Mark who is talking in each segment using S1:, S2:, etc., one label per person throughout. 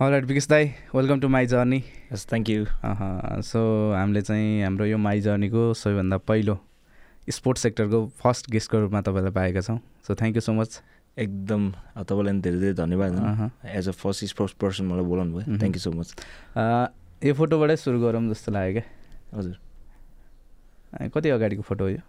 S1: All right Vikas दाई welcome to my journey
S2: हस् thank you
S1: so हामीले चाहिँ हाम्रो यो माई जर्नीको सबैभन्दा पहिलो स्पोर्ट्स सेक्टरको फर्स्ट गेस्टको रूपमा तपाईँलाई पाएका छौँ so thank you so much
S2: एकदम अँ, तपाईँलाई पनि धेरै धेरै धन्यवाद
S1: अहँ।
S2: As a first sports person मलाई बोलाउनु भयो
S1: मह्म।
S2: थ्याङ्क यू सो मच
S1: अ, यो फोटोबाटै सुरु गरौँ जस्तो लाग्यो क्या
S2: हजुर
S1: अँ, कति अगाडिको फोटो हो यो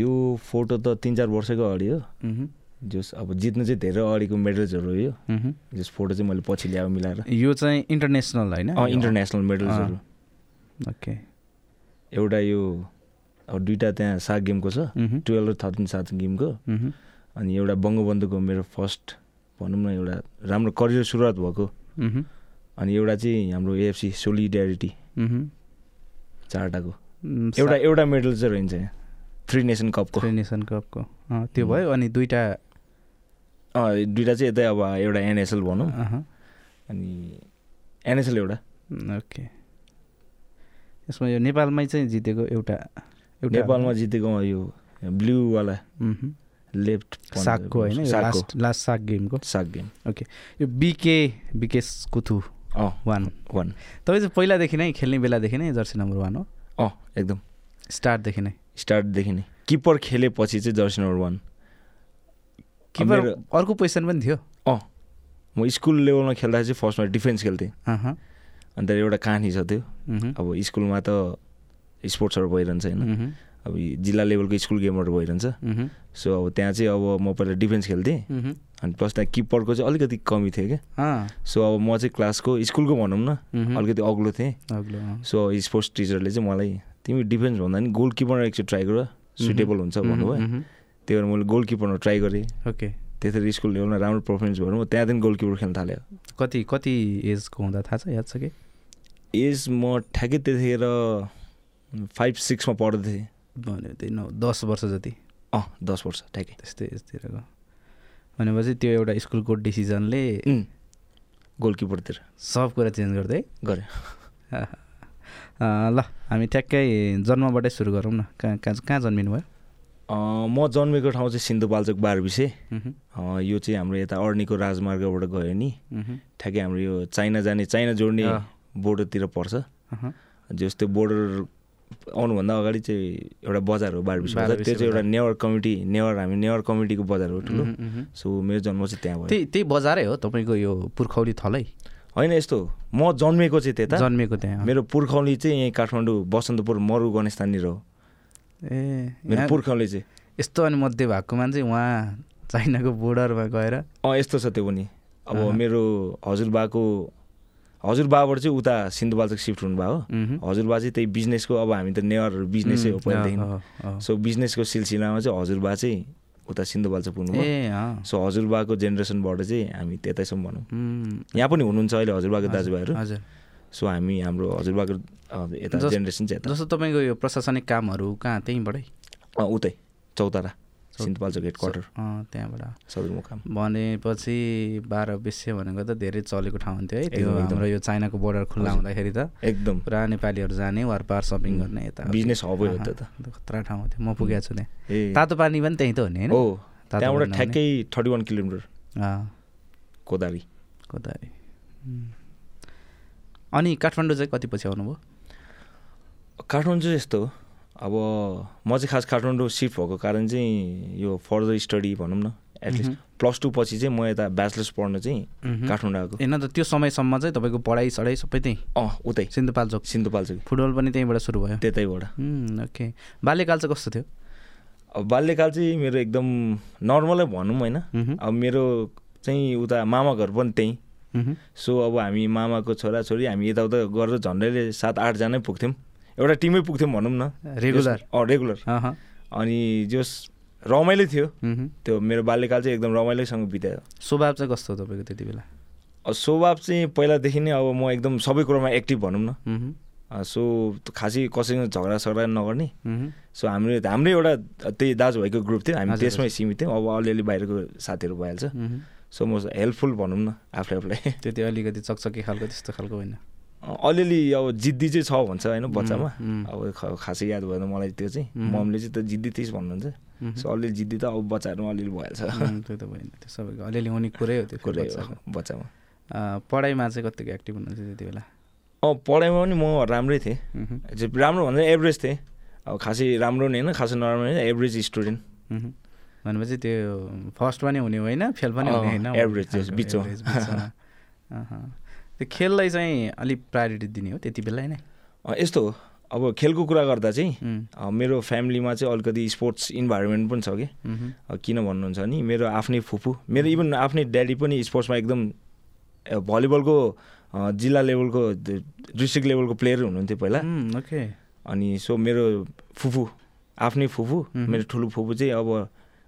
S2: यो फोटो त तिन चार वर्षको अगाडि हो
S1: मह्म,
S2: जस अब जित्नु चाहिँ धेरै अगाडिको मेडल्सहरू हो यो
S1: मह्म।
S2: जस फोटो चाहिँ मैले पछि ल्याएँ मिलाएर
S1: यो चाहिँ इन्टरनेसनल होइन
S2: अँ इन्टरनेसनल मेडल्सहरू
S1: ओके
S2: एउटा यो अब दुइटा त्यहाँ सात गेमको छ
S1: मह्म,
S2: टुवेल्भ र थर्टिन सात गेमको
S1: मह्म,
S2: अनि एउटा बङ्गबन्धुको मेरो फर्स्ट भनौँ न एउटा राम्रो करियर सुरुवात भएको
S1: मह्म,
S2: अनि एउटा चाहिँ हाम्रो एएफसी सोलिडेरिटी
S1: मह्म।
S2: चारवटाको
S1: उम्, सा-
S2: एउटा एउटा मेडल चाहिँ रहन्छ यहाँ थ्री नेसन कपको
S1: थ्री नेसन कपको अँ, त्यो भयो अनि दुइटा
S2: अँ, दुइटा चाहिँ यतै अब एउटा एनएसएल भनौँ
S1: अहँ,
S2: अनि एनएसएल एउटा
S1: ओके यसमा यो नेपालमै चाहिँ जितेको एउटा एउटा
S2: नेपालमा जितेको अँ, यो ब्लुवाला
S1: मह्म,
S2: लेफ्ट पन्जर-
S1: सागको होइन यो
S2: सागको।
S1: लास्ट लास्ट साग गेमको
S2: साग गेम
S1: यो बिके बिकेस कुथु
S2: अँ
S1: वान
S2: वान
S1: तपाईँ चाहिँ पहिलादेखि नै खेल्ने बेलादेखि नै जर्सी नम्बर वान हो
S2: अँ एकदम
S1: स्टार्टदेखि नै
S2: स्टार्टदेखि नै किपर खेलेपछि चाहिँ जर्सी नम्बर वान
S1: किपर
S2: मेरो-
S1: अर्को पोजिसन पनि थियो
S2: म स्कुल लेभलमा खेल्दा चाहिँ फर्स्टमा डिफेन्स खेल्थेँ
S1: अहँ,
S2: अन्त एउटा कहानी छ त्यो
S1: मह्म,
S2: अब स्कुलमा त स्पोर्ट्सहरू भइरहन्छ होइन
S1: मह्म,
S2: अब यी जिल्ला लेभलको स्कुल गेमहरू भइरहन्छ
S1: मह्म,
S2: सो अब त्यहाँ चाहिँ अब म पहिला डिफेन्स खेल्थेँ
S1: मह्म।
S2: अनि प्लस त्यहाँ किपरको चाहिँ अलिकति कमी थियो क्या
S1: अँ,
S2: सो अब म चाहिँ क्लासको स्कुलको भनौँ न
S1: मह्म,
S2: अलिकति अग्लो थिएँ
S1: अग्लो अँ,
S2: सो स्पोर्ट्स टिचरले चाहिँ मलाई तिमी डिफेन्स भन्दा नि गोल किपरमा एकचोटि ट्राई गर सुटेबल हुन्छ
S1: मह्म,
S2: भन्नुभयो
S1: मह्म,
S2: त्यही भएर मैले गोल किपरमा ट्राई गरेँ
S1: ओके
S2: त्यसरी स्कुल लेभलमा राम्रो पर्फर्मेन्स भएर म त्यहाँदेखि गोल किपर खेल्न थालेँ
S1: कति कति एजको हुँदा थाहा छ याद छ कि
S2: एज म ठ्याक्कै त्यतिखेर फाइभ सिक्समा पढ्दै थिएँ
S1: भन्यो त्यही नौ दस वर्ष जति
S2: अँ दस वर्ष ठ्याक्कै
S1: त्यस्तै एजतिरको भनेपछि त्यो एउटा स्कुलको डिसिजनले
S2: उम्, गोल किपरतिर
S1: सब कुरा चेन्ज गर्दै
S2: गरेँ
S1: अँ, ल हामी ठ्याक्कै जन्मबाटै सुरु गरौँ न कहाँ कहाँ कहाँ जन्मिनु भयो
S2: अँ, म जन्मेको ठाउँ चाहिँ सिन्धुपाल्चोक बारबिसे
S1: मह्म,
S2: अँ, यो चाहिँ हाम्रो यता अर्नीको राजमार्गबाट गयो नि
S1: मह्म,
S2: ठ्याक्कै हाम्रो यो चाइना जाने चाइना जोड्ने
S1: अँ।
S2: बोर्डरतिर पर्छ
S1: अहँ,
S2: जस्तो बोर्डर आउनुभन्दा अगाडि चाहिँ एउटा बजार हो बारबिस बजार
S1: बारबिसे
S2: त्यो चाहिँ एउटा
S1: बजार।
S2: नेवार कमिटी नेवार हामी नेवार कमिटीको बजार हो ठुलो
S1: मह्म, मह्म।
S2: सो मेरो जन्म चाहिँ त्यहाँ भयो
S1: त्यही त्यही बजारै हो तपाईँको यो पुर्खौली थलै
S2: होइन यस्तो हो, म जन्मेको चाहिँ त्यता
S1: जन्मेको त्यहाँ
S2: मेरो पुर्खौली चाहिँ यहीँ काठमाडौँ बसन्तपुर मरु गणेशस्थाननिर हो
S1: ए
S2: मेरो
S1: यहाँ
S2: पुर्खौली चाहिँ
S1: यस्तो अनि मध्य भागको मान्छे उहाँ चाइनाको बोर्डरमा गएर
S2: अँ यस्तो छ त्यो पनि अब
S1: अहँ।
S2: मेरो हजुरबाको हजुरबाबाट चाहिँ उता सिन्धुपाल्चोक सिफ्ट हुनुभयो
S1: मह्म,
S2: हजुरबा चाहिँ त्यही बिजनेसको अब हामी त नेवारहरू बिजनेसै हो
S1: मह्म,
S2: पहिलादेखि
S1: अँ, अँ, अँ।
S2: सो बिजनेसको सिलसिलामा चाहिँ हजुरबा चाहिँ उता सिन्धुपाल्चोक पुग्नुभयो
S1: ए अँ
S2: सो हजुरबाको जेनेरेसनबाट चाहिँ हामी त्यतैसम्म भनौँ
S1: मह्म,
S2: यहाँ पनि हुनुहुन्छ अहिले हजुरबाको दाजुभाइहरू
S1: हजुर
S2: सो हामी हाम्रो हजुरबाको अँ, यता
S1: जस-
S2: जेनेरेसन चाहिँ यता
S1: जस्तो तपाईँको यो प्रशासनिक कामहरू कहाँ त्यहीँबाटै
S2: अँ, उतै चौतारा सिन्धुपाल्चोक हेड क्वार्टर
S1: अँ, त्यहाँबाट
S2: सदरमुकाम
S1: भनेपछि बाह्र बिसे भनेको त धेरै चलेको ठाउँ हुन्थ्यो है त्यो
S2: एकदम, एकदम।
S1: हाम्रो यो चाइनाको बोर्डर खुल्ला
S2: हजुर।
S1: हुँदाखेरि त
S2: एकदम
S1: पुरा नेपालीहरू जाने वार पार सपिङ
S2: उम्,
S1: गर्ने यता
S2: बिजनेस हबै हो
S1: आहा,
S2: त्यो त।
S1: खतरा ठाउँ हो त्यो म पुगेको छु त्यहाँ
S2: ए
S1: तातो पानी पनि त्यहीँ त हुने होइन
S2: हो
S1: तातो
S2: त्यहाँबाट
S1: पानी
S2: ठ्याक्कै थर्टी वान किलोमिटर
S1: नहुने। अँ,
S2: कोदारी
S1: कोदारी उम्। अनि काठमाडौँ चाहिँ कति पछि आउनुभयो
S2: काठमाडौँ चाहिँ यस्तो हो अब म चाहिँ खास काठमाडौँ सिफ्ट भएको कारण चाहिँ यो फर्दर स्टडी भनौँ न एटलिस्ट प्लस टू पछि चाहिँ म यता ब्याचलर्स पढ्न चाहिँ
S1: मह्म।
S2: काठमाडौँ आएको
S1: होइन त त्यो समयसम्म चाहिँ तपाईँको पढाइ सढाइ सबै त्यहीँ
S2: अँ उतै
S1: सिन्धुपाल्चोक
S2: सिन्धुपाल्चोक
S1: फुटबल पनि त्यहीँबाट सुरु भयो
S2: त्यतैबाट
S1: उम्, ओके बाल्यकाल चाहिँ कस्तो थियो
S2: अब बाल्यकाल चाहिँ मेरो एकदम नर्मलै भनौँ होइन
S1: मह्म,
S2: अब मेरो चाहिँ उता मामा घर पनि त्यहीँ
S1: मह्म,
S2: सो अब हामी मामाको छोराछोरी हामी यताउता गरेर झन्डैले सात आठजना पुग्थ्यौँ एउटा टिमै पुग्थ्यौँ भनौँ न
S1: रेगुलर
S2: अँ रेगुलर
S1: अहँ,
S2: अनि जस रमाइलो थियो
S1: मह्म।
S2: त्यो मेरो बाल्यकाल चाहिँ एकदम रमाइलोसँग बितायो
S1: स्वभाव चाहिँ कस्तो हो तपाईँको त्यति बेला
S2: अब स्वभाव चाहिँ पहिलादेखि नै अब म एकदम सबै कुरोमा एक्टिभ भनौँ न
S1: मह्म,
S2: अ, सो त्यो खासै कसैसँग झगडा सगडा नगर्ने
S1: मह्म,
S2: सो हाम्रो हाम्रो एउटा त्यही दाजुभाइको ग्रुप थियो हामी
S1: हजुर,
S2: त्यसमै सीमित थियौँ अब अलिअलि बाहिरको साथीहरू भइहाल्छ
S1: मह्म।
S2: सो म हेल्पफुल भनौँ न आफूले आफूलाई
S1: त्यो त्यो अलिकति चकचकी खालको त्यस्तो खालको होइन
S2: अ, अलिअलि अब जिद्दी चाहिँ छ भन्छ होइन बच्चामा
S1: उम्,
S2: अब ख- खासै याद भएन मलाई त्यो चाहिँ
S1: उम्।
S2: मम्मीले चाहिँ त्यो जिद्दी थिइस् भन्नुहुन्छ
S1: मह्म,
S2: सो अलिअलि जिद्दी त अब बच्चाहरूमा अलिअलि भइहाल्छ
S1: मह्म, त्यो त भएन त्यो सबैको अलिअलि हुने कुरै हो त्यो फेरि
S2: कुरै हो
S1: बच्चाको।
S2: बच्चामा
S1: अँ, पढाइमा चाहिँ कतिको एक्टिभ हुनुहुन्छ त्यति बेला
S2: अँ पढाइमा पनि म राम्रै थिएँ
S1: मह्म,
S2: जे- राम्रो भन्दा एभरेज थिएँ अब खासै राम्रो नि होइन खासै नराम्रो नि होइन, एभरेज स्टुडेन्ट
S1: मह्म। भनेपछि त्यो फर्स्ट पनि हुने होइन फेल पनि
S2: अँ,
S1: हुने होइन
S2: average
S1: खालको
S2: जस- बिचमा।
S1: average बिचमा। अहँ। त्यो खेललाई चाहिँ अलिक प्रायोरिटी दिने हो त्यति बेलै नै
S2: अँ, यस्तो हो अब खेलको कुरा गर्दा चाहिँ
S1: उम्,
S2: अँ, मेरो फ्यामिलीमा चाहिँ अलिकति स्पोर्ट्स इन्भाइरोमेन्ट पनि छ कि
S1: मह्म,
S2: अँ, किन भन्नुहुन्छ भने मेरो आफ्नै फुपू मेरो इभन आफ्नै ड्याडी पनि स्पोर्ट्समा एकदम अ, भलिबलको अ, जिल्ला लेभलको ड- डिस्ट्रिक्ट लेभलको प्लेयर हुनुहुन्थ्यो पहिला
S1: उम्, ओके
S2: अनि सो मेरो फुफू आफ्नै फुफू
S1: मह्म।
S2: मेरो ठुलो फुपू चाहिँ अब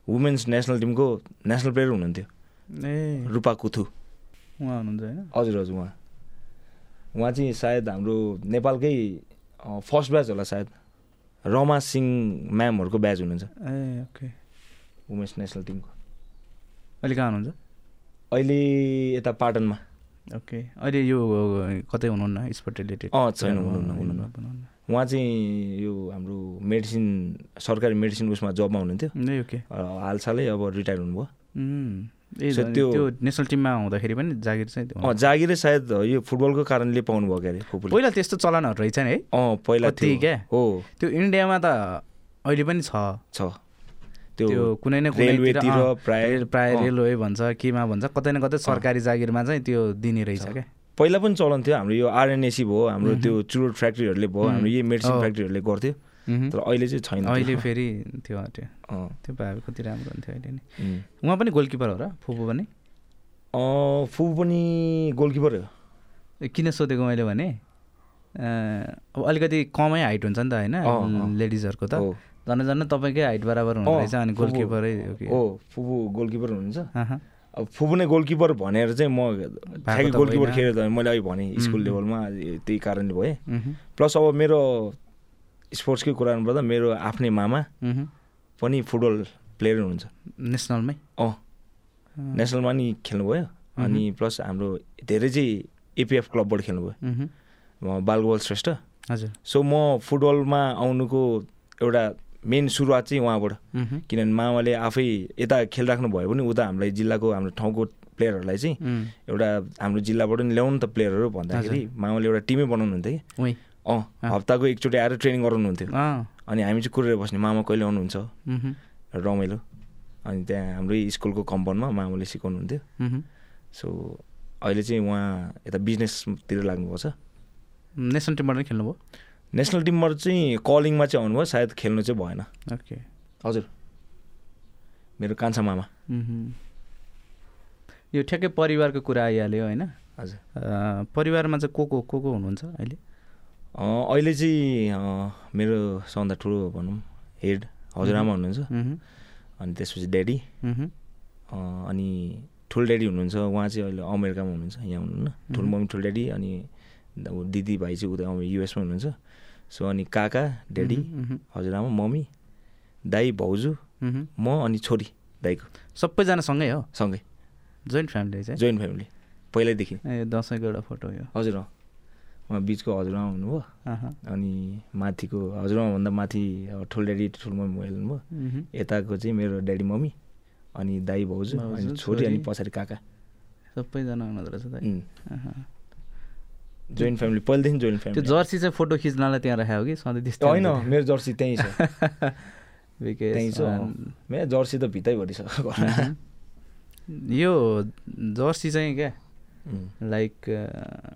S2: वुमेन्स नेसनल टिमको नेसनल प्लेयर हुनुहुन्थ्यो
S1: ए
S2: रूपा कुथु
S1: उहाँ हुनुहुन्छ होइन
S2: हजुर हजुर उहाँ उहाँ चाहिँ सायद हाम्रो नेपालकै अ, फर्स्ट ब्याच होला सायद रमा सिंह म्यामहरूको ब्याच हुनुहुन्छ
S1: ए ओके
S2: वुमेन्स नेसनल टिमको
S1: अहिले कहाँ हुनुहुन्छ
S2: अहिले यता पाटनमा
S1: ओके अहिले यो कतै हुनुहुन्न स्पोर्ट रिलेटेड
S2: अँ, छैन, हुनुहुन्न, हुनुहुन्न। उहाँ चाहिँ यो हाम्रो मेडिसिन सरकारी मेडिसिन उसमा जबमा हुनुहुन्थ्यो
S1: ए ओके
S2: अ, हालसालै अब रिटायर हुनुभयो
S1: उम्, ए
S2: सो
S1: झन्
S2: त्यो-
S1: Mm.
S2: Oh,
S1: त्यो नेसनल टिममा हुँदाखेरि पनि जागिर चाहिँ त्यो-
S2: अँ जागिरै सायद यो फुटबलको कारणले पाउनुभयो क्यारे फुपूले
S1: पहिला त्यस्तो चलनहरू रहेछ नि है
S2: अँ पहिला
S1: कति
S2: थियो
S1: क्या?
S2: हो
S1: त्यो इन्डियामा त अहिले पनि छ
S2: छ
S1: त्यो
S2: त्यो
S1: कुनै न
S2: रेलवेतिर
S1: कुनै
S2: प्राय-
S1: प्राय
S2: अँ।
S1: रेलवे भन्छ केमा भन्छ कतै न कतै सरकारी जागिरमा चाहिँ त्यो दिने रहेछ
S2: छ।
S1: क्या
S2: पहिला पनि चलन थियो हाम्रो यो आरएनएसी भयो हाम्रो
S1: मह्म।
S2: त्यो चुरोट फ्याक्ट्रीहरूले भयो हाम्रो यही मेडिसिन
S1: अँ।
S2: फ्याक्ट्रीहरूले गर्थ्यो
S1: मह्म।
S2: तर अहिले चाहिँ छैन त्यो।
S1: अहिले फेरि त्यो हट्यो
S2: अँ,
S1: त्यो भए कति राम्रो हुन्थ्यो अहिले नि
S2: उम्।
S1: उहाँ पनि गोलकिपर हो र फुपू पनि
S2: अँ, फुपू पनि गोलकिपर हो
S1: ए, किन सोधेको मैले भने अ, अब अलिकति कमै हाइट हुन्छ नि त
S2: अँ, अँ।
S1: होइन लेडिजहरूको त
S2: हो
S1: झन् झन् तपाईँकै हाइट बराबर हुँदो
S2: अँ,
S1: रहेछ अनि
S2: फुपू-
S1: गोलकिपरै हो कि
S2: हो फुपू गोलकिपर हुनुहुन्छ
S1: आहा,
S2: अब फुपू नै गोलकिपर भनेर चाहिँ म ठ्याक्कै
S1: त
S2: गोलकिपर
S1: होइन।
S2: खेलेर त मैले अघि भनेँ स्कुल
S1: उम्।
S2: लेभलमा ए- त्यही कारणले भएँ
S1: मह्म,
S2: प्लस अब मेरो स्पोर्ट्सकै कुरा गर्नुपर्दा मेरो आफ्नै मामा
S1: मह्म।
S2: पनि फुटबल प्लेयर हुनुहुन्छ
S1: नेसनलमै
S2: अँ नेसनलमा नि खेल्नुभयो अनि प्लस हाम्रो धेरै चाहिँ एपिएफ क्लबबाट खेल्नुभयो
S1: मह्म,
S2: म बालगोपाल श्रेष्ठ
S1: हजुर
S2: सो म फुटबलमा आउनुको एउटा मेन सुरुवात चाहिँ उहाँबाट
S1: मह्म,
S2: किनभने मामाले आफै यता खेलिराख्नु भयो भने उता हामीलाई जिल्लाको हाम्रो ठाउँको प्लेयरहरूलाई चाहिँ
S1: उम्,
S2: एउटा हाम्रो जिल्लाबाट नि ल्याउनु त प्लेयरहरू भन्दाखेरि मामाले एउटा टिमै बनाउनुहुन्थ्यो कि
S1: उही
S2: अँ
S1: अँ।
S2: हप्ताको एकचोटि आएर ट्रेनिङ गराउनुहुन्थ्यो
S1: अँ,
S2: अनि हामी चाहिँ कुरेर बस्ने मामा कहिले आउनुहुन्छ
S1: मह्म,
S2: रमाइलो अनि त्यहाँ हाम्रै स्कुलको कम्पाउन्डमा मामाले सिकाउनुहुन्थ्यो
S1: मह्म।
S2: सो अहिले चाहिँ उहाँ यता बिजनेसतिर लाग्नुभएको छ
S1: नेसनल टिमबाट नै खेल्नुभयो
S2: नेसनल टिमबाट चाहिँ कलिङमा चाहिँ आउनुभयो सायद खेल्नु चाहिँ भएन
S1: ओके
S2: हजुर मेरो कान्छा मामा
S1: मह्म। यो ठ्याक्कै परिवारको कुरा आइहाल्यो होइन
S2: हजुर
S1: अ, परिवारमा चाहिँ को को को को हुनुहुन्छ अहिले
S2: अँ, अहिले चाहिँ अँ, मेरो सबभन्दा ठुलो भनौँ हेड हजुरआमा हुनुहुन्छ
S1: मह्म,
S2: अनि त्यसपछि ड्याडी
S1: मह्म,
S2: अँ, अनि ठुल ड्याडी हुनुहुन्छ उहाँ चाहिँ अहिले अमेरिकामा हुनुहुन्छ यहाँ हुनुहुन्न ठुलो मम्मी ठुल ड्याडी अनि अब दिदी भाइ चाहिँ उता अमे- युएसमा हुनुहुन्छ सो अनि काका ड्याडी
S1: मह्म,
S2: हजुरआमा मम्मी दाई भाउजू
S1: मह्म।
S2: म अनि छोरी दाईको
S1: सबैजना सँगै हो
S2: सँगै
S1: जोइन्ट फ्यामिली रहेछ है?
S2: जोइन्ट फ्यामिली पहिल्यैदेखि
S1: ए दसैँको एउटा फोटो यो
S2: हजुर अँ उहाँ बिचको हजुरआमा हुनुभयो
S1: आहा,
S2: अनि माथिको हजुरआमाभन्दा माथि अब ठुल ड्याडी ठुल मम्मी भइहाल्नु भयो
S1: मह्म।
S2: यताको चाहिँ मेरो ड्याडी मम्मी अनि दाई भाउजू अनि
S1: भाउजू,
S2: छोरी अनि
S1: छोरी।
S2: पछाडि काका
S1: सबैजना हुनुहुँदो रहेछ त है?
S2: उम्।
S1: आहा।
S2: जोइन्ट फ्यामिली पहिलेदेखि जोइन्ट
S1: त्यो
S2: फ्यामिली
S1: जर्सी चाहिँ फोटो खिच्नलाई त्यहाँ राख्यो हो कि सधैँ त्यस्तो
S2: होइन
S1: हुन्छ
S2: मेरो जर्सी त्यहीँ छ
S1: नि। विकेश,
S2: त्यहीँ छ
S1: अन।
S2: मेरो जर्सी त भित्रैभरि छ घरमा।
S1: Mm-hmm. मह्म। यो जर्सी चाहिँ क्या
S2: उम्,
S1: लाइक अ,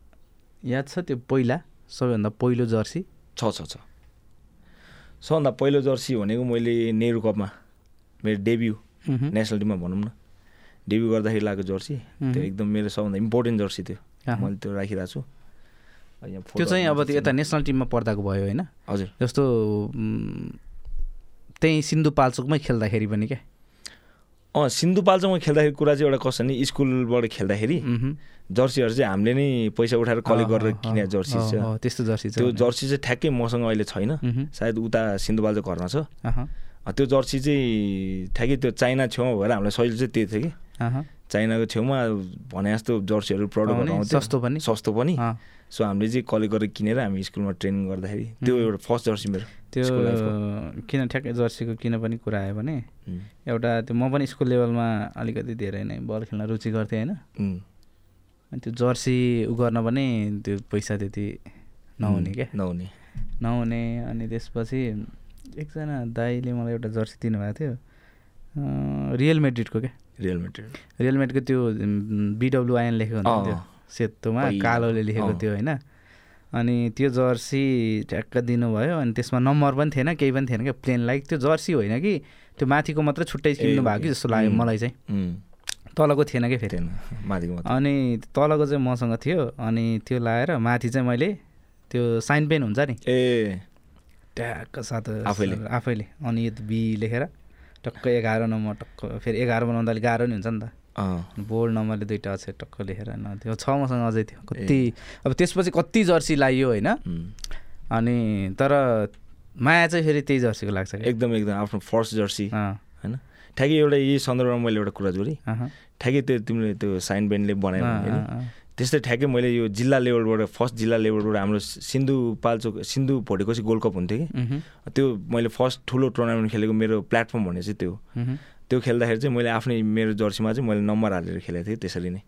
S1: याद छ त्यो पहिला सबैभन्दा पहिलो जर्सी
S2: छ छ छ सबभन्दा पहिलो जर्सी भनेको मैले नेहरू कपमा मेरो डेब्यु
S1: मह्म।
S2: नेसनल टिममा भनौँ न डेब्यु गर्दाखेरि लगाएको जर्सी त्यो
S1: मह्म।
S2: एकदम मेरो सबभन्दा इम्पोर्टेन्ट जर्सी थियो
S1: आहा।
S2: मैले त्यो राखिरहेको छु अब यहाँ
S1: त्यो
S2: फोटोहरू
S1: चाहिँ अब
S2: पनि
S1: त्यो
S2: छ।
S1: यता नेसनल टिममा पर्दाको भयो होइन
S2: हजुर
S1: जस्तो उम्, त्यहीँ सिन्धुपाल्चोकमै खेल्दाखेरि पनि क्या
S2: अँ सिन्धुपाल्चोकमा खेल्दाखेरि कुरा चाहिँ एउटा कस्तो नि स्कुलबाट खेल्दाखेरि
S1: मह्म।
S2: जर्सीहरू चाहिँ हामीले नै पैसा उठाएर कलेक्ट गरेर
S1: अँ,
S2: किने
S1: अँ,
S2: जर्सी
S1: अँ,
S2: छ
S1: अँ, त्यस्तो जर्सी छ
S2: त्यो
S1: भने।
S2: जर्सी चाहिँ ठ्याक्कै मसँग अहिले छैन
S1: मह्म।
S2: सायद उता सिन्धुपाल्चो घरमा छ
S1: आहा,
S2: अँ, त्यो जर्सी चाहिँ ठ्याक्कै त्यो चाइना छेउमा भएर हामीलाई सजिलो चाहिँ त्यही थियो कि
S1: आहा।
S2: चाइनाको छेउमा भने जस्तो जर्सीहरू प्रडक्टहरू
S1: आउने,
S2: आउँथ्यो
S1: सस्तो पनि
S2: सस्तो पनि
S1: अँ,
S2: सो हामीले चाहिँ कलेक्ट गरेर किनेर हामी स्कुलमा ट्रेनिङ गर्दाखेरि त्यो
S1: मह्म।
S2: एउटा फर्स्ट जर्सी मेरो
S1: त्यो
S2: स्कुल लाइफको।
S1: किन ठ्याक्कै जर्सीको किन पनि कुरा आयो भने
S2: उम्,
S1: एउटा त्यो म पनि स्कुल लेभलमा अलिकति धेरै नै बल खेल्न रुचि गर्थेँ होइन
S2: उम्,
S1: अनि त्यो जर्सी उ गर्न पनि त्यो पैसा त्यति नहुने क्या
S2: नहुने
S1: नहुने अनि त्यसपछि एकजना दाईले मलाई एउटा जर्सी दिनुभएको थियो अँ, रियल मेड्रिडको क्या
S2: रियल मेटेरियल
S1: रियल मेडको त्यो बिडब्लुआइएन लेखेको हुन्थ्यो नि त्यो
S2: अँ।
S1: सेतोमा
S2: पहिलो।
S1: कालोले लेखेको
S2: अँ।
S1: थियो होइन अनि त्यो जर्सी ठ्याक्क दिनुभयो अनि त्यसमा नम्बर पनि थिएन केही पनि थिएन क्या प्लेन लाइक त्यो जर्सी होइन कि त्यो माथिको मात्रै छुट्टै किन्नु भएको कि
S2: ओके।
S1: जस्तो लाग्यो
S2: उम्।
S1: मलाई चाहिँ
S2: उम्,
S1: तलको थिएन क्या फेरि
S2: थिएन माथिको मात्र
S1: अनि तलको चाहिँ मसँग थियो अनि त्यो लाएर माथि चाहिँ मैले त्यो साइन पेन हुन्छ नि
S2: ए
S1: ट्याक्क सात
S2: आफैले?
S1: आफैले अनि यो बी लेखेर टक्क एघार नम्बर टक्क फेरि एघार बनाउँदा अलिक गाह्रो नि हुन्छ नि त
S2: अँ
S1: बोर्ड नम्बरले दुइटा अक्षर टक्क लेखेर न त्यो छ मसँग अझै थियो
S2: ए।
S1: कति अब त्यसपछि कति जर्सी लाइयो होइन
S2: उम्,
S1: अनि तर माया चाहिँ फेरि त्यही जर्सीको लाग्छ क्या।
S2: एकदम एकदम आफ्नो फर्स्ट जर्सी
S1: अँ,
S2: होइन ठ्याक्कै एउटा यही सन्दर्भमा मैले एउटा कुरा जोडेँ
S1: अहँ,
S2: ठ्याक्कै त्यो तिमीले त्यो साइन बेन्डले बनायो
S1: अँ,
S2: होइन
S1: अँ, अँ।
S2: त्यस्तै ठ्याक्कै मैले यो जिल्ला लेभलबाट फर्स्ट जिल्ला लेभलबाट हाम्रो Sindhupalchok Sindhu Bhotekoshi gold cup हुन्थ्यो कि
S1: मह्म,
S2: त्यो मैले फर्स्ट ठुलो टुर्नामेन्ट खेलेको मेरो प्लेटफर्म भने चाहिँ त्यो हो।
S1: मह्म।
S2: त्यो खेल्दाखेरि चाहिँ मैले आफ्नै मेरो जर्सीमा चाहिँ मैले नम्बर हालेर खेलेको थिएँ त्यसरी नै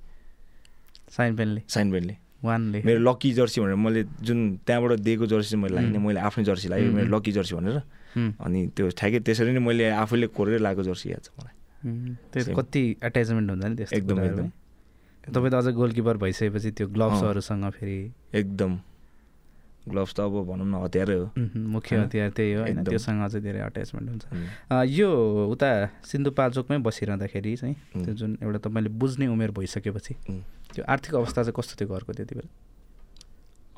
S1: साइन पेनले
S2: साइन बेन्डले
S1: वान लेखेर।
S2: मेरो लकी जर्सी भनेर मैले जुन त्यहाँबाट दिएको जर्सी चाहिँ मैले
S1: उम्.
S2: लाग्ने मैले आफ्नै जर्सी लाग्यो
S1: उम्,
S2: मेरो
S1: उम्.
S2: लकी जर्सी भनेर
S1: उम्,
S2: अनि त्यो ठ्याक्कै त्यसरी नै मैले आफैले कोरेर लगाएको जर्सी याद छ मलाई
S1: उम्, त्यो
S2: सेम।
S1: कति एट्याचमेन्ट हुन्छ नि त्यस्तो
S2: एकदम,
S1: कुराहरू
S2: एकदम।
S1: है। तपाईँ त अझ गोलकिपर भइसकेपछि त्यो ग्लोभ्सहरूसँग फेरि
S2: एकदम ग्लोभ्स त अब भनौँ न हतियारै हो
S1: मह्म, मुख्य
S2: होइन?
S1: हतियार त्यही हो होइन
S2: एकदम।
S1: त्योसँग अझै धेरै अट्याचमेन्ट हुन्छ
S2: उम्,
S1: अ, यो उता सिन्धुपाल्चोकमै बसिरहँदाखेरि चाहिँ
S2: उम्,
S1: त्यो जुन एउटा तपाईँले बुझ्ने उमेर भइसकेपछि
S2: उम्।
S1: त्यो आर्थिक अवस्था चाहिँ कस्तो थियो घरको त्यति बेला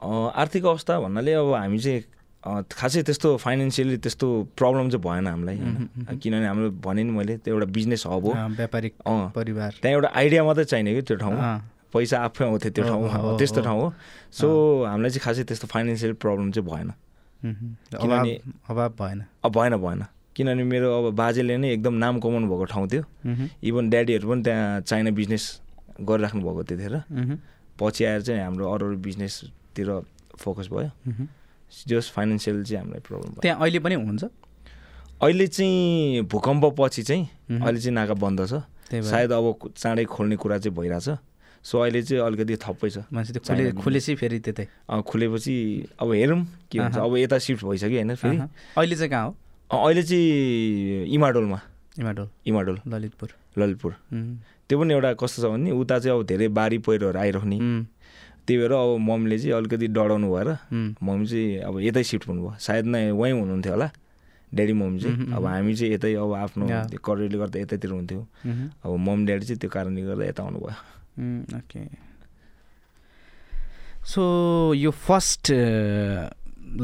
S2: अँ, आर्थिक अवस्था भन्नाले अब हामी चाहिँ अँ, खासै त्यस्तो फाइनेन्सियली त्यस्तो प्रब्लम चाहिँ भएन हामीलाई होइन?
S1: उम्, उम्, उम्।
S2: किनभने हाम्रो भने नि मैले त्यो एउटा बिजनेस हब हो
S1: अँ, व्यापारिक
S2: अँ,
S1: परिवार
S2: त्यहाँ एउटा आइडिया मात्रै चाहिने कि त्यो ठाउँमा
S1: अँ,
S2: पैसा आफै आउँथ्यो त्यो
S1: हो,
S2: ठाउँमा
S1: हो,
S2: हो, त्यस्तो
S1: हो।
S2: ठाउँ हो सो हामीलाई चाहिँ खासै त्यस्तो फाइनेन्सियल प्रब्लम चाहिँ भएन
S1: उम्हुम्, अभाव
S2: किनभने-
S1: अभाव भएन
S2: अब भएन भएन किनभने मेरो अब बाजेले नै एकदम नाम कमाउनु भएको ठाउँ थियो
S1: उम्हुम्,
S2: इभन ड्याडीहरू पनि त्यहाँ चाइना बिजनेस गरिराख्नु भएको त्यतिखेर
S1: उम्हुम्,
S2: पछि आएर चाहिँ हाम्रो अरू अरू बिजनेसतिर फोकस भयो
S1: उम्हुम्।
S2: जस फाइनेन्सियल चाहिँ हामीलाई प्रब्लम भयो
S1: त्यहाँ अहिले पनि हुनुहुन्छ
S2: अहिले चाहिँ भूकम्पपछि चाहिँ
S1: मह्म।
S2: अहिले चाहिँ नाका बन्द छ
S1: त्यही भएर।
S2: सायद अब कु- चाँडै खोल्ने कुरा चाहिँ भइरहेछ सो अहिले चाहिँ अलिकति थप्पै छ
S1: मान्छे त्यो
S2: चाइना
S1: खुले
S2: बिजनेस।
S1: खुलेसी फेरि त्यतै
S2: अँ, खुलेपछि अब हेरौँ के हुन्छ
S1: आहा।
S2: अब यता सिफ्ट भइसक्यो होइन फेरि
S1: अहँ। अहिले चाहिँ कहाँ हो
S2: अँ, अहिले चाहिँ इमाडोलमा
S1: इमाडोल
S2: इमाडोल
S1: ललितपुर
S2: ललितपुर
S1: उम्,
S2: त्यो पनि एउटा कस्तो छ भने उता चाहिँ अब धेरै बारी पहिरोहरू आइरहने
S1: उम्,
S2: त्यही भएर अब मम्मीले चाहिँ अलिकति डराउनु भएर
S1: उम्,
S2: मम्मी चाहिँ अब यतै सिफ्ट हुनुभयो सायद नै उहीँ हुनुहुन्थ्यो होला ड्याडी
S1: मह्म,
S2: मम्मी चाहिँ अब
S1: मह्म।
S2: हामी चाहिँ यतै अब आफ्नो
S1: या।
S2: त्यो करियरले गर्दा यतैतिर हुन्थ्यो
S1: उम्हुम्,
S2: अब मम ड्याडी चाहिँ त्यो कारणले गर्दा यता आउनुभयो
S1: उम्, ओके सो यो फर्स्ट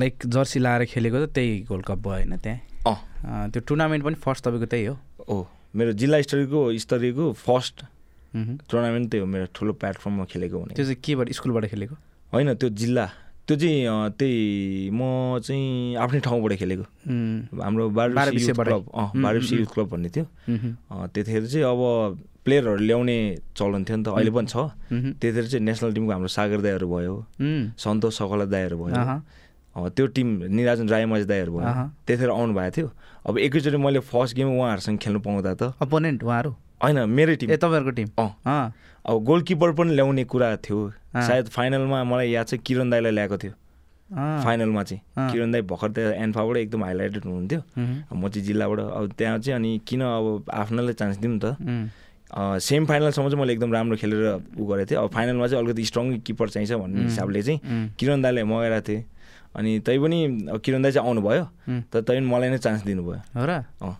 S1: लाइक जर्सी लाएर खेलेको त त्यही गोल्ड कप भयो होइन त्यहाँ
S2: अँ
S1: अँ, त्यो टुर्नामेन्ट पनि फर्स्ट तपाईँको त्यही हो
S2: ओ मेरो जिल्ला स्तरीयको स्तरीयको फर्स्ट
S1: उम्हुम्।
S2: टुर्नामेन्ट त्यो मेरो ठुलो प्लेटफर्ममा खेलेको हुने
S1: Mm-hmm. त्यो चाहिँ केबाट स्कुलबाट खेलेको
S2: होइन त्यो जिल्ला त्यो चाहिँ अँ, त्यही म चाहिँ आफ्नै ठाउँबाट खेलेको
S1: उम्,
S2: हाम्रो बारुसी युथ
S1: बारुसेबाट।
S2: क्लब अँ
S1: उम्,
S2: बारुसी
S1: उम्,
S2: युथ क्लब भन्ने थियो
S1: उम्हुम्,
S2: अँ, त्यतिखेर चाहिँ अब प्लेयरहरू ल्याउने चलन थियो नि त अहिले पनि छ
S1: उम्हुम्,
S2: त्यतिखेर चाहिँ नेसनल टिमको हाम्रो सागर दाईहरू भयो
S1: उम्,
S2: सन्तोष सकला दाईहरू भयो
S1: Mm. अहँ,
S2: अँ, त्यो टिम निराजन रायमाझ दाईहरू भयो
S1: अहँ।
S2: त्यतिखेर आउनु भएको थियो अब एकैचोटि मैले फर्स्ट गेम उहाँहरूसँग खेल्नु पाउँदा त
S1: अपोनेन्ट उहाँहरू
S2: होइन मेरै टिम
S1: ए तपाईँहरूको टिम
S2: अँ
S1: अँ
S2: अब गोलकिपर पनि ल्याउने कुरा थियो
S1: अँ।
S2: सायद फाइनलमा मलाई याद छ किरण दाईलाई ल्याएको थियो
S1: अँ,
S2: फाइनलमा चाहिँ
S1: अँ।
S2: किरण दाई भर्खर त्यहाँ एन्फाबाट एकदम हाइलाइटेड हुनुहुन्थ्यो
S1: उम्हुम्,
S2: म चाहिँ जिल्लाबाट अब त्यहाँ चाहिँ अनि किन अब आफ्नोलाई चान्स दिउँ त
S1: उम्,
S2: अँ, सेमी फाइनलसम्म चाहिँ मैले एकदम राम्रो खेलेर उ गरेको थिएँ अब फाइनलमा चाहिँ अलिकति स्ट्रङ किपर चाहिन्छ भन्ने
S1: उम्,
S2: हिसाबले चाहिँ
S1: उम्,
S2: किरण दाईलाई मगाएको थिएँ अनि तै पनि अब किरण दाई चाहिँ आउनुभयो
S1: उम्,
S2: तर तै पनि मलाई नै चान्स दिनुभयो
S1: Mm. हो र
S2: अँ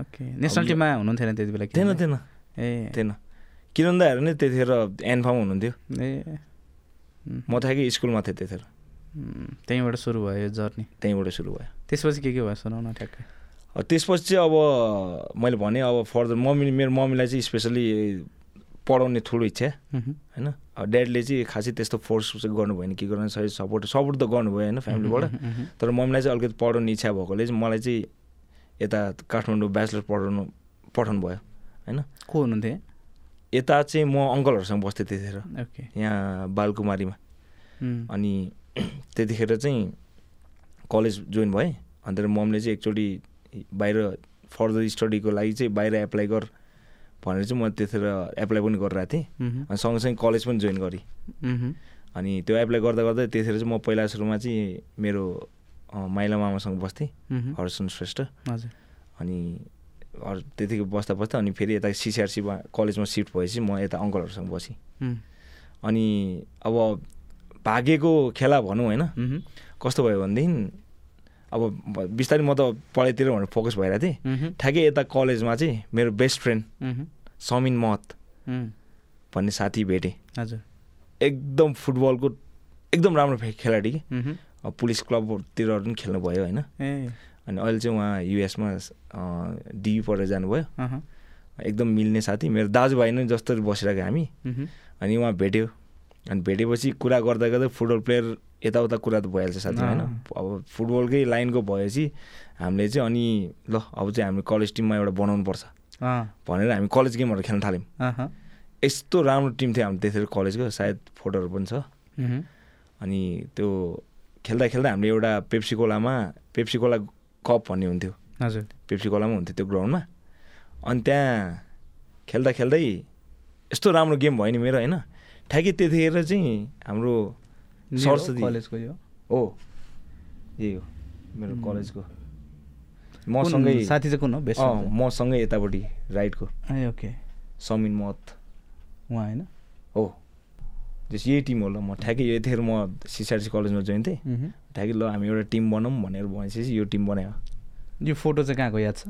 S1: ओके नेसनल
S2: अब यो-
S1: टिममा हुनुहुन्थेन त्यति बेला
S2: थिएन
S1: किनभने?
S2: थिएन
S1: ए
S2: थिएन किरण दाईहरू नै त्यतिखेर एन्फाम हुनुहुन्थ्यो
S1: ए Mm. उम्,
S2: म थाहा कि स्कुलमा थिएँ त्यतिखेर
S1: उम्, त्यहीँबाट सुरु भयो यो जर्नी
S2: त्यहीँबाट सुरु भयो
S1: त्यसपछि के के भयो सुनाउ न ठ्याक्कै
S2: अब त्यसपछि चाहिँ अब मैले भने अब फर्दर मम्मी मेरो मम्मीलाई चाहिँ स्पेसली पढाउने ठुलो इच्छा
S1: उम्हुम्,
S2: होइन अब ड्याडीले चाहिँ खासै त्यस्तो फोर्स चाहिँ गर्नुभयो भने के गर्नु सही सपोर्ट सपोर्ट त गर्नुभयो होइन फ्यामिलीबाट
S1: उम्हुम्, उम्हुम्,
S2: तर मम्मीलाई चाहिँ अलिकति पढाउने इच्छा भएकोले चाहिँ मलाई चाहिँ यता काठमाडौँ ब्याचलर पढाउनु पठाउनु भयो होइन
S1: को हुनुहुन्थ्यो
S2: यता चाहिँ म अङ्कलहरूसँग बस्थेँ त्यतिखेर
S1: ओके
S2: यहाँ बालकुमारीमा
S1: उम्,
S2: अनि त्यतिखेर चाहिँ कलेज जोइन भएँ अन्त मम्मीले चाहिँ एकचोटि बाहिर फर्दर स्टडीको लागि चाहिँ बाहिर एप्लाई गर भनेर चाहिँ म त्यतिर एप्लाई पनि गरिरहेको थिएँ अनि सँगसँगै कलेज पनि जोइन गरेँ अनि त्यो एप्लाई गर्दा गर्दा त्यतिखेर चाहिँ म पहिला सुरुमा चाहिँ मेरो अँ, माइला मामासँग बस्थेँ
S1: Mm-hmm.
S2: हर्सन श्रेष्ठ
S1: हजुर
S2: अनि हर त्यतिको बस्दा बस्दा अनि फेरि यता सिसिआरसीमा कलेजमा सिफ्ट भएपछि म यता अङ्कलहरूसँग बसेँ
S1: उम्,
S2: अनि अब भागेको खेला भनौँ होइन
S1: उम्हुँ,
S2: कस्तो भयो भनेदेखि अब ब- बिस्तारै म त पढाइतिर भनेर फोकस भइरहेको थिएँ
S1: उम्हुँ,
S2: ठ्याक्कै यता कलेजमा चाहिँ मेरो बेस्ट फ्रेन्ड
S1: उम्हुँ,
S2: समिन महत
S1: उम्,
S2: भन्ने साथी भेटेँ
S1: हजुर
S2: एकदम फुटबलको एकदम राम्रो फे- खेलाडी कि
S1: उम्हुँ,
S2: अब पुलिस क्लबतिर पनि खेल्नु भयो होइन
S1: ए
S2: अनि अहिले चाहिँ उहाँ युएसमा अँ, डियु पढेर जानुभयो
S1: अहँ,
S2: एकदम मिल्ने साथी मेरो दाजुभाइ नै जस्तो बसिरहेको हामी
S1: उम्हुँ,
S2: अनि उहाँ भेट्यो अनि भेटेपछि कुरा गर्दा गर्दै फुटबल प्लेयर यताउता कुरा त भइहाल्छ साथी होइन अब फुटबलकै लाइनको भएपछि हामीले चाहिँ अनि ल अब चाहिँ हामी कलेज टिममा एउटा बनाउनुपर्छ
S1: अँ,
S2: भनेर हामी कलेज गेमहरू खेल्न थाल्यौँ
S1: अहँ,
S2: यस्तो राम्रो टिम थियो हाम्रो त्यतिखेर कलेजको सायद फोटोहरू पनि छ
S1: उम्हुँ,
S2: अनि त्यो खेल्दा खेल्दा हामीले एउटा पेप्सी कोलामा पेप्सी कोला कप भन्ने हुन्थ्यो
S1: हजुर
S2: पेप्सी कोलामा हुन्थ्यो त्यो ग्राउन्डमा अनि त्यहाँ खेल्दा खेल्दै यस्तो राम्रो गेम भयो नि मेरो होइन ठ्याक्कै त्यतिखेर चाहिँ हाम्रो
S1: मेरो
S2: सरस्वती
S1: कलेजको यो
S2: हो यही हो मेरो
S1: उम्.
S2: कलेजको
S1: कुन
S2: मसँगै
S1: साथी चाहिँ कुन हो बेस्ट
S2: अँ, मसँगै यतापट्टि राइटको
S1: ए ओके
S2: समिन मत
S1: उहाँ होइन
S2: हो जस यही टिम होला म ठ्याक्कै यतिखेर म सिसिआरसी कलेजमा जोइन थिएँ
S1: उम्हुँ।
S2: ठ्याक्कै ल हामी एउटा टिम बनाऊँ भनेर भनेपछि यो टिम बनायो
S1: यो फोटो चाहिँ कहाँको याद छ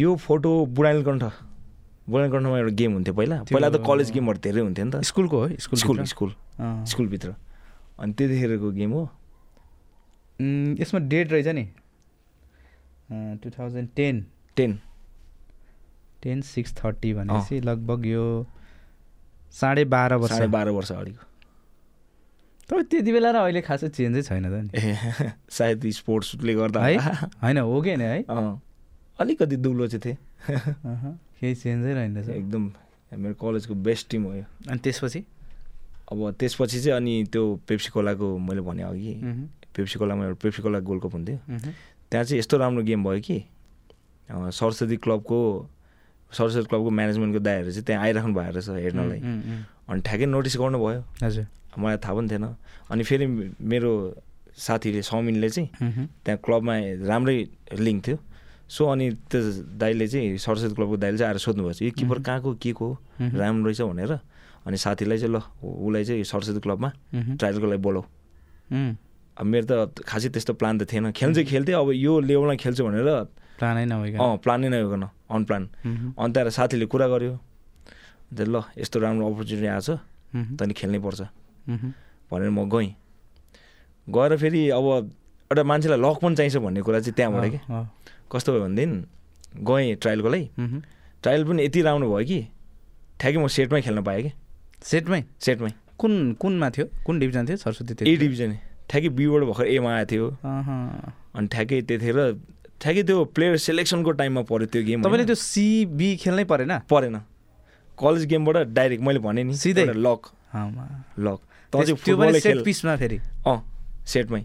S2: यो फोटो बुढानीलकण्ठ बुढानीलकण्ठमा एउटा गेम हुन्थ्यो पहिला
S1: त्यो-
S2: पहिला त कलेज गेमहरू धेरै हुन्थ्यो नि त
S1: स्कुलको हो स्कुल
S2: स्कुल स्कुल स्कुलभित्र अनि त्यतिखेरको गेम हो
S1: यसमा डेट रहेछ नि two thousand ten
S2: ten
S1: ten six thirty भनेपछि लगभग यो साढे बाह्र वर्ष
S2: साढे बाह्र वर्ष अगाडिको
S1: तर त्यति बेला र अहिले खासै चेन्जै छैन त नि
S2: ए सायद स्पोर्ट्सले गर्दा
S1: है
S2: होला।
S1: होइन हो कि नि है
S2: अँ, अलिकति दुब्लो चाहिँ थिएँ
S1: अहँ, केही चेन्जै रहेन रहेछ
S2: एकदम मेरो कलेजको बेस्ट टिम हो यो
S1: अनि त्यसपछि
S2: अब त्यसपछि चाहिँ अनि त्यो पेप्सिकोलाको मैले भने अघि पेप्सिकोलामा एउटा पेप्सिकोला गोल्ड कप हुन्थ्यो त्यहाँ चाहिँ यस्तो राम्रो गेम भयो कि अँ, सरस्वती क्लबको सरस्वती क्लबको म्यानेजमेन्टको दायाहरू चाहिँ त्यहाँ आइराख्नु भएको रहेछ हेर्नलाई अनि ठ्याक्कै नोटिस गर्नुभयो
S1: हजुर
S2: मलाई थाहा पनि थिएन अनि फेरि मेरो साथीले समिनले चाहिँ
S1: उम्हुँ,
S2: त्यहाँ क्लबमा राम्रै लिङ्क थियो सो अनि त्यो दाइले चाहिँ सरस्वती क्लबको दाइले चाहिँ आएर सोध्नुभएको छ यो किपर कहाँको के को हो?
S1: मह्म।
S2: राम्रो रहेछ भनेर अनि साथीलाई चाहिँ ल उ- उसलाई चाहिँ सरस्वती क्लबमा
S1: मह्म।
S2: ट्रायलको लागि बोलाऊ
S1: उम्,
S2: अब मेरो त खासै त्यस्तो प्लान त थिएन खेल्नु चाहिँ खेल्थेँ अब यो लेभलमा खेल्छु भनेर
S1: प्राणै नभइकन
S2: अँ प्लानै नभइकन अनप्लान
S1: मह्म,
S2: अनि त्यहाँबाट साथीले कुरा गर्यो अन्त ल यस्तो राम्रो अपर्च्युनिटी आएछ
S1: मह्म,
S2: तैँले खेल्नै पर्छ
S1: मह्म,
S2: भनेर म गएँ गएर फेरि अब एउटा मान्छेलाई लक पनि चाहिन्छ भन्ने कुरा चाहिँ त्यहाँबाट के
S1: अँ, अँ,
S2: कस्तो भयो भनेदेखि गएँ ट्रायलको लागि
S1: मह्म।
S2: ट्रायल पनि यति राम्रो भयो कि ठ्याक्कै म सेटमै खेल्न पाएँ कि
S1: सेटमै
S2: सेटमै
S1: कुन कुनमा थियो कुन डिभिजन थियो सरस्वती
S2: ए
S1: त्यो
S2: डिभिजन ठ्याक्कै बीबाट भर्खर एमा आएको थियो अनि ठ्याक्कै त्यतिखेर ठ्याक्कै त्यो प्लेयर सेलेक्सनको टाइममा पऱ्यो त्यो गेम
S1: तपाईँले
S2: होइन?
S1: त्यो सिबी खेल्नै परेन
S2: परेन कलेज गेमबाट डाइरेक्ट मैले भने नि
S1: सिधै?
S2: एउटा लक
S1: आमा।
S2: लक तँ चाहिँ
S1: त्यस- त्यो पनि
S2: फुटबलै
S1: सेट
S2: खेल
S1: पिसमा फेरि
S2: अँ सेटमै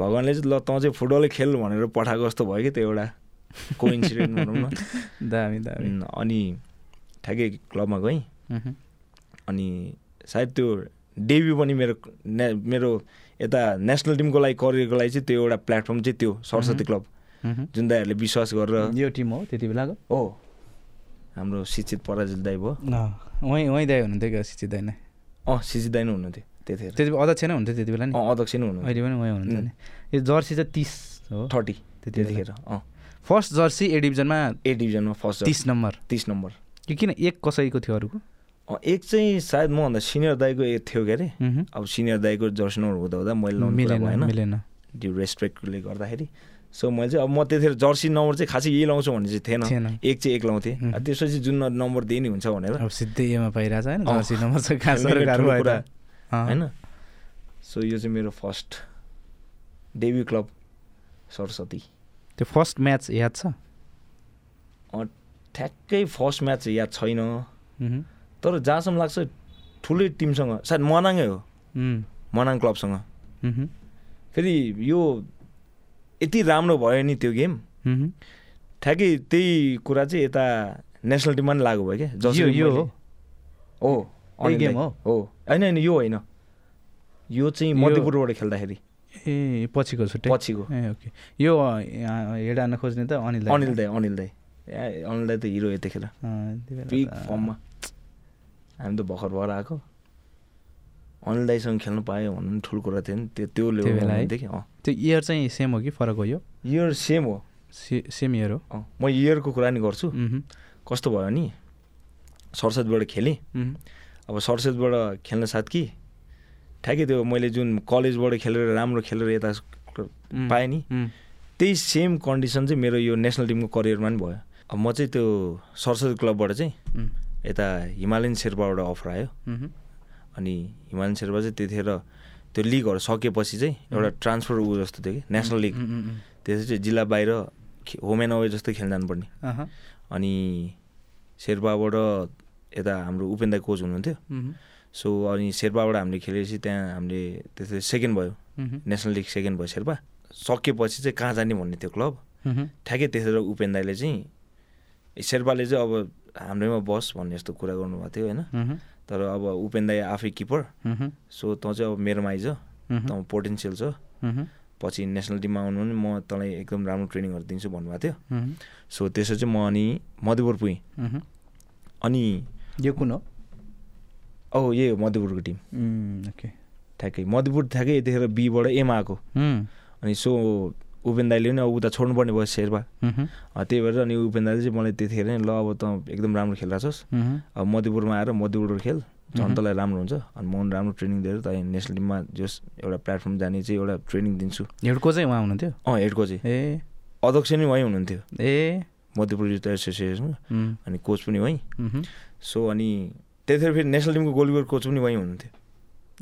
S2: भगवान्ले चाहिँ ल तँ चाहिँ फुटबलै खेल भनेर पठाएको जस्तो भयो कि त्यो एउटा कोइन्सिडेन्ट भनौँ न
S1: दामी दामी
S2: उम्, अनि ठ्याक्कै क्लबमा गएँ
S1: मह्म,
S2: अनि सायद त्यो डेब्यु पनि मेरो ने मेरो यता नेसनल टिमको लागि करियरको लागि चाहिँ त्यो एउटा प्लेटफर्म चाहिँ त्यो सरस्वती क्लब
S1: मह्म।
S2: जुन दाइहरूले विश्वास गरेर
S1: यो टिम हो त्यति बेलाको
S2: हो हाम्रो शिक्षित पराजुल दाई भयो
S1: उहीँ उहीँ दाइ हुनुहुन्थ्यो क्या सिचित दाइ नै
S2: अँ शिक्षित दाई नै हुनुहुन्थ्यो त्यतिखेर
S1: त्यति बेला अध्यक्ष नै हुन्थ्यो त्यति बेला नि
S2: अँ अध्यक्ष नै हुनुहुन्थ्यो
S1: अहिले पनि उहीँ हुनुहुन्थ्यो नि यो जर्सी चाहिँ तिस हो
S2: थर्टी
S1: त्यति बेला।
S2: त्यतिखेर अँ
S1: फर्स्ट जर्सी ए डिभिजनमा
S2: ए डिभिजनमा फर्स्ट
S1: तिस नम्बर
S2: तिस नम्बर
S1: यो किन एक कसैको थियो अरूको
S2: अँ एक चाहिँ सायद मभन्दा सिनियर दाईको ए थियो के अरे
S1: मह्म।
S2: अब सिनियर दाईको जर्सी नम्बर हुँदा हुँदा मैले लाउनु कुरा
S1: मिलेन
S2: भएन
S1: मिलेन
S2: ड्यु रेस्पेक्टले गर्दाखेरि सो मैले चाहिँ अब म त्यतिखेर जर्सी नम्बर चाहिँ खासै यही लाउँछु भन्ने चाहिँ थिएन
S1: थिएन।
S2: एक चाहिँ एक लाउँथेँ
S1: हुँ।
S2: अब त्यसपछि जुन नम्बर दिए नि हुन्छ भनेर
S1: अब सिधै एमा पाइरहेको छ होइन
S2: अँ।
S1: जर्सी नम्बर चाहिँ कहाँ
S2: मेरो
S1: सरकार भयो त अँ।
S2: ठुलो कुरा, होइन सो यो चाहिँ मेरो फर्स्ट डेब्यु क्लब सरस्वती
S1: त्यो फर्स्ट म्याच याद छ
S2: अँ, ठ्याक्कै फर्स्ट म्याच चाहिँ याद छैन
S1: मह्म,
S2: तर जहाँसम्म लाग्छ ठुलै टिमसँग सायद मनाङै हो
S1: मह्म,
S2: मनाङ क्लबसँग
S1: मह्म,
S2: फेरि यो यति राम्रो भयो नि त्यो गेम
S1: मह्म,
S2: ठ्याक्कै त्यही कुरा चाहिँ यता नेसनल टिममा नि लागु भयो क्या
S1: यो- यो हो?
S2: हो
S1: यही गेम हो?
S2: हो होइन होइन यो होइन यो चाहिँ
S1: यो-
S2: मध्यपुरबाट खेल्दाखेरि
S1: ए पछिको छुट्टै
S2: पछिको।
S1: ए ओके यो अँ, यहाँ हेडान खोज्ने त अनिल दाइ।
S2: अनिल दाई अनिल दाई ए, अनिल दाई त हिरो यतिखेर
S1: अँ, त्यही भएर
S2: बिग
S1: त-
S2: फर्ममा हामी त भर्खर भएर आएको अनिल दाईसँग खेल्नु पायो भन्नु नि ठुलो कुरा थियो नि त्यो त्यो
S1: त्यही बेला है।
S2: लेभल कि अँ
S1: त्यो इयर चाहिँ सेम हो कि फरक हो यो
S2: इयर सेम हो
S1: से सेम इयर हो
S2: अँ म इयरको कुरा नि गर्छु
S1: मह्म,
S2: कस्तो भयो नि सरस्वतीबाट खेलेँ
S1: मह्म,
S2: अब सरस्वतीबाट खेल्न साथ कि ठ्याक्कै त्यो मैले जुन कलेजबाट खेलेर राम्रो खेलेर यता
S1: मह्म,
S2: पाएँ नि
S1: मह्म,
S2: त्यही सेम कन्डिसन चाहिँ मेरो यो नेसनल टिमको करियरमा पनि भयो अब म चाहिँ त्यो सरस्वती क्लबबाट चाहिँ
S1: मह्म,
S2: यता हिमालयन शेर्पाबाट अफर आयो
S1: मह्म,
S2: अनि हिमालयन शेर्पा चाहिँ त्यतिखेर त्यो लिगहरू सकेपछि चाहिँ एउटा ट्रान्सफर ऊ जस्तो थियो कि नेसनल लिग
S1: मह्म, मह्म, मह्म।
S2: त्यसपछि चाहिँ जिल्ला बाहिर खे- होम एन्ड अवे जस्तो खेल्न जानुपर्ने
S1: अहँ,
S2: अनि शेर्पाबाट यता हाम्रो उपेन्द्र कोच हुनुहुन्थ्यो
S1: मह्म,
S2: सो अनि शेर्पाबाट हामीले खेलेपछि त्यहाँ हामीले त्यसरी सेकेन्ड भयो
S1: मह्म,
S2: नेसनल लिग सेकेन्ड भयो शेर्पा सकेपछि चाहिँ कहाँ जाने भन्ने थियो क्लब
S1: मह्म,
S2: ठ्याक्कै त्यसरी उपेन्द्रले चाहिँ शेर्पाले चाहिँ अब हाम्रोमा बस भन्ने जस्तो कुरा गर्नुभएको थियो होइन
S1: मह्म,
S2: तर अब उपेन्द्र आफै किपर
S1: मह्म,
S2: सो तँ चाहिँ अब मेरोमा आइज
S1: मह्म,
S2: तँ पोटेन्सियल छ
S1: मह्म,
S2: पछि नेसनल टिममा आउनु भने म तँलाई एकदम राम्रो ट्रेनिङहरू दिन्छु भन्नुभएको थियो
S1: मह्म,
S2: सो त्यसो चाहिँ म अनि मधुपुर पुगेँ
S1: मह्म।
S2: अनि
S1: यो कुन हो
S2: औ यही हो मधुपुरको टिम
S1: मह्म, ओके
S2: ठ्याक्कै मधुपुर ठ्याक्कै यतिखेर बीबाट एमा आएको
S1: मह्म,
S2: अनि सो उपेन दाईले पनि अब उता छोड्नुपर्ने भयो शेर्पा
S1: मह्म,
S2: अँ, त्यही भएर अनि उपेन दाईले चाहिँ मलाई त्यतिखेर नै ल अब तँ एकदम राम्रो खेलिरहेको छस्
S1: मह्म,
S2: अब मधुपुरमा आएर मधुपुरबाट खेल
S1: मह्म।
S2: झन् तँलाई राम्रो हुन्छ अनि म पनि राम्रो ट्रेनिङ दिएर तैँलाई नेसनल टिममा जस एउटा प्लेटफर्म जाने चाहिँ एउटा ट्रेनिङ दिन्छु
S1: हेड कोचै उहाँ हुनुहुन्थ्यो
S2: अँ हेड कोच चाहिँ
S1: ए
S2: अध्यक्ष नै उहीँ हुनुहुन्थ्यो
S1: ए
S2: मध्यपुर युथ एसोसिएसनमा
S1: मह्म,
S2: अनि कोच पनि उहीँ
S1: मह्म,
S2: सो अनि त्यतिखेर फेरि नेसनल टिमको गोलकिपर कोच पनि उहीँ हुनुहुन्थ्यो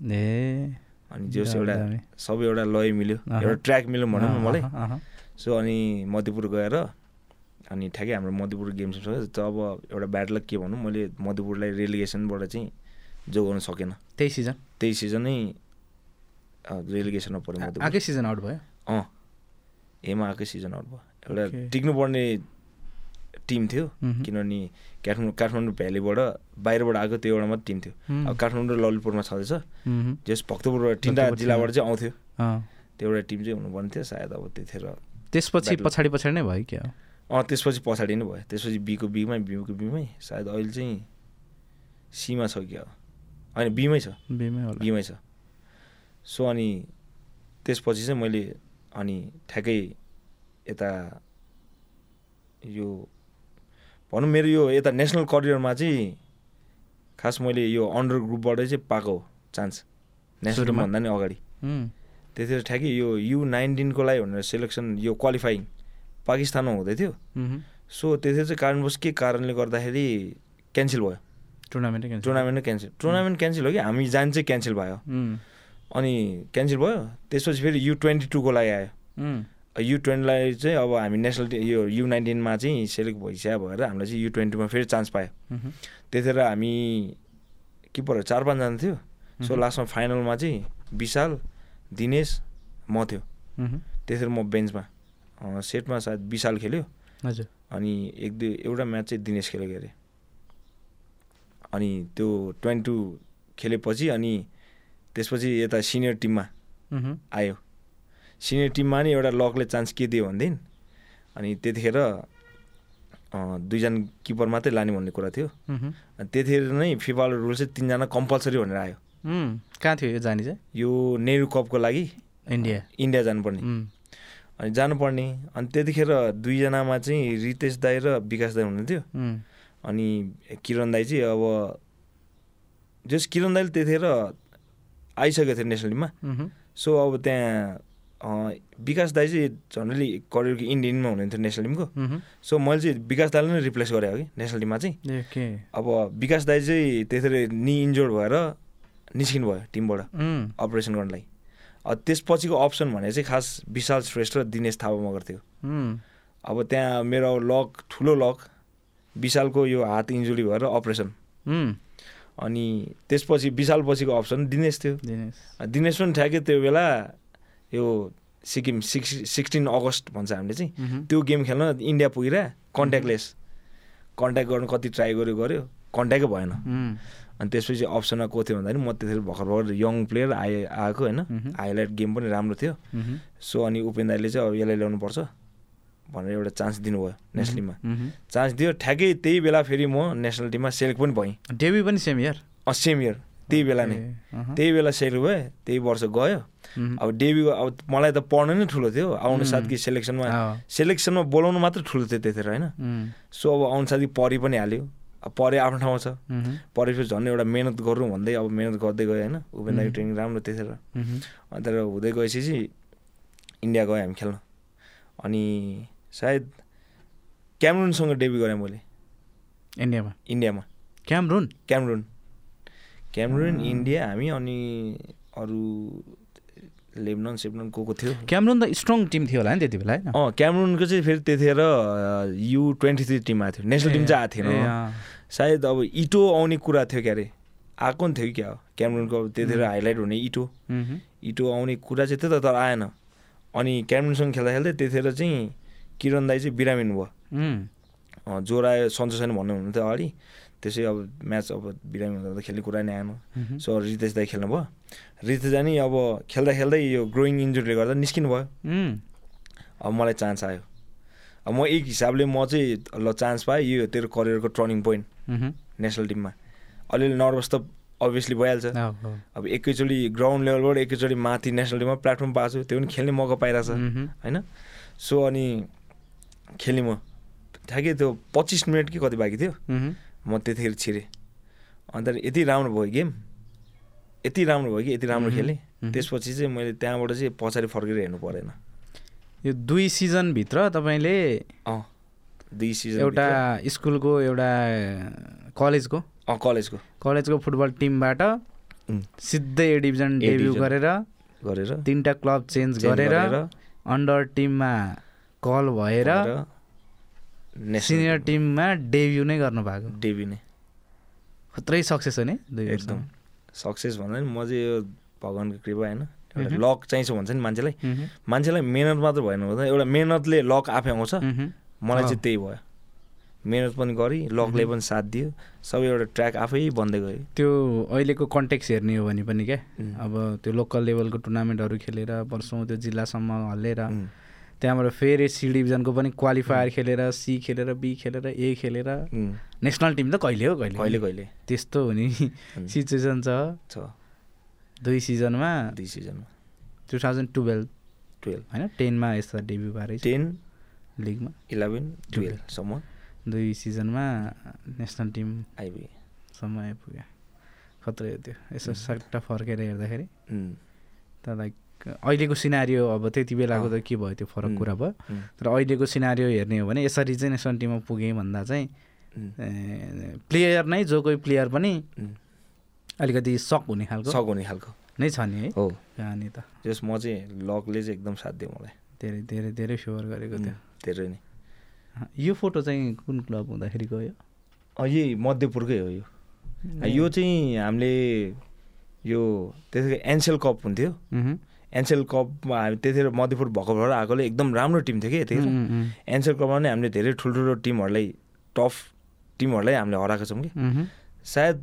S1: ए
S2: अनि जस
S1: दामी,
S2: एउटा
S1: दामी।
S2: सबै एउटा लय मिल्यो
S1: अहँ।
S2: एउटा ट्र्याक मिल्यो भनौँ न
S1: अहँ,
S2: मलाई
S1: अहँ, अहँ,
S2: सो अनि मध्यपुर गएर अनि ठ्याक्कै हाम्रो मध्यपुर गेम्स सक्यो त अब एउटा ब्याड लक के भनौँ मैले मध्यपुरलाई रेलिगेसनबाट चाहिँ जोगाउन सकेन
S1: त्यही सिजन
S2: त्यही सिजनै रेलिगेसनमा पऱ्यो मध्यपुर
S1: आएकै सिजन आउट भयो
S2: अँ हेमा आएकै सिजन आउट भयो एउटा
S1: Okay.
S2: टिक्नुपर्ने टिम थियो
S1: मह्म।
S2: किनभने काठमाडौँ काठमाडौँ भ्यालीबाट बाहिरबाट आएको त्यो एउटा मात्र टिम थियो
S1: मह्म,
S2: अब काठमाडौँ र ललितपुरमा छँदैछ
S1: मह्म,
S2: जस भक्तपुरबाट तिनवटा
S1: भक्तपुर
S2: जिल्लाबाट चाहिँ आउँथ्यो
S1: अँ।
S2: त्यो एउटा टिम चाहिँ हुनुपर्ने थियो सायद अब त्यतिखेर
S1: त्यसपछि
S2: Battle.
S1: पछाडि पछाडि नै भयो क्या
S2: अँ त्यसपछि पछाडि नै भयो त्यसपछि बीको बीमै बीको बीमै सायद अहिले चाहिँ सीमा छ कि अब होइन बीमै छ
S1: बिमै होला
S2: बिमै छ सो अनि त्यसपछि चाहिँ मैले अनि ठ्याक्कै यता यो भनौँ मेरो यो यता नेसनल करियरमा चाहिँ खास मैले यो अन्डर ग्रुपबाटै चाहिँ पाएको हो चान्स नेसनल
S1: सुरुमा?
S2: भन्दा नि अगाडि
S1: उम्,
S2: त्यतिखेर ठ्याक्कै यो यु नाइन्टिनको लागि भनेर सेलेक्सन यो क्वालिफाइङ पाकिस्तानमा हुँदै थियो
S1: मह्म,
S2: सो त्यतिखेर चाहिँ कारणवश के कारणले गर्दाखेरि क्यान्सल भयो
S1: टुर्नामेन्टै cancel।
S2: टुर्नामेन्ट नै क्यान्सल टुर्नामेन्ट क्यान्सल हो कि हामी जान चाहिँ क्यान्सल भयो
S1: उम्,
S2: अनि क्यान्सल भयो त्यसपछि फेरि यु ट्वेन्टी टूको लागि आयो
S1: उम्,
S2: यु ट्वेन्टीलाई चाहिँ अब हामी नेसनल टि- यो यु नाइन्टिनमा चाहिँ सेलेक्ट भइसक्यो भएर हामीलाई चाहिँ यु ट्वेन्टीमा फेरि चान्स पायो
S1: मह्म,
S2: त्यतिखेर हामी किपरहरू चार पाँचजना थियो सो
S1: मह्म।
S2: लास्टमा फाइनलमा चाहिँ विशाल दिनेश म थियो
S1: मह्म,
S2: त्यसरी म बेन्चमा अँ, सेटमा सायद विशाल खेल्यो
S1: हजुर
S2: अनि एक दुई एउटा म्याच चाहिँ दिनेश खेलेको अरे अनि त्यो ट्वेन्टी टू खेलेपछि अनि त्यसपछि यता सिनियर टिममा
S1: मह्म,
S2: आयो सिनियर टिममा नि एउटा लकले चान्स के दियो भनेदेखि अनि त्यतिखेर अँ, दुईजना किपर मात्रै लाने भन्ने कुरा थियो
S1: मह्म,
S2: अनि त्यतिखेर नै फिफालो रुल चाहिँ तिनजना कम्पलसरी भनेर आयो
S1: उम्, कहाँ थियो यो जाने चाहिँ
S2: यो नेहरू कपको लागि
S1: इन्डिया
S2: इन्डिया जानुपर्ने
S1: उम्,
S2: अनि जानुपर्ने अनि त्यतिखेर दुईजनामा चाहिँ रितेश दाई र विकास दाई हुनुहुन्थ्यो
S1: उम्,
S2: अनि किरण दाई चाहिँ अब जस किरण दाईले त्यतिखेर आइसकेको थियो नेसनल टिममा
S1: मह्म,
S2: सो अब त्यहाँ अँ, विकास दाई चाहिँ जनरली करियरको इन्डियनमा हुनुहुन्थ्यो नेसनल टिमको
S1: मह्म,
S2: सो मैले चाहिँ विकास दाईलाई नै रिप्लेस गरेँ हो कि नेसनल टिममा चाहिँ
S1: ए, के
S2: अब विकास दाई चाहिँ त्यसरी नि इन्जोर्ड भएर निस्किनु भयो टिमबाट
S1: उम्,
S2: अपरेसन गर्नलाई अब त्यसपछिको अप्सन भने चाहिँ खास विशाल श्रेष्ठ र दिनेश थापा मगर थियो
S1: उम्,
S2: अब त्यहाँ मेरो लक ठुलो लक विशालको यो हात इन्जुरी भएर अपरेसन
S1: उम्,
S2: अनि त्यसपछि विशाल पछिको अप्सन दिनेश थियो
S1: दिनेश
S2: दिनेश पनि ठ्याक्कै त्यो बेला यो Sikkim
S1: Mm-hmm.
S2: Six sixteen August भन्छ हामीले चाहिँ
S1: मह्म,
S2: त्यो गेम खेल्न इन्डिया पुगेर कन्ट्याक्टलेस कन्ट्याक्ट गर्नु कति ट्राई गर्यो गऱ्यो कन्ट्याक्टै भएन
S1: उम्,
S2: अनि त्यसपछि अप्सनमा को थियो भन्दाखेरि म त्यतिखेर भर्खर भर्खर यङ प्लेयर आए आएको होइन हाइलाइट गेम पनि राम्रो थियो
S1: उम्हुँ,
S2: सो अनि उपेन्द्रले चाहिँ अब यसलाई ल्याउनुपर्छ भनेर एउटा चान्स दिनुभयो नेसनल टिममा
S1: उम्हुँ।
S2: चान्स दियो ठ्याक्कै त्यही बेला फेरि म नेसनल टिममा सेलेक्ट पनि भएँ
S1: डेब्यु पनि सेम यार
S2: अँ, सेम इयर त्यही बेला नै
S1: ए, अहँ।
S2: त्यही बेला सेलेक्ट भएँ त्यही वर्ष गयो
S1: उम्हुँ।
S2: अब डेब्यु अब मलाई त पढ्नु नै ठुलो थियो आउनु
S1: उम्।
S2: साथी सेलेक्सनमा
S1: अँ।
S2: सेलेक्सनमा बोलाउनु मात्र ठुलो थियो त्यतिखेर होइन
S1: उम्,
S2: सो अब आउनु साथी पढि पनि हाल्यो अब पढे आफ्नो ठाउँमा छ
S1: उम्हुँ,
S2: पढेपछि झन् एउटा मिहिनेत गरौँ भन्दै अब मिहिनेत गर्दै गयो होइन उपेन्द्रको ट्रेनिङ राम्रो त्यतिखेर
S1: उम्हुँ,
S2: अन्त र हुँदै गएपछि इन्डिया गएँ हामी खेल्न अनि सायद क्यामरुनसँग डेब्यु गरेँ मैले
S1: इन्डियामा
S2: इन्डियामा
S1: क्यामरुन
S2: क्यामरुन क्यामरुन इन्डिया हामी अनि अरू लेबनन सेबनन को को थियो
S1: क्यामरुन त स्ट्रङ टिम थियो होला नि त्यति बेला होइन
S2: अँ क्यामरुनको चाहिँ फेरि त्यतिखेर यु ट्वेन्टी थ्री टिम आएको थियो नेसनल टिम चाहिँ आएको थिएन
S1: ए, अँ।
S2: सायद अब इटो आउने कुरा थियो क्यारे आएको नि थियो कि क्या हो क्यामरुनको अब त्यतिखेर हाइलाइट हुने इटो
S1: उम्हुँ,
S2: इटो आउने कुरा चाहिँ थियो त तर आएन अनि क्यामरुनसँग खेल्दा खेल्दै त्यतिखेर चाहिँ किरण दाई चाहिँ बिरामिन भयो
S1: उम्,
S2: अँ, ज्वरो आयो सन्चो छैन भन्ने हुनुहुन्थ्यो अगाडि त्यसै अब म्याच अब बिरामी हुँदा त खेल्ने कुरा नै आएन
S1: उम्हुँ,
S2: सो रितेश दाई खेल्नु भयो रितेश दाई नि अब खेल्दा खेल्दै यो ग्रोइङ इन्जुरीले गर्दा निस्किनु भयो
S1: उम्,
S2: अब मलाई चान्स आयो अब म एक हिसाबले म चाहिँ ल चान्स पाएँ यो हो तेरो करियरको टर्निङ पोइन्ट
S1: उम्हुँ।
S2: नेसनल टिममा अलिअलि नर्भस त अभियसली भइहाल्छ
S1: अब, अब।
S2: अब एकैचोटि ग्राउन्ड लेभलबाट एकैचोटि माथि नेसनल टिममा प्लेटफर्म पाएको छु त्यो पनि खेल्ने मौका पाइरहेछ
S1: उम्हुँ,
S2: होइन सो अनि खेलेँ म ठ्याक्कै त्यो पच्चिस मिनट कि कति बाँकी थियो
S1: उम्हुँ,
S2: म त्यतिखेर छिरेँ अन्त यति राम्रो भयो गेम यति राम्रो भयो कि यति राम्रो
S1: मह्म,
S2: खेलेँ
S1: मह्म।
S2: त्यसपछि चाहिँ मैले त्यहाँबाट चाहिँ पछाडि फर्केर हेर्नु परेन
S1: यो दुई सिजनभित्र तपाईँले
S2: अँ दुई सिजन
S1: एउटा स्कुलको एउटा कलेजको
S2: अँ कलेजको
S1: कलेजको फुटबल टिमबाट
S2: उम्,
S1: सिधै A division
S2: A
S1: debut
S2: division
S1: गरेर
S2: गरेर
S1: तिनवटा क्लब चेन्ज
S2: चेन्ज
S1: गरेर अन्डर टिममा कल भएर
S2: गरेर नेसनल
S1: सिनियर टिममा डेब्यु नै गर्नु भएको
S2: डेब्यु नै
S1: खत्रै सक्सेस हो नि दुई वर्ष
S2: एकदम सक्सेस भन्दा नि म चाहिँ यो भगवान्को कृपा होइन एउटा
S1: मह्म।
S2: लक चाहिन्छ भन्छ नि मान्छेलाई मान्छेलाई मेहनत मात्र भएन हुँदा एउटा मेहनतले लक आफै आउँछ मलाई
S1: अँ।
S2: चाहिँ त्यही भयो मेहनत पनि गरेँ लकले पनि साथ दियो सबै एउटा ट्र्याक आफै बन्दै गयो
S1: त्यो अहिलेको कन्टेक्स्ट हेर्ने हो भने पनि क्या
S2: उम्.
S1: अब त्यो लोकल लेभलको टुर्नामेन्टहरू खेलेर वर्षौँ त्यो जिल्लासम्म हल्लेर
S2: उम्,
S1: त्यहाँबाट फेरि सी डिभिजनको पनि क्वालिफायर खेलेर सी खेलेर बी खेलेर ए खेलेर
S2: उम्,
S1: नेसनल टिम त कहिले हो कहिले
S2: कहिले कहिले
S1: त्यस्तो हुने
S2: उम्,
S1: सिचुएसन छ
S2: छ
S1: दुई सिजनमा
S2: दुई सिजनमा
S1: टु थाउजन्ड टुवेल्भ
S2: टुवेल्भ
S1: होइन टेनमा यस्ता डेब्यु भएरै छ
S2: टेन
S1: लिगमा
S2: इलेभेन टुवेल्भसम्म
S1: दुई सिजनमा नेसनल टिमसम्म
S2: आइपुगेँ
S1: आइपुग्यो खत्रै हो त्यो यसो सट्ट फर्केर हेर्दाखेरि
S2: उम्,
S1: त लाइक अहिलेको सिनारियो अब त्यति बेलाको त
S2: अँ।
S1: के भयो त्यो फरक
S2: उम्,
S1: कुरा भयो
S2: उम्,
S1: तर अहिलेको सिनारियो हेर्ने हो भने यसरी चाहिँ नेसनल टिममा पुगेँ भन्दा चाहिँ
S2: उम्,
S1: ए, प्लेयर नै जो कोही प्लेयर पनि
S2: उम्,
S1: अलिकति सक हुने खालको
S2: सघाउने खालको
S1: नै छ नि है
S2: हो
S1: कहानी त
S2: जस म चाहिँ लकले चाहिँ एकदम साथ दियो मलाई
S1: धेरै धेरै धेरै फेभर गरेको
S2: उम्,
S1: थियो
S2: धेरै नै
S1: यो फोटो चाहिँ कुन क्लब हुँदाखेरि गयो
S2: अँ, यही मध्यपुरकै हो यो यो चाहिँ हामीले यो त्यसको एनसेल कप हुन्थ्यो
S1: मह्म,
S2: एनसेल कपमा हामी त्यतिखेर मध्यपुर भएको भएर आएकोले एकदम राम्रो टिम थियो कि त्यतिखेर
S1: मह्म, मह्म,
S2: एनसेल कपमा नै हामीले धेरै ठुल्ठुलो टिमहरूलाई टफ टिमहरूलाई हामीले हराएको छौँ कि
S1: मह्म,
S2: सायद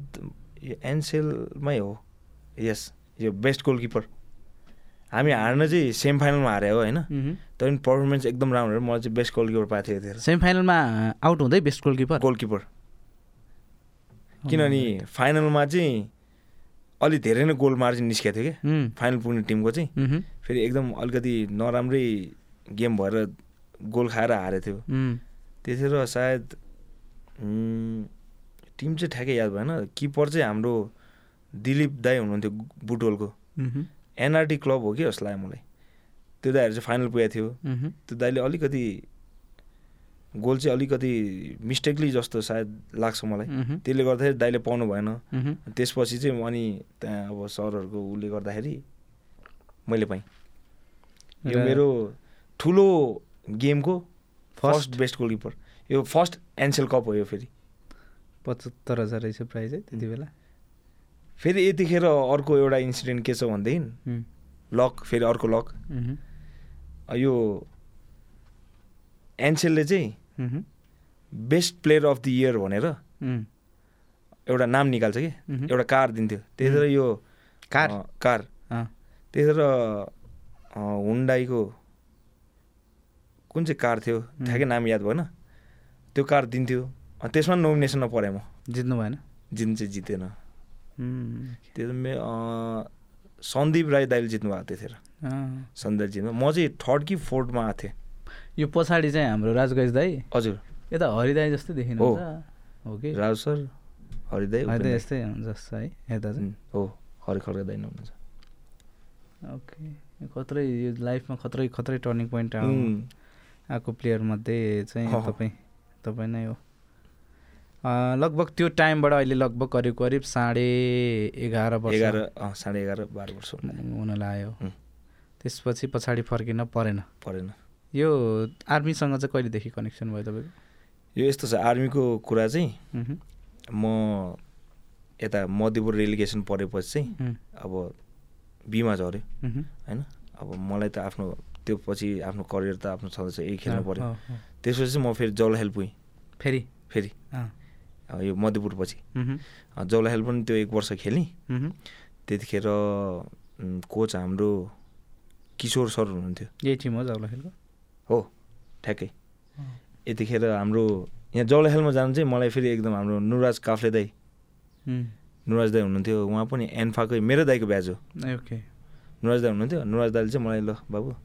S2: यो एनसेलमै हो यस यो बेस्ट गोलकिपर हामी हार्न चाहिँ सेमी फाइनलमा हारे हो होइन
S1: मह्म।
S2: तर पनि पर्फर्मेन्स एकदम राम्रो हो। मलाई चाहिँ बेस्ट गोलकिपर पाएको थियो यतिखेर
S1: सेमी फाइनलमा आउट हुँदै बेस्ट गोलकिपर
S2: गोलकिपर किनभने फाइनलमा चाहिँ अलि धेरै नै गोल मार्जिन निस्केको थियो क्या
S1: मह्म,
S2: फाइनल पुग्ने टिमको चाहिँ
S1: मह्म,
S2: फेरि एकदम अलिकति नराम्रै गेम भएर गोल खाएर हारेको थियो
S1: मह्म,
S2: त्यतिखेर सायद उम्, टिम चाहिँ ठ्याक्कै याद भएन किपर चाहिँ हाम्रो दिलीप दाई हुनुहुन्थ्यो बुटोलको
S1: मह्म,
S2: एनआरटी क्लब हो कि जस्तो लाग्यो मलाई त्यो दाईहरू चाहिँ फाइनल पुगेको थियो
S1: मह्म,
S2: त्यो दाईले अलिकति गोल चाहिँ अलिकति मिस्टेकली जस्तो सायद लाग्छ मलाई
S1: मह्म,
S2: त्यसले गर्दाखेरि दाईले पाउनु भएन
S1: मह्म।
S2: त्यसपछि चाहिँ अनि त्यहाँ अब सरहरूको उसले गर्दाखेरि मैले पाएँ यो
S1: र-
S2: मेरो ठुलो गेमको
S1: फर्स्ट
S2: फर्स्ट बेस्ट गोलकिपर यो फर्स्ट एनसेल कप हो यो फेरि
S1: पचहत्तर हजार रहेछ प्राइज है त्यति बेला
S2: फेरि यतिखेर अर्को एउटा इन्सिडेन्ट के छ भनेदेखि
S1: मह्म,
S2: लक फेरि अर्को लक
S1: मह्म,
S2: यो एनसेलले चाहिँ
S1: मह्म,
S2: best player of the year भनेर एउटा नाम निकाल्छ कि
S1: मह्म।
S2: एउटा कार दिन्थ्यो त्यतिखेर यो
S1: कार?
S2: अँ, कार त्यतिखेर अँ, हुन्डाईको कुन चाहिँ कार थियो ठ्याक्कै नाम याद भएन त्यो कार दिन्थ्यो अँ, त्यसमा नोमिनेसनमा परेँ म
S1: जित्नु भएन
S2: जिन चाहिँ जितेन
S1: उम्,
S2: त्यो त मे अँ, सन्दीप राई दाइले जित्नुभएको त्यतिखेर
S1: अँ।
S2: सन्दीप जित्नु म चाहिँ थर्ड कि फोर्थमा आएको थिएँ
S1: यो पछाडि चाहिँ हाम्रो राजगज दाई
S2: हजुर
S1: यता हरिदाई जस्तो देखिनुहुन्छ हो कि
S2: राज सर हरिदाई
S1: हरिदाई
S2: उपेन्द्र।
S1: जस्तै हुनुहुन्छ जस्तो है यता चाहिँ
S2: हुँ, हो हरिखर दाइ नै हुनुहुन्छ
S1: ओके यो खत्रै यो लाइफमा खत्रै खत्रै टर्निङ पोइन्ट
S2: हुँ,
S1: आएको प्लेयरमध्ये चाहिँ
S2: अहँ।
S1: तपाईँ तपाईँ नै हो अँ, लगभग त्यो टाइमबाट अहिले लगभग करिब करिब साढे एघार वर्ष
S2: एघार अँ, साढे एघार बाह्र वर्ष हुनु
S1: हुन लाग्यो
S2: हुँ।
S1: त्यसपछि पछाडि फर्किन परेन
S2: परेन
S1: यो आर्मीसँग चाहिँ कहिलेदेखि कनेक्सन भयो तपाईँको
S2: यो यस्तो छ आर्मीको कुरा चाहिँ
S1: मह्म,
S2: म यता मध्यपुर रेलिगेसन परेपछि चाहिँ
S1: मह्म,
S2: अब बिमा झऱ्यो
S1: मह्म।
S2: होइन अब मलाई त आफ्नो त्यो पछि आफ्नो करियर त आफ्नो छँदैछ यही खेल्नु
S1: अँ,
S2: पऱ्यो
S1: अँ, अँ।
S2: त्यसपछि चाहिँ म फेरि जौलाहेल पुगेँ
S1: फेरि
S2: फेरि
S1: अँ,
S2: अब यो मध्यपुरपछि
S1: मह्म,
S2: अँ, जौलाहेल पनि त्यो एक वर्ष खेलेँ
S1: मह्म।
S2: त्यतिखेर उम्, कोच हाम्रो किशोर सर हुनुहुन्थ्यो
S1: यही टिम हो जाउला खेलको
S2: हो ठ्याक्कै यतिखेर हाम्रो यहाँ जौलाहेलमा जानु चाहिँ मलाई फेरि एकदम हाम्रो नुराज काफ्ले दाई
S1: उम्,
S2: नुराज दाई हुनुहुन्थ्यो उहाँ पनि एन्फाकै मेरो दाईको ब्याज हो
S1: ए, ओके
S2: नुराज दाई हुनुहुन्थ्यो नुराज दाईले चाहिँ मलाई ल बाबु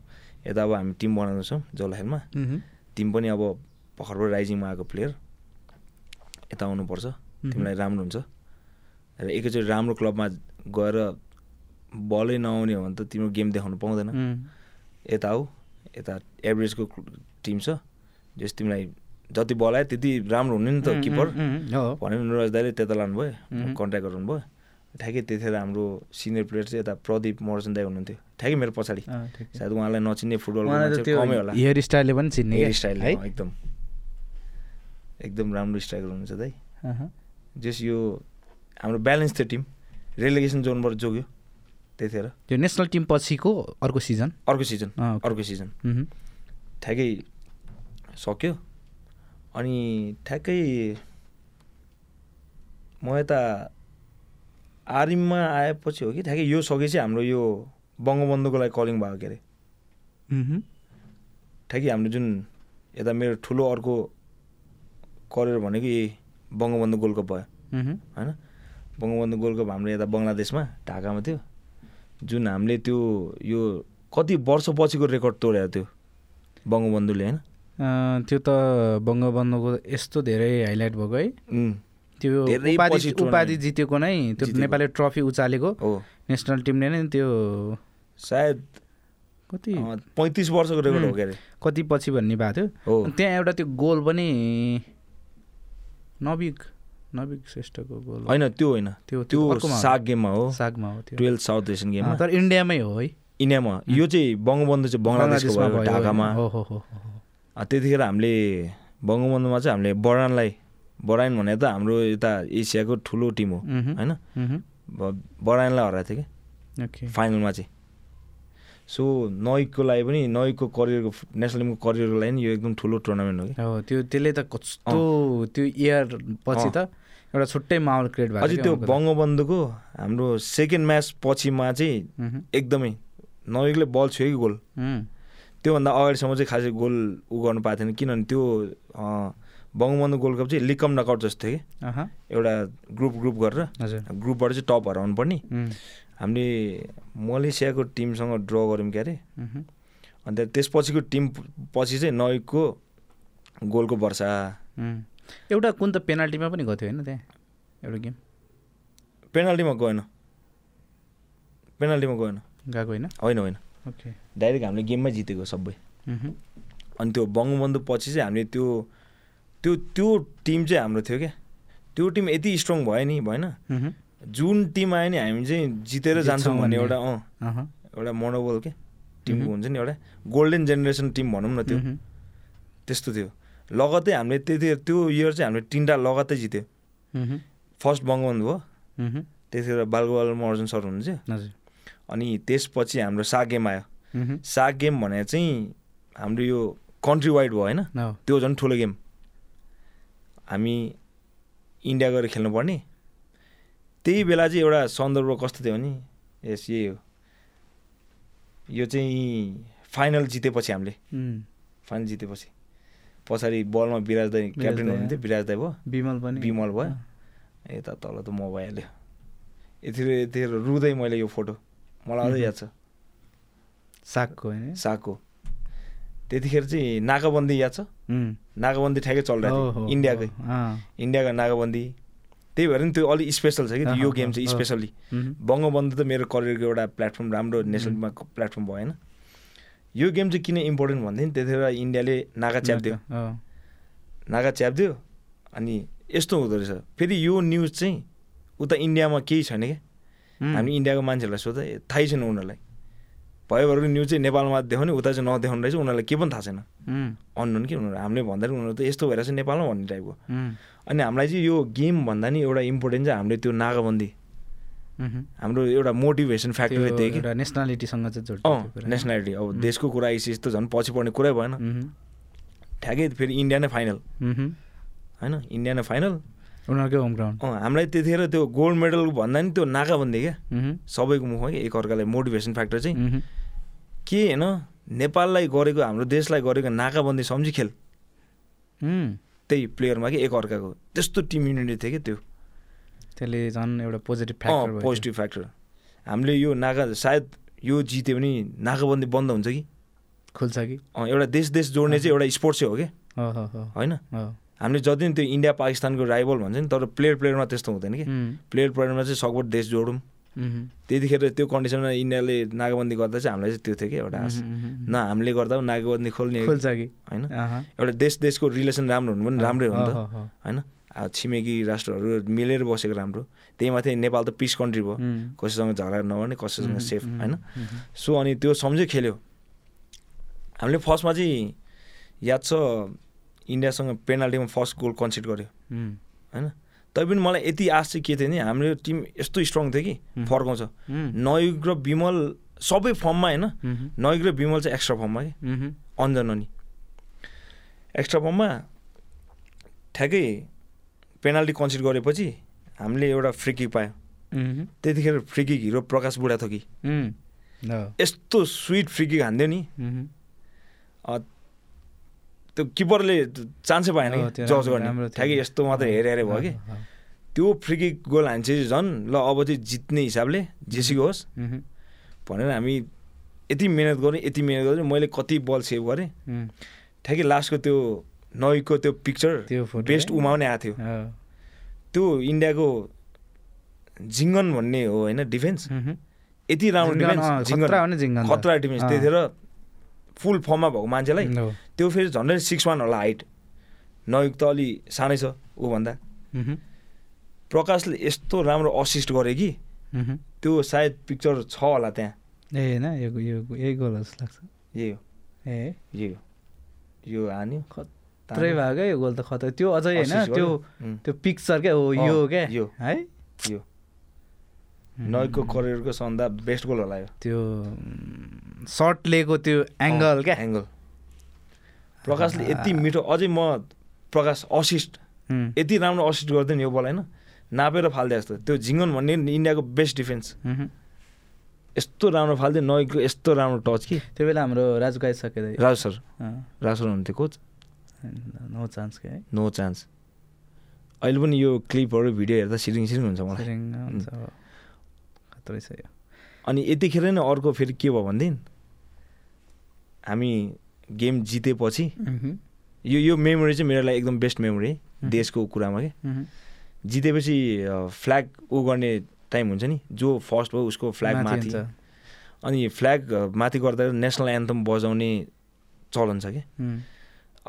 S2: यता अब हामी टिम बनाउँदैछौँ जौलाहेलमा
S1: मह्म,
S2: टिम पनि अब भर्खरबाट राइजिङमा आएको प्लेयर यता आउनुपर्छ तिमीलाई राम्रो हुन्छ र एकैचोटि राम्रो क्लबमा गएर बलै नआउने हो भने त तिम्रो गेम देखाउनु पाउँदैन
S1: उम्,
S2: यता आऊ यता एभरेजको टिम छ जस तिमीलाई जति बल आयो त्यति राम्रो हुने नि त
S1: उम्,
S2: किपर
S1: उम्, उम्, हो
S2: भनेर नुराज दाईले त्यता लानुभयो
S1: उम्।
S2: कन्ट्याक्ट गर्नुभयो ठ्याक्कै त्यतिखेर हाम्रो सिनियर प्लेयर चाहिँ यता प्रदीप मर्चन दाई हुनुहुन्थ्यो ठ्याक्कै मेरो पछाडि
S1: अँ, ठिक छ।
S2: सायद उहाँलाई नचिन्ने फुटबल
S1: उहाँलाई त त्यो
S2: कमै होला
S1: हेयर स्टाइलले पनि चिन्ने
S2: हेयर
S1: क्या,
S2: स्टाइल
S1: है
S2: एकदम एकदम राम्रो स्ट्राइकर हुनुहुन्छ दाइ
S1: अहँ,
S2: जस यो हाम्रो ब्यालेन्स थियो टिम रेलिगेसन जोनबाट जोग्यो त्यतिखेर
S1: त्यो नेसनल टिम पछिको अर्को सिजन
S2: अर्को सिजन
S1: अँ, ओके।
S2: अर्को सिजन
S1: मह्म,
S2: ठ्याक्कै सक्यो अनि ठ्याक्कै म यता आर्मीमा आएपछि हो कि ठ्याक्कै यो सकेपछि हाम्रो यो बङ्गबन्धुको लागि कलिङ भयो के अरे
S1: मह्म,
S2: ठ्याक्कै हाम्रो जुन यता मेरो ठुलो अर्को करियर भनेको यही बङ्गबन्धु गोल्ड कप भयो
S1: मह्म,
S2: होइन बङ्गबन्धु गोल्ड कप हाम्रो यता बङ्गलादेशमा ढाकामा थियो जुन हामीले त्यो यो कति वर्षपछिको रेकर्ड तोडेको थियो बङ्गबन्धुले होइन
S1: अँ, त्यो त बङ्गबन्धुको यस्तो धेरै हाइलाइट भएको है
S2: उम्,
S1: त्यो
S2: धेरै
S1: उपाधि
S2: पछि टुर्नामेन्ट
S1: उपाधि जितेको नै त्यो
S2: जितेको।
S1: नेपाली ट्रफी उचालेको
S2: हो
S1: नेसनल टिमले नै त्यो
S2: सायद
S1: कति
S2: पैँतिस वर्षको रेकर्ड हो
S1: उम्,
S2: के अरे
S1: कति पछि भन्ने भएको थियो
S2: हो
S1: अनि त्यहाँ एउटा त्यो गोल पनि नबिक नबिक श्रेष्ठको गोल
S2: होइन त्यो होइन
S1: त्यो
S2: त्यो
S1: अर्कोमा हो।
S2: साग गेममा हो
S1: सागमा हो त्यो
S2: टुवेल्भ साउथ एसियन गेममा
S1: अँ, तर इन्डियामै हो है
S2: इन्डियामा यो चाहिँ बङ्गबन्धु चाहिँ बङ्गलादेशको
S1: बङ्गलादेशमा
S2: भयो
S1: भयो,
S2: ढाकामा
S1: हो हो हो हो, हो।
S2: अँ, त्यतिखेर हामीले बङ्गबन्धुमा चाहिँ हामीले बरानलाई बरान भने त हाम्रो यता एसियाको ठुलो टिम हो
S1: मह्म,
S2: होइन
S1: मह्म,
S2: ब- बरानलाई हराएको थियो
S1: ओके
S2: कि फाइनलमा चाहिँ सो नइकको लागि पनि नइकको करियरको नेसनल टिमको करियरको लागि नि यो एकदम ठुलो टुर्नामेन्ट हो कि
S1: हो त्यो त्यसले त कस्तो त्यो इयर पछि त एउटा छुट्टै माहौल क्रिएट भएको
S2: अझै
S1: थियो
S2: त्यो
S1: उहाँको त।
S2: बङ्गबन्धुको हाम्रो सेकेन्ड म्याच पछिमा चाहिँ
S1: मह्म,
S2: एकदमै नइकले बल छ्यो कि गोल
S1: मह्म,
S2: त्योभन्दा अगाडिसम्म चाहिँ खासै गोल उ गर्नु पाएको थिएन किनभने त्यो अँ, बङ्गबन्धु गोल्ड कप चाहिँ लिकम नकआउट जस्तो थियो कि
S1: अहँ,
S2: एउटा ग्रुप ग्रुप गरेर
S1: हजुर
S2: ग्रुपबाट चाहिँ टप हराउनु पर्ने
S1: मह्म,
S2: हामीले मलेसियाको टिमसँग ड्र गऱ्यौँ क्यारे
S1: मह्म,
S2: अन्त त्यसपछिको टिम पछि चाहिँ नइकको गोलको वर्षा
S1: मह्म। एउटा कुन त पेनाल्टीमा पनि गएको थियो होइन त्यहाँ एउटा गेम
S2: पेनाल्टीमा गएन पेनाल्टीमा गएन
S1: गएको होइन
S2: होइन होइन
S1: ओके
S2: डाइरेक्ट हामीले गेममै जितेको सबै
S1: मह्म,
S2: अनि त्यो बङ्गबन्धु पछि चाहिँ हामीले त्यो त्यो त्यो टिम चाहिँ हाम्रो थियो क्या त्यो टिम यति स्ट्रङ भयो नि भएन
S1: मह्म,
S2: जुन टिम आयो नि हामी चाहिँ जितेर
S1: जित्छौँ
S2: जान्छौँ
S1: भन्ने।
S2: भन्ने एउटा अँ
S1: अहँ,
S2: एउटा मनोबल के टिमको
S1: मह्म।
S2: हुन्छ नि एउटा गोल्डन जेनेरेसन टिम भनौँ न त्यो
S1: मह्म,
S2: त्यस्तो थियो लगत्तै हामीले त्यति त्यो इयर चाहिँ हामीले तिनवटा लगत्तै जित्यो
S1: मह्म,
S2: फर्स्ट बङ्गबन्धु भयो
S1: मह्म,
S2: त्यतिखेर बालगोपाल महर्जन सर हुनुहुन्थ्यो
S1: हजुर
S2: अनि त्यसपछि हाम्रो साग गेम आयो
S1: मह्म,
S2: साग गेम भने चाहिँ हाम्रो यो कन्ट्री वाइड भयो होइन
S1: हो
S2: त्यो झन् ठुलो गेम हामी इन्डिया गएर खेल्नुपर्ने त्यही बेला चाहिँ एउटा सन्दर्भ कस्तो थियो भने यस यही हो यो चाहिँ फाइनल जितेपछि हामीले फाइनल जितेपछि पछाडि बलमा बिराज दाई
S1: बिराज
S2: क्याप्टेन
S1: दाई,
S2: हुनुहुन्थ्यो बिराज दाई भयो
S1: विमल पनि
S2: बिमल भयो यता तल त म भइहाल्यो यतिखेर यतिखेर रुँदै मैले यो फोटो मलाई अझै याद छ
S1: सागको होइन
S2: साको त्यतिखेर चाहिँ नाकाबन्दी याद छ
S1: उम्.
S2: नाकाबन्दी ठ्याक्कै चलिरहेको
S1: हो,
S2: थियो
S1: हो,
S2: इन्डियाकै
S1: हो, अँ,
S2: इन्डियाको नाकाबन्दी त्यही भएर नि त्यो अलिक स्पेसल छ कि त्यो यो
S1: अहँ,
S2: गेम चाहिँ
S1: अहँ,
S2: स्पेसल्ली
S1: उम्,
S2: बङ्गबन्धु त मेरो करियरको एउटा प्लेटफर्म राम्रो नेसनलमा प्लेटफर्म भयो होइन यो गेम चाहिँ किन इम्पोर्टेन्ट भन्दै नि त्यतिखेर इन्डियाले नाका च्यापिदियो
S1: अँ,
S2: नागा च्यापिदियो अनि यस्तो हुँदो रहेछ फेरि यो न्युज चाहिँ उता इन्डियामा केही छैन क्या
S1: उम्,
S2: हामी इन्डियाको मान्छेहरूलाई सोध्दा ए, थाहै छैन उनीहरूलाई भयो भएर न्युज चाहिँ नेपालमा देखाउने उता चाहिँ नदेखाउने रहेछ उनीहरूलाई के पनि थाहा छैन
S1: उम्,
S2: अन्नुहुन् कि उनीहरू हामीले भन्दाखेरि उनीहरू त यस्तो भइरहेछ नेपालमा भन्ने टाइपको
S1: उम्,
S2: अनि हामीलाई चाहिँ यो गेम भन्दा नि एउटा इम्पोर्टेन्ट चाहिँ हामीले त्यो नागाबन्दी
S1: उम्,
S2: हाम्रो एउटा मोटिभेसन
S1: त्यो
S2: फ्याक्टरै थियो कि
S1: एउटा नेसनालिटीसँग चाहिँ जोड्छ
S2: अँ
S1: त्यो कुरा।
S2: नेसनालिटी अब
S1: उम्,
S2: देशको कुरा आइसिएस त झन् पछि पर्ने कुरै भएन
S1: उम्,
S2: ठ्याक्कै फेरि इन्डिया नै फाइनल
S1: उम्,
S2: होइन इन्डिया नै फाइनल
S1: उनीहरूकै होम ग्राउन्ड
S2: अँ हामीलाई त्यतिखेर त्यो गोल्ड मेडल भन्दा नि त्यो नाकाबन्दी क्या
S1: उम्,
S2: सबैको मुखमा कि एकअर्कालाई मोटिभेसन फ्याक्टर चाहिँ
S1: उम्,
S2: के होइन नेपाललाई गरेको हाम्रो देशलाई गरेको नाकाबन्दी सम्झी खेल
S1: उम्,
S2: त्यही प्लेयरमा कि एकअर्काको त्यस्तो टिम युनिटी थियो कि त्यो
S1: त्यसले झन् एउटा पोजिटिभ
S2: अँ
S1: फ्याक्टर भयो
S2: पोजिटिभ फ्याक्टर हामीले यो नाका सायद यो जित्यो भने नाकाबन्दी बन्द हुन्छ कि
S1: त्यो। खुल्छ कि
S2: अँ एउटा देश देश जोड्ने चाहिँ एउटा स्पोर्ट्सै हो कि
S1: हो, हो, हो,
S2: होइन
S1: हो।
S2: हामीले जति नै त्यो इन्डिया पाकिस्तानको राइभल भन्छ नि तर प्लेयर प्लेयरमा त्यस्तो हुँदैन कि
S1: उम्,
S2: प्लेयर प्लेयरमा चाहिँ सकभर देश जोडौँ
S1: उम्,
S2: त्यतिखेर त्यो कन्डिसनमा इन्डियाले नाकाबन्दी गर्दा चाहिँ हामीलाई चाहिँ त्यो थियो कि एउटा आशा
S1: उम्, उम्,
S2: न हामीले गर्दा पनि नाकाबन्दी खोल्ने
S1: खुल्छ कि
S2: होइन
S1: अहँ,
S2: एउटा देश देशको रिलेसन राम्रो हुनु पनि राम्रै हो नि त
S1: हो, हो, हो।
S2: होइन अब छिमेकी राष्ट्रहरू मिलेर बसेको राम्रो त्यही माथि नेपाल त पिस कन्ट्री भयो
S1: उम्,
S2: कसैसँग झगडा नगर्ने कसैसँग
S1: उम्,
S2: सेफ
S1: उम्,
S2: होइन
S1: उम्,
S2: सो अनि त्यो सम्झै खेल्यो हामीले फर्स्टमा चाहिँ याद छ इन्डियासँग पेनाल्टीमा फर्स्ट गोल कन्सिड गर्यो
S1: उम्,
S2: होइन तैपनि मलाई यति आश चाहिँ के थियो नि हाम्रो टिम यस्तो स्ट्रङ थियो कि
S1: उम्,
S2: फर्काउँछ
S1: उम्,
S2: नयुग र विमल सबै फर्ममा होइन
S1: उम्,
S2: नयुग र विमल चाहिँ एक्स्ट्रा फर्ममा कि
S1: उम्,
S2: अन्जन अनि एक्स्ट्रा फर्ममा ठ्याक्कै पेनाल्टी कन्सिड गरेपछि हामीले एउटा फ्री किक पायौँ
S1: उम्,
S2: त्यतिखेर free kick hero Prakash Budhathoki
S1: उम्, हो,
S2: यस्तो स्विट फ्री किक हान्थ्यो नि
S1: उम्,
S2: अ, त्यो किपरले चान्सै पाएन
S1: हो,
S2: कि
S1: त्यो
S2: जज
S1: राम्रो-
S2: गर्ने
S1: राम्रो थियो।
S2: ठ्याक्कै यस्तो मात्रै हेरे हेरे भयो कि
S1: हो, हो,
S2: त्यो फ्री किक गोल हान्छे चाहिँ झन् ल अब चाहिँ जित्ने हिसाबले जेसीको होस्
S1: उम्,
S2: भनेर हामी यति मिहिनेत गऱ्यौँ यति मिहिनेत गऱ्यौँ मैले कति बल सेभ गरेँ
S1: उम्,
S2: ठ्याक्कै लास्टको त्यो नयको त्यो पिक्चर
S1: त्यो फोटो
S2: बेस्ट
S1: है?
S2: उमाउने आएको थियो
S1: हो,
S2: त्यो इन्डियाको जिङ्गन भन्ने हो होइन डिफेन्स
S1: उम्,
S2: यति राम्रो
S1: जिङ्गन,
S2: डिफेन्स
S1: अँ,
S2: जिङ्गन
S1: खतरा हो नि जिङ्गन त।
S2: खतरा डिफेन्स
S1: अँ।
S2: त्यतिखेर फुल फर्ममा भएको मान्छेलाई
S1: हो,
S2: त्यो फेरि झन्डै सिक्स वान होला हाइट नयुग त अलि सानै छ ऊभन्दा
S1: उम्,
S2: प्रकाशले यस्तो राम्रो असिस्ट गरे कि
S1: उम्,
S2: त्यो सायद पिक्चर छ होला त्यहाँ
S1: ए होइन यो यो यही गोल जस्तो लाग्छ
S2: यही हो
S1: ए
S2: यही हो यो हान्यो
S1: त्रै
S2: तान्यो,
S1: भएको है यो गोल त खतरा त्यो अझै होइन त्यो
S2: assist गर्यो। उम्,
S1: त्यो पिक्चर क्या हो
S2: अँ,
S1: यो क्या
S2: यो।
S1: है
S2: यो नयुगको करियरको सबभन्दा बेस्ट गोल होला यो
S1: त्यो सर्ट लिएको त्यो एङ्गल क्या
S2: एङ्गल प्रकाशले यति मिठो अझै म प्रकाश असिस्ट
S1: उम्,
S2: यति राम्रो असिस्ट गरिदियो नि यो बल होइन नापेर फालिदिए जस्तो त्यो झिङ्गन भन्ने इन्डियाको बेस्ट डिफेन्स
S1: उम्,
S2: यस्तो राम्रो फालिदियो नयुगको यस्तो राम्रो टच कि
S1: त्यो बेला हाम्रो राजु गाइसकेर
S2: राजु सर राजु सर हुनुहुन्थ्यो कोच
S1: नो चान्स क्या है
S2: नो चान्स अहिले पनि यो क्लिपहरू भिडियो हेर्दा सिरिङ सिरिङ हुन्छ मलाई
S1: सेरिङ हुन्छ हो। खत्रै छ यो
S2: अनि यतिखेर नै अर्को फेरि के भयो भनेदेखि हामी गेम जितेपछि
S1: उम्हुम्,
S2: यो यो मेमोरी चाहिँ मेरो लागि एकदम बेस्ट मेमोरी
S1: उम्.
S2: देशको कुरामा के
S1: उम्हुम्।
S2: जितेपछि फ्ल्याग ऊ गर्ने टाइम हुन्छ नि जो फर्स्ट भयो उसको फ्ल्याग माथि
S1: हुन्छ।
S2: अनि फ्ल्याग अ, माथि गर्दा नेसनल एन्थम बजाउने चलन छ कि
S1: उम्,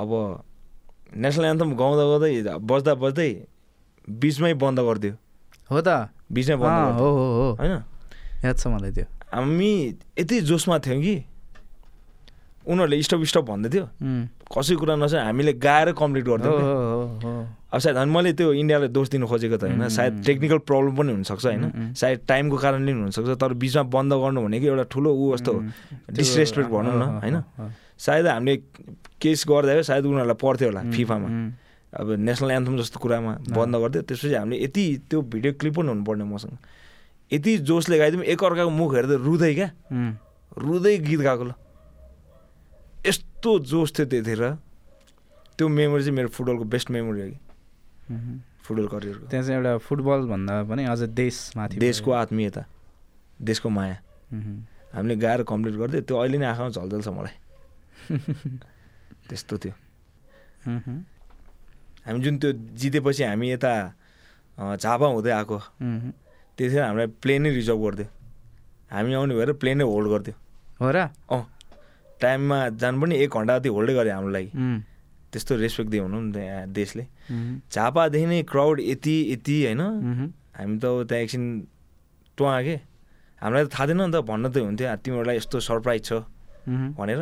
S2: अब नेसनल एन्थम गाउँदा गाउँदै बज्दा बज्दै बिचमै बन्द गरिदियो
S1: हो त
S2: बिचमै बन्द
S1: अँ,
S2: गरिदियो
S1: हो हो हो
S2: होइन
S1: याद छ मलाई त्यो
S2: हामी यति जोसमा थियौँ कि उनीहरूले स्टप स्टप भन्दै थियो
S1: उम्,
S2: कसै कुरा नसके हामीले गाएर कम्प्लिट
S1: हो
S2: गरिदियो
S1: हो हो हो
S2: अब सायद अनि मैले त्यो इन्डियालाई दोष दिनु खोजेको त होइन
S1: उम्,
S2: सायद
S1: उम्,
S2: टेक्निकल प्रब्लम पनि हुनसक्छ होइन
S1: उम्, उम्।
S2: सायद टाइमको कारणले पनि हुनसक्छ तर बिचमा बन्द गर्नु भनेको एउटा ठुलो ऊ जस्तो हो।
S1: उम्, त्यो-
S2: disrespect भनौँ न,
S1: हो, हो,
S2: होइन?
S1: हो, हो।
S2: सायद हामीले केस गर्दा सायद उनीहरूलाई पर्थ्यो होला
S1: उम्,
S2: फिफामा
S1: उम्,
S2: अब नेसनल एन्थम जस्तो कुरामा बन्द गरिदियो त्यसपछि हामीले यति त्यो भिडियो क्लिप पनि हुनुपर्ने मसँग यति जोसले गाइदिउँ एकअर्काको मुख हेर्दै रुँदै क्या रुँदै गीत गाएको ल यस्तो जोस थियो त्यतिखेर त्यो मेमोरी चाहिँ मेरो फुटबलको बेस्ट मेमोरी हो कि फुटबल करियरको
S1: त्यहाँ चाहिँ एउटा फुटबल भन्दा पनि अझ देशमाथि
S2: देशको आत्मीयता देशको माया हामीले गाएर कम्प्लिट गरिदियो त्यो अहिले नै आँखामा झल्झल्छ मलाई त्यस्तो थियो हामी जुन त्यो जितेपछि हामी यता अँ, झापा हुँदै आएको त्यतिखेर हामीलाई प्लेनै रिजर्भ गरिदियो हामी आउने भएर प्लेनै होल्ड गरिदियो
S1: हो र
S2: अँ टाइममा जानु पनि एक घन्टा जति होल्डै गऱ्यो हाम्रो लागि
S1: उम्,
S2: त्यस्तो रेस्पेक्ट दियो हुनु नि त्यहाँ देशले
S1: उम्,
S2: झापादेखि नै क्राउड यति यति होइन
S1: उम्,
S2: हामी त अब त्यहाँ एकछिन टुवा के हामीलाई त थाहा थिएन नि त भन्न त हुन्थ्यो "आ, तिमीहरूलाई यस्तो सरप्राइज छ
S1: उम्,
S2: भनेर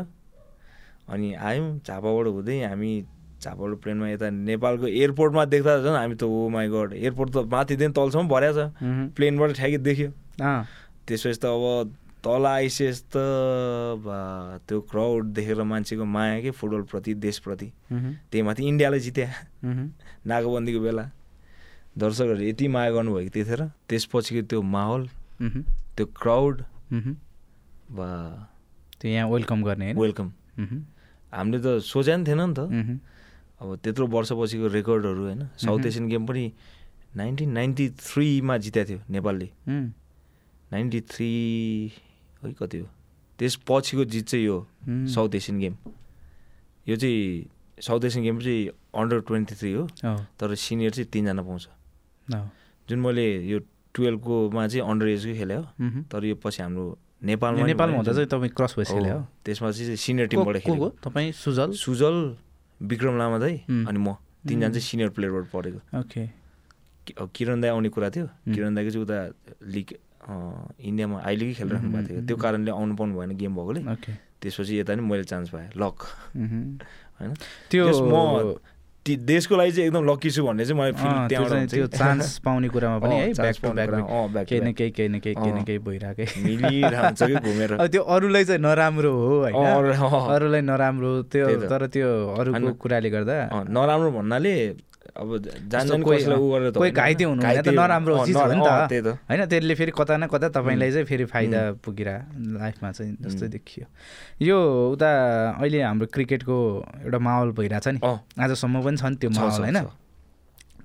S2: अनि आयौँ झापाबाट हुँदै हामी झापाबाट प्लेनमा यता नेपालको एयरपोर्टमा देख्दा झन् हामी त ओ माई गड एयरपोर्ट त माथिदेखि तलसम्म भर्या छ
S1: उम्,
S2: प्लेनबाट ठ्याके देख्यो
S1: अँ,
S2: त्यसपछि त अब तल आइसकेपछि त बा त्यो क्राउड देखेर मान्छेको माया के फुटबलप्रति देशप्रति
S1: उम्,
S2: त्यही माथि इन्डियालाई जित्या
S1: उम्,
S2: नाकाबन्दीको बेला दर्शकहरूले यति माया गर्नुभयो कि त्यतिखेर त्यसपछिको त्यो माहौल
S1: उम्,
S2: त्यो क्राउड
S1: उम्।
S2: बा
S1: त्यो यहाँ वेलकम गर्ने होइन
S2: वेलकम
S1: उम्,
S2: हामीले त सोचे नि थिएन नि त
S1: उम्,
S2: अब त्यत्रो वर्षपछिको रेकर्डहरू होइन साउथ एसियन गेम पनि नाइन्टिन नाइन्टी थ्रीमा जितेको थियो नेपालले
S1: उम्,
S2: नाइन्टी थ्री है कति हो त्यसपछिको जित चाहिँ यो
S1: उम्,
S2: साउथ एसियन गेम यो चाहिँ साउथ एसियन गेम चाहिँ अन्डर ट्वेन्टी थ्री हो
S1: हो,
S2: तर सिनियर चाहिँ तिनजना पाउँछ
S1: हो,
S2: जुन मैले यो टुवेल्भकोमा चाहिँ अन्डर एजकै खेलेँ हो
S1: उम्।
S2: तर यो पछि हाम्रो नेपालमा
S1: यो
S2: नि
S1: नेपालमा
S2: भयो
S1: हुँदा
S2: नि
S1: चाहिँ तपाईँ क्रस
S2: जुन-
S1: भइसक्यो हो
S2: हो, त्यसमा चाहिँ सिनियर
S1: को-
S2: टिमबाट
S1: को हो
S2: खेलेको
S1: तपाईँ सुजल
S2: सुजल विक्रम लामा दाई
S1: उम्.
S2: अनि म तिनजना चाहिँ सिनियर प्लेयरबाट परेको
S1: ओके
S2: कि- अब किरण दाई आउने कुरा थियो
S1: उम्.
S2: किरण दाईको चाहिँ उता लिग अँ, इन्डियामा आइलिगै खेलिराख्नु भएको थियो
S1: उम्,
S2: त्यो कारणले आउनु पाउनु भएन गेम भएकोले
S1: ओके
S2: त्यसपछि यता नि मैले चान्स पाएँ लक
S1: उम्,
S2: होइन
S1: त्यो
S2: Yes, म- ति- देशको लागि चाहिँ एकदम लक्की छु भन्ने चाहिँ मलाई फिल
S1: अँ, त्यो
S2: त्यहाँबाट
S1: चाहिँ
S2: हुन्छ
S1: त्यो
S2: कि।
S1: चान्स पाउने कुरामा पनि
S2: अँ,
S1: है
S2: chance
S1: ब्याक टु
S2: पाउने
S1: ब्याक
S2: कुरामा, अँ, back to
S1: केही न
S2: back।
S1: केही केही न केही केही न
S2: अँ।
S1: केही भइरहेकै
S2: मिलिरहन्छ कि घुमेर
S1: अब त्यो अरूलाई चाहिँ नराम्रो हो
S2: अँ,
S1: होइन
S2: अरू- अँ, अँ।
S1: अरूलाई नराम्रो
S2: त्यही
S1: त्यो
S2: त।
S1: तर त्यो अरूको
S2: होइन।
S1: कुराले गर्दा
S2: अँ, नराम्रो भन्नाले अब
S1: जस्तो
S2: जान्छ
S1: कोही-
S2: कसैलाई उ गरेर त
S1: कोही
S2: होइन।
S1: घाइते हुनु हुन्न,
S2: घाइते
S1: त नराम्रो
S2: हुनु- अँ,
S1: चिज हो नि त।
S2: नराम्रो- अँ, त्यही त
S1: होइन त्यसले फेरि कता न कता तपाईँलाई चाहिँ फेरि फाइदा पुगिरा लाइफमा चाहिँ जस्तै
S2: हुँ।
S1: देखियो यो उता अहिले हाम्रो क्रिकेटको एउटा माहौल भइरहेछ नि
S2: अँ,
S1: आजसम्म पनि छ नि त्यो
S2: छ,
S1: माहौल
S2: छ,
S1: होइन
S2: छ।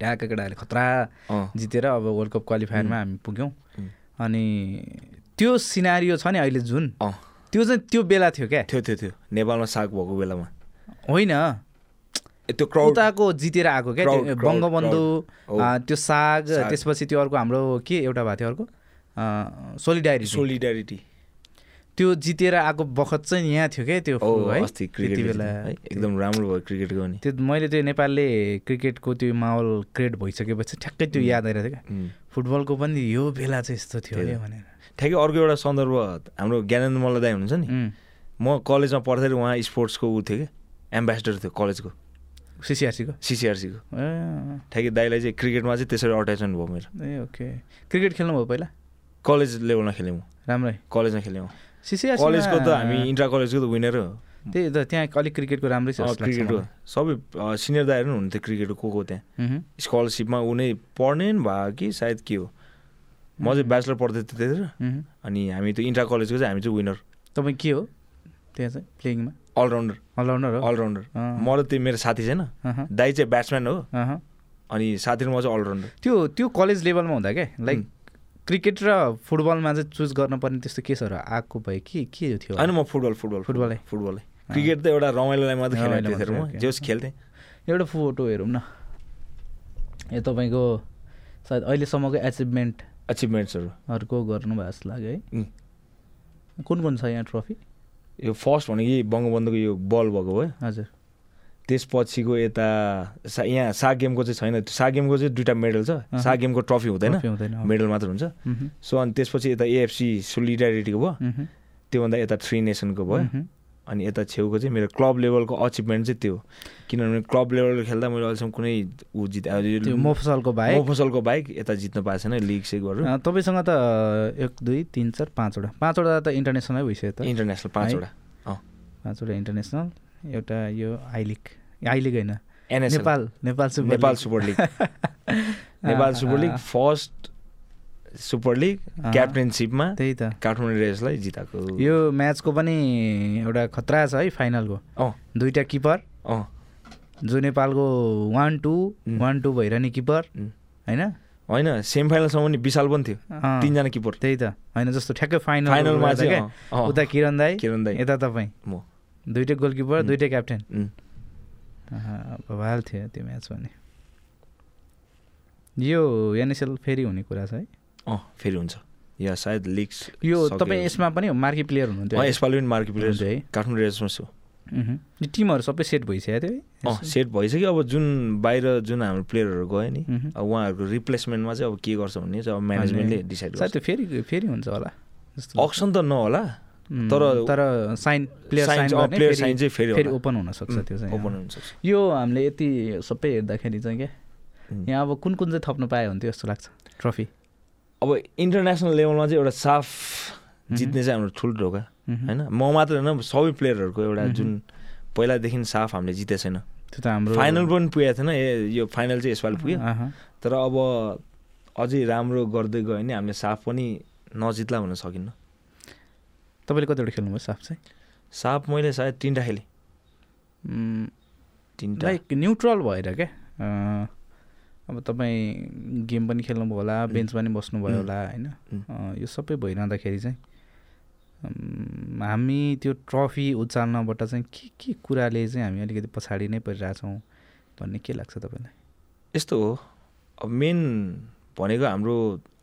S1: ढाका केटाहरूले खतरा
S2: अँ,
S1: जितेर अब वर्ल्ड कप क्वालिफायरमा हामी पुग्यौँ
S2: हुँ।
S1: अनि त्यो सिनारियो छ नि अहिले जुन
S2: अँ,
S1: त्यो चाहिँ त्यो बेला थियो क्या
S2: थियो थियो थियो नेपालमा साग भएको बेलामा
S1: होइन
S2: ए, त्यो क्राउड
S1: उताको जितेर आएको क्या
S2: Crowd,
S1: त्यो
S2: crowd,
S1: बङ्गबन्धु
S2: crowd। हो।
S1: आ, त्यो साग
S2: साग।
S1: त्यसपछि त्यो अर्को हाम्रो के एउटा भएको थियो अर्को सोलिडारी
S2: सोलिडारिटी
S1: त्यो जितेर आएको बखत चाहिँ यहाँ थियो क्या त्यो
S2: हो
S1: है
S2: Oh, अस्ति क्रिकेट
S1: त्यति बेला
S2: है एकदम राम्रो भयो क्रिकेटको नि
S1: त्यो मैले त्यो नेपालले क्रिकेटको त्यो माहौल क्रिएट भइसकेपछि ठ्याक्कै
S2: Mm।
S1: त्यो याद आइरहेको थियो क्या
S2: उम्।
S1: फुटबलको पनि यो बेला चाहिँ यस्तो थियो
S2: त्यही
S1: अरे
S2: त।
S1: भनेर
S2: ठ्याक्कै अर्को एउटा सन्दर्भ हाम्रो ज्ञानेन्द्र मल्लदाई हुनुहुन्छ नि
S1: उम्,
S2: म कलेजमा पढ्दाखेरि उहाँ स्पोर्ट्सको ऊ थियो कि एम्बेसडर थियो कलेजको
S1: सिसिआरसीको
S2: सिसिआरसीको
S1: ए
S2: ठ्याके दाईलाई चाहिँ क्रिकेटमा चाहिँ त्यसरी अट्याचमेन्ट भयो मेरो
S1: ए, ओके क्रिकेट खेल्नुभयो पहिला
S2: कलेज लेभलमा खेलेँ म
S1: राम्रै
S2: कलेजमा खेलेँ म
S1: सिसिआरसी
S2: कलेजको त हामी इन्टर कलेजको त विनर हो
S1: त्यही त त्यहाँ अलिक क्रिकेटको राम्रै छ
S2: अँ,
S1: जस्तो लाग्छ
S2: क्रिकेटको
S1: मलाई।
S2: सबै अँ, सिनियर दाईहरू पनि हुनुहुन्थ्यो क्रिकेटको को को त्यहाँ
S1: उहुँ,
S2: स्कलरसिपमा उनी पढ्ने नि भयो कि सायद के हो म चाहिँ ब्याचलर पढ्दै थिएँ त्यतिर
S1: उहुँ।
S2: अनि हामी त्यो इन्टर कलेजको चाहिँ हामी चाहिँ विनर
S1: तपाईँ के हो त्यहाँ चाहिँ प्लेइङमा
S2: अलराउन्डर
S1: अलराउन्डर हो
S2: अलराउन्डर
S1: अँ।
S2: म र त्यो मेरो साथी छैन
S1: अहँ,
S2: दाई चाहिँ ब्याट्सम्यान हो
S1: अहँ।
S2: अनि साथी र म चाहिँ अलराउन्डर
S1: त्यो त्यो कलेज लेभलमा हुँदा क्या लाइक क्रिकेट र फुटबलमा चाहिँ चुज गर्नुपर्ने त्यस्तो केसहरू आएको भयो कि के थियो
S2: होइन म फुटबल फुटबल
S1: फुटबलै?
S2: फुटबलै क्रिकेट त एउटा रमाइलोलाई मात्रै खेलेको
S1: रमाइलो
S2: थिएँ
S1: मात्रै,
S2: म जे होस् खेल्थेँ
S1: एउटा फोटो हेरौँ न यो तपाईँको सायद अहिलेसम्मको एचिभमेन्टहरूको
S2: अचिभमेन्ट्सहरू
S1: गर्नुभएको जस्तो लाग्यो है
S2: उम्.
S1: कुन कुन छ यहाँ ट्रफी
S2: यो फर्स्ट भनेको यी बङ्गबन्धुको यो बल भएको भयो
S1: हजुर
S2: त्यसपछिको यता सा यहाँ सा गेमको चाहिँ छैन त्यो सा गेमको चाहिँ दुइटा मेडल छ
S1: अहँ।
S2: सा गेमको ट्रफी हुँदैन
S1: ट्रफी हुँदैन हो।
S2: मेडल मात्र हुन्छ
S1: उहुँ,
S2: सो अनि त्यसपछि यता एएफसी सोलिडारिटीको भयो
S1: उहुँ,
S2: त्योभन्दा यता थ्री नेसनको भयो
S1: उहुँ,
S2: अनि यता छेउको चाहिँ मेरो क्लब लेभलको अचिभमेन्ट चाहिँ त्यो किनभने क्लब लेभल खेल्दा मैले अहिलेसम्म कुनै ऊ जित
S1: त्यो मोफसलको बाहेक
S2: मफसलको बाइक यता जित्न पाएको छैन लिग सेगहरू
S1: अँ, तपाईँसँग त एक दुई तिन चार पाँचवटा पाँचवटा त इन्टरनेसनलै भइसक्यो त
S2: इन्टरनेसनल पाँचवटा
S1: पाँचवटा इन्टरनेसनल एउटा यो आई लिग आई लिग होइन
S2: NSL
S1: Nepal Nepal super
S2: Nepal
S1: league.
S2: Super league Nepal super league
S1: आहा।
S2: फर्स्ट सुपर लिग
S1: अँ।
S2: क्याप्टेनसिपमा
S1: त्यही त
S2: काठमाडौँ रेसलाई जिताएको
S1: यो म्याचको पनि एउटा खतरा छ है फाइनलको
S2: अँ
S1: दुईवटा किपर
S2: अँ
S1: जो नेपालको वान टू
S2: उम्.
S1: वान टू भइरहने किपर
S2: उम्.
S1: होइन
S2: होइन सेमी फाइनलसम्म नि विशाल पनि थियो
S1: अँ,
S2: तिनजना किपर
S1: त्यही त होइन जस्तो ठ्याक्कै फाइनल
S2: फाइनलमा
S1: गएर
S2: चाहिँ
S1: क्या,
S2: अँ, अँ,
S1: उता किरण दाई
S2: किरण दाई
S1: यता तपाईँ
S2: म
S1: दुइटै गोलकिपर
S2: उम्.
S1: दुइटै क्याप्टेन
S2: उम्,
S1: आहा, भवाल थियो त्यो म्याच भने यो एनएसएल फेरि हुने कुरा छ है
S2: अँ फेरि हुन्छ या सायद लिग्स
S1: यो
S2: सकियो।
S1: तपाईँ यसमा पनि मार्की प्लेयर हुनुहुन्थ्यो
S2: अँ,
S1: है?
S2: यसपालि पनि मार्केट प्लेयर
S1: हुन्छ है।
S2: काठमाडौँ रेसमा छु
S1: उहुँ। यो टिमहरू सबै सेट भइसकेको थियो है
S2: अँ सेट भइसक्यो अब जुन बाहिर जुन हाम्रो प्लेयरहरू गयो नि
S1: मह्म।
S2: अब उहाँहरूको रिप्लेसमेन्टमा चाहिँ अब के गर्छ भन्ने चाहिँ अब
S1: अनि
S2: म्यानेजमेन्टले डिसाइड
S1: सायद
S2: गर्छ
S1: त्यो फेरि फेरि हुन्छ होला जस्तो
S2: अक्सन त नहोला
S1: उम्,
S2: तर-
S1: तर साइन प्लेयर
S2: साइन
S1: साइन
S2: चाहिँ- अँ,
S1: गर्ने
S2: प्लेयर
S1: फेरि-
S2: साइन चाहिँ फेरि
S1: फेरि
S2: होला।
S1: ओपन हुनसक्छ त्यो चाहिँ
S2: ओपन
S1: अँ।
S2: हुन्छ
S1: यो हामीले यति सबै हेर्दाखेरि चाहिँ क्या यहाँ अब कुन कुन चाहिँ थप्नु पाए हुन्थ्यो जस्तो लाग्छ ट्रफी
S2: अब इन्टरनेसनल लेभलमा चाहिँ एउटा साफ
S1: मह्म।
S2: जित्ने चाहिँ हाम्रो ठुलो ढोका
S1: मह्म।
S2: होइन म मात्र होइन सबै प्लेयरहरूको एउटा
S1: मह्म।
S2: जुन पहिलादेखि साफ हामीले जितेको छैन
S1: त्यो त हाम्रो
S2: फाइनल पनि पुगेको थिएन ए यो फाइनल चाहिँ यसपालि पुग्यो
S1: आहा,
S2: तर अब अझै राम्रो गर्दै गयो भने हामीले साफ पनि नजित्ला हुन सकिन्न
S1: तपाईँले कतिवटा खेल्नुभयो साफ चाहिँ
S2: साफ मैले सायद तिनवटा खेलेँ
S1: उम्,
S2: तिनवटा
S1: लाइक न्युट्रल भएर क्या अँ, अब तपाईँ गेम पनि खेल्नुभयो होला बेन्च पनि बस्नुभयो
S2: उम्,
S1: होला होइन
S2: उम्।
S1: अँ, यो सबै भइरहँदाखेरि चाहिँ अम्, हामी त्यो ट्रफी उचाल्नबाट चाहिँ के के कुराले चाहिँ हामी अलिकति पछाडि नै परिरहेछौँ भन्ने के लाग्छ तपाईँलाई
S2: यस्तो हो अब मेन भनेको हाम्रो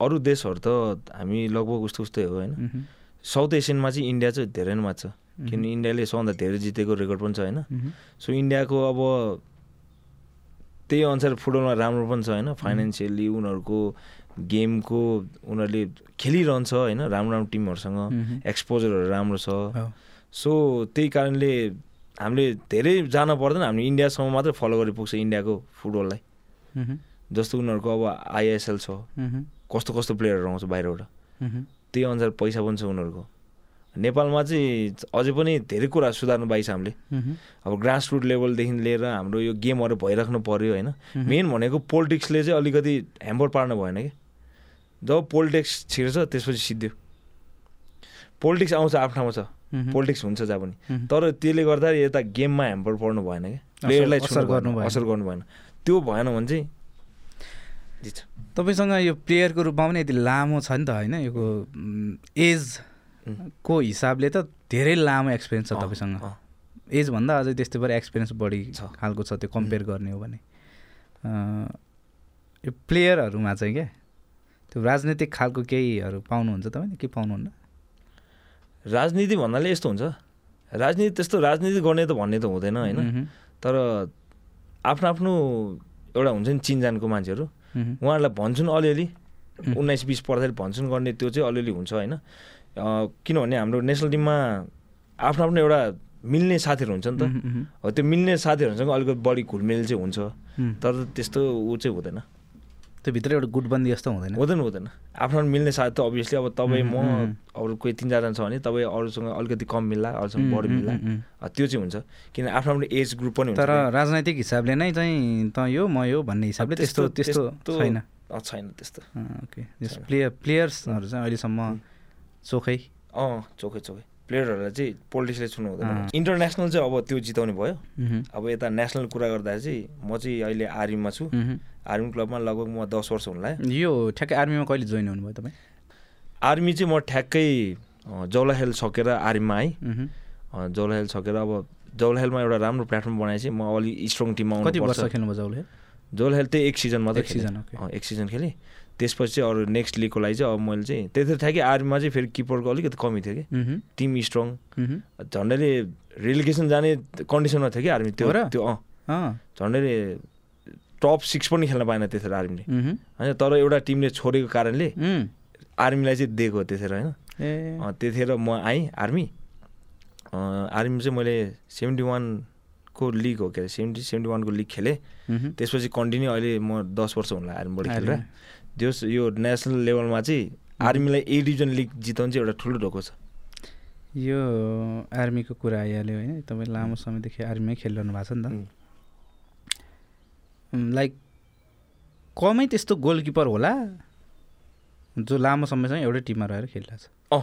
S2: अरू देशहरू त हामी लगभग उस्तो उस्तै हो होइन
S1: मह्म,
S2: साउथ एसियनमा चाहिँ इन्डिया चाहिँ धेरै नै मात्छ
S1: मह्म,
S2: किनभने इन्डियाले सबभन्दा धेरै जितेको रेकर्ड पनि छ होइन
S1: मह्म,
S2: सो इन्डियाको अब त्यही अनुसार फुटबलमा राम्रो पनि छ होइन फाइनेन्सियली उनीहरूको गेमको उनीहरूले खेलिरहन्छ होइन राम्रो राम्रो टिमहरूसँग
S1: मह्म।
S2: एक्सपोजरहरू राम्रो छ
S1: हो,
S2: सो त्यही कारणले हामीले धेरै जान पर्दैन हामीले इन्डियासम्म मात्रै फलो गरे पुग्छ इन्डियाको फुटबललाई
S1: मह्म,
S2: जस्तो उनीहरूको अब आइएसएल छ
S1: मह्म,
S2: कस्तो कस्तो प्लेयरहरू आउँछ बाहिरबाट
S1: मह्म,
S2: त्यही अनुसार पैसा पनि छ उनीहरूको नेपालमा चाहिँ अझै पनि धेरै कुरा सुधार्नु बाइ छ हामीले
S1: मह्म,
S2: अब ग्रास रुट लेभलदेखि लिएर हाम्रो यो गेमहरू भइराख्नु पऱ्यो होइन
S1: मह्म।
S2: मेन भनेको पोलिटिक्सले चाहिँ अलिकति ह्याम्पर पार्नु भएन कि जब पोलिटिक्स छिर्छ त्यसपछि सिद्धियो पोलिटिक्स आउँछ आफ्नो ठाउँमा छ
S1: मह्म,
S2: पोलिटिक्स हुन्छ जहाँ पनि
S1: मह्म।
S2: तर त्यसले गर्दा यता गेममा ह्याम्पर पर्नु भएन क्या
S1: असर-
S2: प्लेयरलाई
S1: असर
S2: छुनु भएन,
S1: गर्नु भएन।
S2: असर गर्नु भएन त्यो भएन भने चाहिँ जित्छ
S1: तपाईँसँग यो प्लेयरको रूपमा पनि यति लामो छ नि त होइन यो
S2: उम्.
S1: एजको हिसाबले त धेरै लामो एक्सपिरियन्स छ
S2: अँ,
S1: तपाईँसँग
S2: अँ।
S1: एजभन्दा अझै त्यस्तै भएर एक्सपिरियन्स बढी
S2: छ।
S1: खालको छ त्यो कम्पेयर गर्ने हो भने अँ, यो प्लेयरहरूमा चाहिँ क्या त्यो राजनीतिक खालको केहीहरू पाउनुहुन्छ तपाईँले के पाउनुहुन्न
S2: राजनीति भन्नाले यस्तो हुन्छ राजनीति त्यस्तो राजनीति गर्ने त भन्ने त हुँदैन होइन
S1: मह्म,
S2: तर आफ्नो आफ्नो एउटा हुन्छ नि चिनजानको मान्छेहरू
S1: मह्म,
S2: उहाँहरूलाई भन्छन् अलिअलि
S1: मह्म,
S2: उन्नाइस बिस पढ्दाखेरि भन्छन् गर्ने त्यो चाहिँ अलिअलि हुन्छ होइन अँ, किनभने हाम्रो नेसनल टिममा आफ्नो आफ्नो एउटा मिल्ने साथीहरू हुन्छ नि त
S1: मह्म, मह्म,
S2: हो त्यो मिल्ने साथीहरूसँग अलिकति बढी घुलमेल चाहिँ हुन्छ
S1: मह्म।
S2: तर त्यस्तो ऊ चाहिँ हुँदैन
S1: त्यो भित्र एउटा गुटबन्दी जस्तो हुँदैन
S2: हुँदैन हुँदैन आफ्नो आफ्नो मिल्ने साथ त अभियसली अब तपाईँ
S1: मह्म,
S2: म
S1: मह्म।
S2: अरू कोही तिन चारजना छ भने तपाईँ अरूसँग अलिकति कम मिल्ला अरूसँग
S1: मह्म,
S2: बढी
S1: मह्म,
S2: मिल्ला
S1: मह्म।
S2: अँ, त्यो चाहिँ हुन्छ किन आफ्नो आफ्नो एज ग्रुप पनि हुन्छ
S1: तर
S2: क्या।
S1: राजनैतिक हिसाबले नै चाहिँ त यो म यो भन्ने हिसाबले त्यस्तो
S2: त्यस्तो-
S1: त्यस्तो
S2: त्यस्तो-
S1: छैन
S2: अँ, छैन त्यस्तो
S1: अँ, ओके जस
S2: छैन।
S1: प्लेयर प्लेयर्सहरू चाहिँ अहिलेसम्म
S2: हुँ।
S1: चोखै
S2: अँ चोखे चोखे प्लेयरहरूलाई चाहिँ पोलिटिक्सले छुनु
S1: अँ।
S2: हुँदैन इन्टरनेसनल चाहिँ अब त्यो जिताउने भयो
S1: मह्म,
S2: अब यता नेसनल कुरा गर्दा चाहिँ म चाहिँ अहिले आर्मीमा छु
S1: मह्म।
S2: आर्मी क्लबमा लगभग म दस वर्ष हुनलाई
S1: यो ठ्याक्कै आर्मीमा कहिले जोइन हुनुभयो तपाईँ
S2: आर्मी चाहिँ म ठ्याक्कै अँ, जौलाहेल सकेर आर्मीमा आएँ
S1: मह्म।
S2: अँ, जौलाहेल सकेर अब जौलाहेलमा एउटा राम्रो प्लेटफर्म बनाएपछि म अलि स्ट्रङ टिममा
S1: कति वर्ष
S2: आउनुपर्छ
S1: खेल्नुभयो जसले
S2: जौलाहेल चाहिँ एक सिजन मात्रै
S1: एक
S2: खेलेँ।
S1: Season, okay.
S2: अँ, एक सिजन खेलेँ त्यसपछि चाहिँ अरू नेक्स्ट लिगको लागि चाहिँ अब मैले चाहिँ त्यतिखेर ठ्याक्कै आर्मीमा चाहिँ फेरि किपरको अलिकति कमी थियो कि
S1: मह्म,
S2: टिम स्ट्रङ
S1: मह्म।
S2: झन्डैले रिलिगेसन जाने कन्डिसनमा थियो कि आर्मी त्यो
S1: हो र?
S2: त्यो अँ
S1: अँ,
S2: झन्डैले टप सिक्स पनि खेल्न पाएन त्यसरी आर्मीले
S1: मह्म,
S2: होइन तर एउटा टिमले छोडेको कारणले
S1: मह्म।
S2: आर्मीलाई चाहिँ दिएको हो त्यसरी होइन
S1: ए
S2: अँ, त्यतिखेर म आएँ आर्मी अँ, आर्मी चाहिँ मैले सेभेन्टी वानको लिग हो के अरे सेभेन्टी सेभेन्टी वानको लिग खेलेँ
S1: मह्म,
S2: त्यसपछि कन्टिन्यू अहिले म दस वर्ष हुनला आर्मीबाट खेलेर
S1: आर्मी।
S2: जस यो नेसनल लेभलमा चाहिँ आर्मीलाई ए डिभिजन लिग जिताउनु चाहिँ एउटा ठुलो ढोको छ
S1: यो आर्मीको कुरा आइहाल्यो होइन तपाईँ लामो समयदेखि आर्मीमै खेलिरहनु भएको छ नि त लाइक कमै त्यस्तो गोलकिपर होला जो लामो समयसम्म एउटै टिममा रहेर खेलिरहेको छ
S2: अँ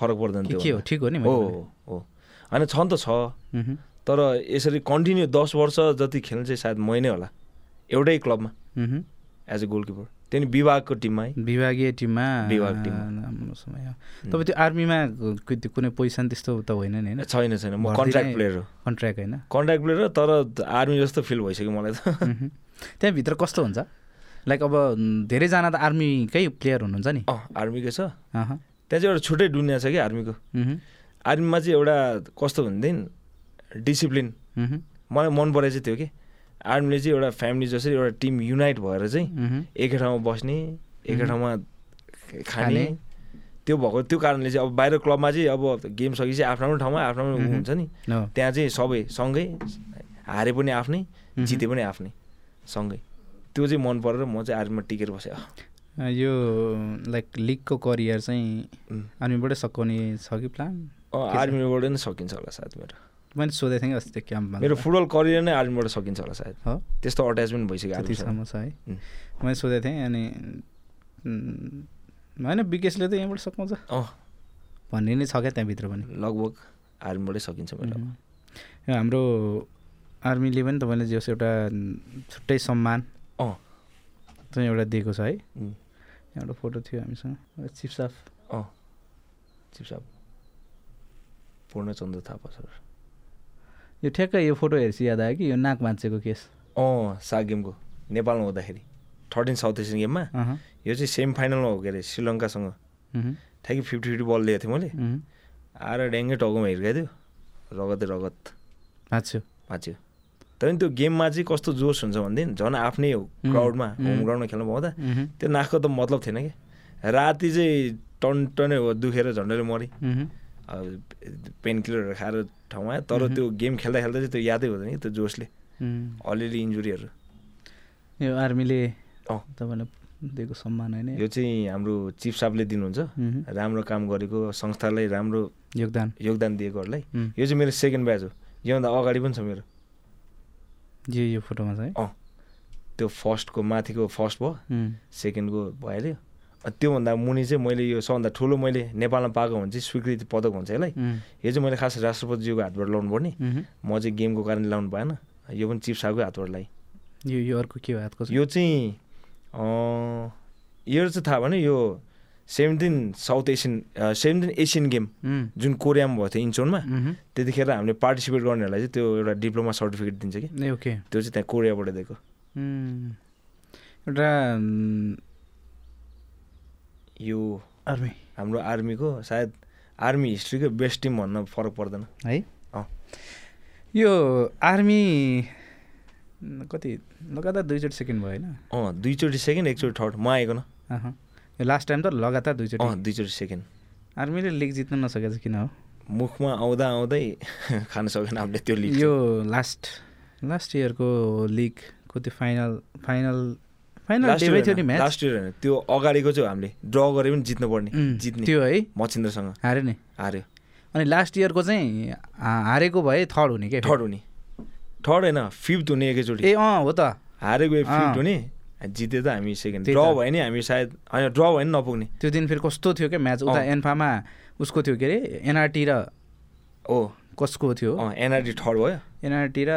S2: फरक पर्दैन
S1: के
S2: त्यो
S1: के हो ठिक हो नि
S2: हो
S1: मैले भने।
S2: हो, हो होइन छ नि त छ
S1: मह्म,
S2: तर यसरी कन्टिन्यू दस वर्ष जति खेल्नु चाहिँ सायद मै नै होला एउटै क्लबमा
S1: मह्म।
S2: एज अ गोलकिपर त्यो नि विभागको टिममा है
S1: विभागीय टिममा
S2: विभाग टिममा।
S1: लामो समय हो। तपाईँ त्यो आर्मीमा कु- त्यो कुनै पोजिसन त्यस्तो त होइन नि होइन
S2: छैन छैन म
S1: भर्ती
S2: कन्ट्राक्ट
S1: नै-
S2: प्लेयर हो
S1: कन्ट्र्याक्ट होइन
S2: कन्ट्राक्ट प्लेयर हो तर आर्मी जस्तो फिल भइसक्यो मलाई त
S1: मह्म। त्यहाँभित्र कस्तो हुन्छ लाइक अब म, धेरैजना त आर्मीकै प्लेयर हुनुहुन्छ नि
S2: अँ आर्मीको छ
S1: अहँ,
S2: त्यहाँ चाहिँ एउटा छुट्टै दुनियाँ छ कि आर्मीको
S1: मह्म,
S2: आर्मीमा चाहिँ एउटा कस्तो भनेदेखि डिसिप्लिन
S1: मह्म,
S2: मलाई मन परे चाहिँ त्यो कि आर्मीले चाहिँ एउटा फ्यामिली जसरी एउटा टिम युनाइट भएर चाहिँ
S1: मह्म,
S2: एकै ठाउँमा बस्ने एकै
S1: मह्म।
S2: ठाउँमा खाने
S1: खाने।
S2: त्यो भएको त्यो कारणले चाहिँ अब बाहिर क्लबमा चाहिँ अब गेम सकेपछि आफ्नो आफ्नो ठाउँमा आफ्नो आफ्नो
S1: मह्म।
S2: हुन्छ नि
S1: हो।
S2: त्यहाँ चाहिँ सबै सँगै हारे पनि आफ्नै
S1: मह्म।
S2: जिते पनि आफ्नै सँगै त्यो चाहिँ मन परेर म चाहिँ आर्मीमा टिकेर बसेँ अँ,
S1: यो लाइक लिगको करियर चाहिँ
S2: उम्।
S1: आर्मीबाटै सकाउने छ कि प्लान के
S2: अँ,
S1: छ?
S2: आर्मीबाट नै सकिन्छ होला सायद मेरो
S1: मैले सोधेको थिएँ कि अस्ति त्यो क्याम्पमा
S2: मेरो फुटबल करियर नै आर्मीबाट सकिन्छ होला सायद
S1: हो
S2: त्यस्तो अट्याचमेन्ट भइसक्यो आर्मीसँग
S1: त्यतिसम्म छ है
S2: उम्.
S1: मैले सोधेको थिएँ अनि उम्, होइन विकेशले त यहीँबाट सकाउँछ
S2: अँ
S1: भन्ने नै छ क्या त्यहाँभित्र पनि
S2: लगभग आर्मीबाटै सकिन्छ मेरो
S1: उम्. यो हाम्रो आर्मीले पनि तपाईँले जस एउटा छुट्टै सम्मान
S2: अँ
S1: चाहिँ एउटा दिएको छ है
S2: उम्,
S1: एउटा फोटो थियो हामीसँग चिफ साफ
S2: अँ चिफ साहब पूर्णचन्द्र थापा सर
S1: यो ठ्याक्कै यो फोटो हेरेपछि याद आयो कि यो नाक मान्छेको केस
S2: अँ साग गेमको नेपालमा हुँदाखेरि थर्टिन साउथ एसियन गेममा
S1: अहँ,
S2: यो चाहिँ सेमी फाइनलमा हो के अरे श्रीलङ्कासँग
S1: उम्,
S2: ठ्याक्कै फिफ्टी फिफ्टी बल लिएको थिएँ मैले
S1: उम्,
S2: आएर ड्याङ्गै टाउकोमा हिर्काएको थियो रगतै रगत
S1: भाँच्यो
S2: भाँच्यो तर पनि त्यो गेममा चाहिँ कस्तो जोस हुन्छ भनेदेखि झन् आफ्नै हो
S1: उम्,
S2: क्राउडमा होम
S1: उम्।
S2: ग्राउन्डमा खेल्नु पाउँदा
S1: उम्,
S2: त्यो नाकको त मतलब थिएन कि राति चाहिँ टन टनै हो दुखेर झन्डैले मरेँ
S1: उम्,
S2: अब पेन किलरहरू खाएर ठाउँमा आयो तर
S1: मह्म।
S2: त्यो गेम खेल्दा खेल्दा चाहिँ त्यो यादै हुँदैन कि त्यो जोसले
S1: उम्।
S2: अलिअलि इन्जुरीहरू
S1: यो आर्मीले
S2: अँ।
S1: तपाईँलाई दिएको सम्मान होइन
S2: यो चाहिँ हाम्रो चिफ साहबले दिनुहुन्छ
S1: उम्,
S2: राम्रो काम गरेको संस्थालाई राम्रो
S1: योगदान
S2: योगदान दिएकोहरूलाई
S1: उम्,
S2: यो चाहिँ मेरो सेकेन्ड ब्याच हो योभन्दा अगाडि पनि छ मेरो
S1: यो यो फोटोमा छ है
S2: अँ त्यो फर्स्टको माथिको फर्स्ट भयो
S1: उम्,
S2: सेकेन्डको भइहाल्यो अनि त्योभन्दा मुनि चाहिँ मैले यो सबभन्दा ठुलो मैले नेपालमा पाएको हुन्छ स्वीकृति पदक हुन्छ यसलाई
S1: उम्,
S2: यो चाहिँ मैले खास राष्ट्रपतिज्यूको हातबाट लाउनु पर्ने
S1: उम्,
S2: म चाहिँ गेमको कारणले लाउनु भएन यो पनि चिफ साहबकै हातबाट लाएँ
S1: यो यो अर्को के हो हातको छ?
S2: यो चाहिँ अँ, यो चाहिँ थाहा भने यो seventeen South Asian seventeen Asian game
S1: उम्,
S2: जुन कोरियामा भएको थियो इन्चोनमा
S1: उम्,
S2: त्यतिखेर हामीले पार्टिसिपेट गर्नेहरूलाई चाहिँ त्यो एउटा डिप्लोमा सर्टिफिकेट दिन्छ कि
S1: ए ओके
S2: त्यो चाहिँ त्यहाँ कोरियाबाट दिएको
S1: उम्, एउटा उम्,
S2: यो
S1: आर्मी
S2: हाम्रो आर्मीको सायद आर्मी हिस्ट्रीको बेस्ट टिम भन्न फरक पर्दैन
S1: है
S2: अँ।
S1: यो आर्मी न, कति लगातार दुईचोटि सेकेन्ड भयो होइन
S2: अँ दुईचोटि सेकेन्ड एकचोटि थर्ड म आइकन
S1: अहँ। यो लास्ट टाइम त लगातार
S2: अँ
S1: दुईचोटि
S2: दुईचोटि सेकेन्ड
S1: आर्मीले लिग जित्न नसकेको छ किन हो
S2: मुखमा आउँदा आउँदै खान सकेन हामीले त्यो लिग
S1: यो लास्ट लास्ट इयरको लिगको त्यो फाइनल फाइनल फाइनल
S2: लास्ट
S1: डेमै थियो नि
S2: इयर
S1: म्याच
S2: लास्ट इयर होइन त्यो अगाडिको चाहिँ हो हामीले ड्र गरे पनि जित्नुपर्ने
S1: उम्,
S2: जित्ने
S1: त्यो है
S2: मचिन्द्रसँग
S1: हार्यो नि
S2: हार्यो
S1: अनि लास्ट इयरको चाहिँ हा- हारेको भए थर्ड हुने क्या
S2: थर्ड हुने थर्ड होइन फिफ्थ हुने एकैचोटि
S1: ए अँ हो त
S2: हारेको गयो
S1: अँ।
S2: फिफ्थ हुने जिते त हामी सेकेन्ड
S1: त्यही
S2: ड्र
S1: त।
S2: भयो नि हामी सायद होइन ड्र भयो नि नपुग्ने
S1: त्यो दिन फेरि कस्तो थियो क्या म्याच उता
S2: अँ।
S1: एन्फामा उसको थियो के अरे एनआरटी र
S2: ओ
S1: कसको थियो
S2: अँ एनआरडी थर्ड भयो
S1: एनआरटी र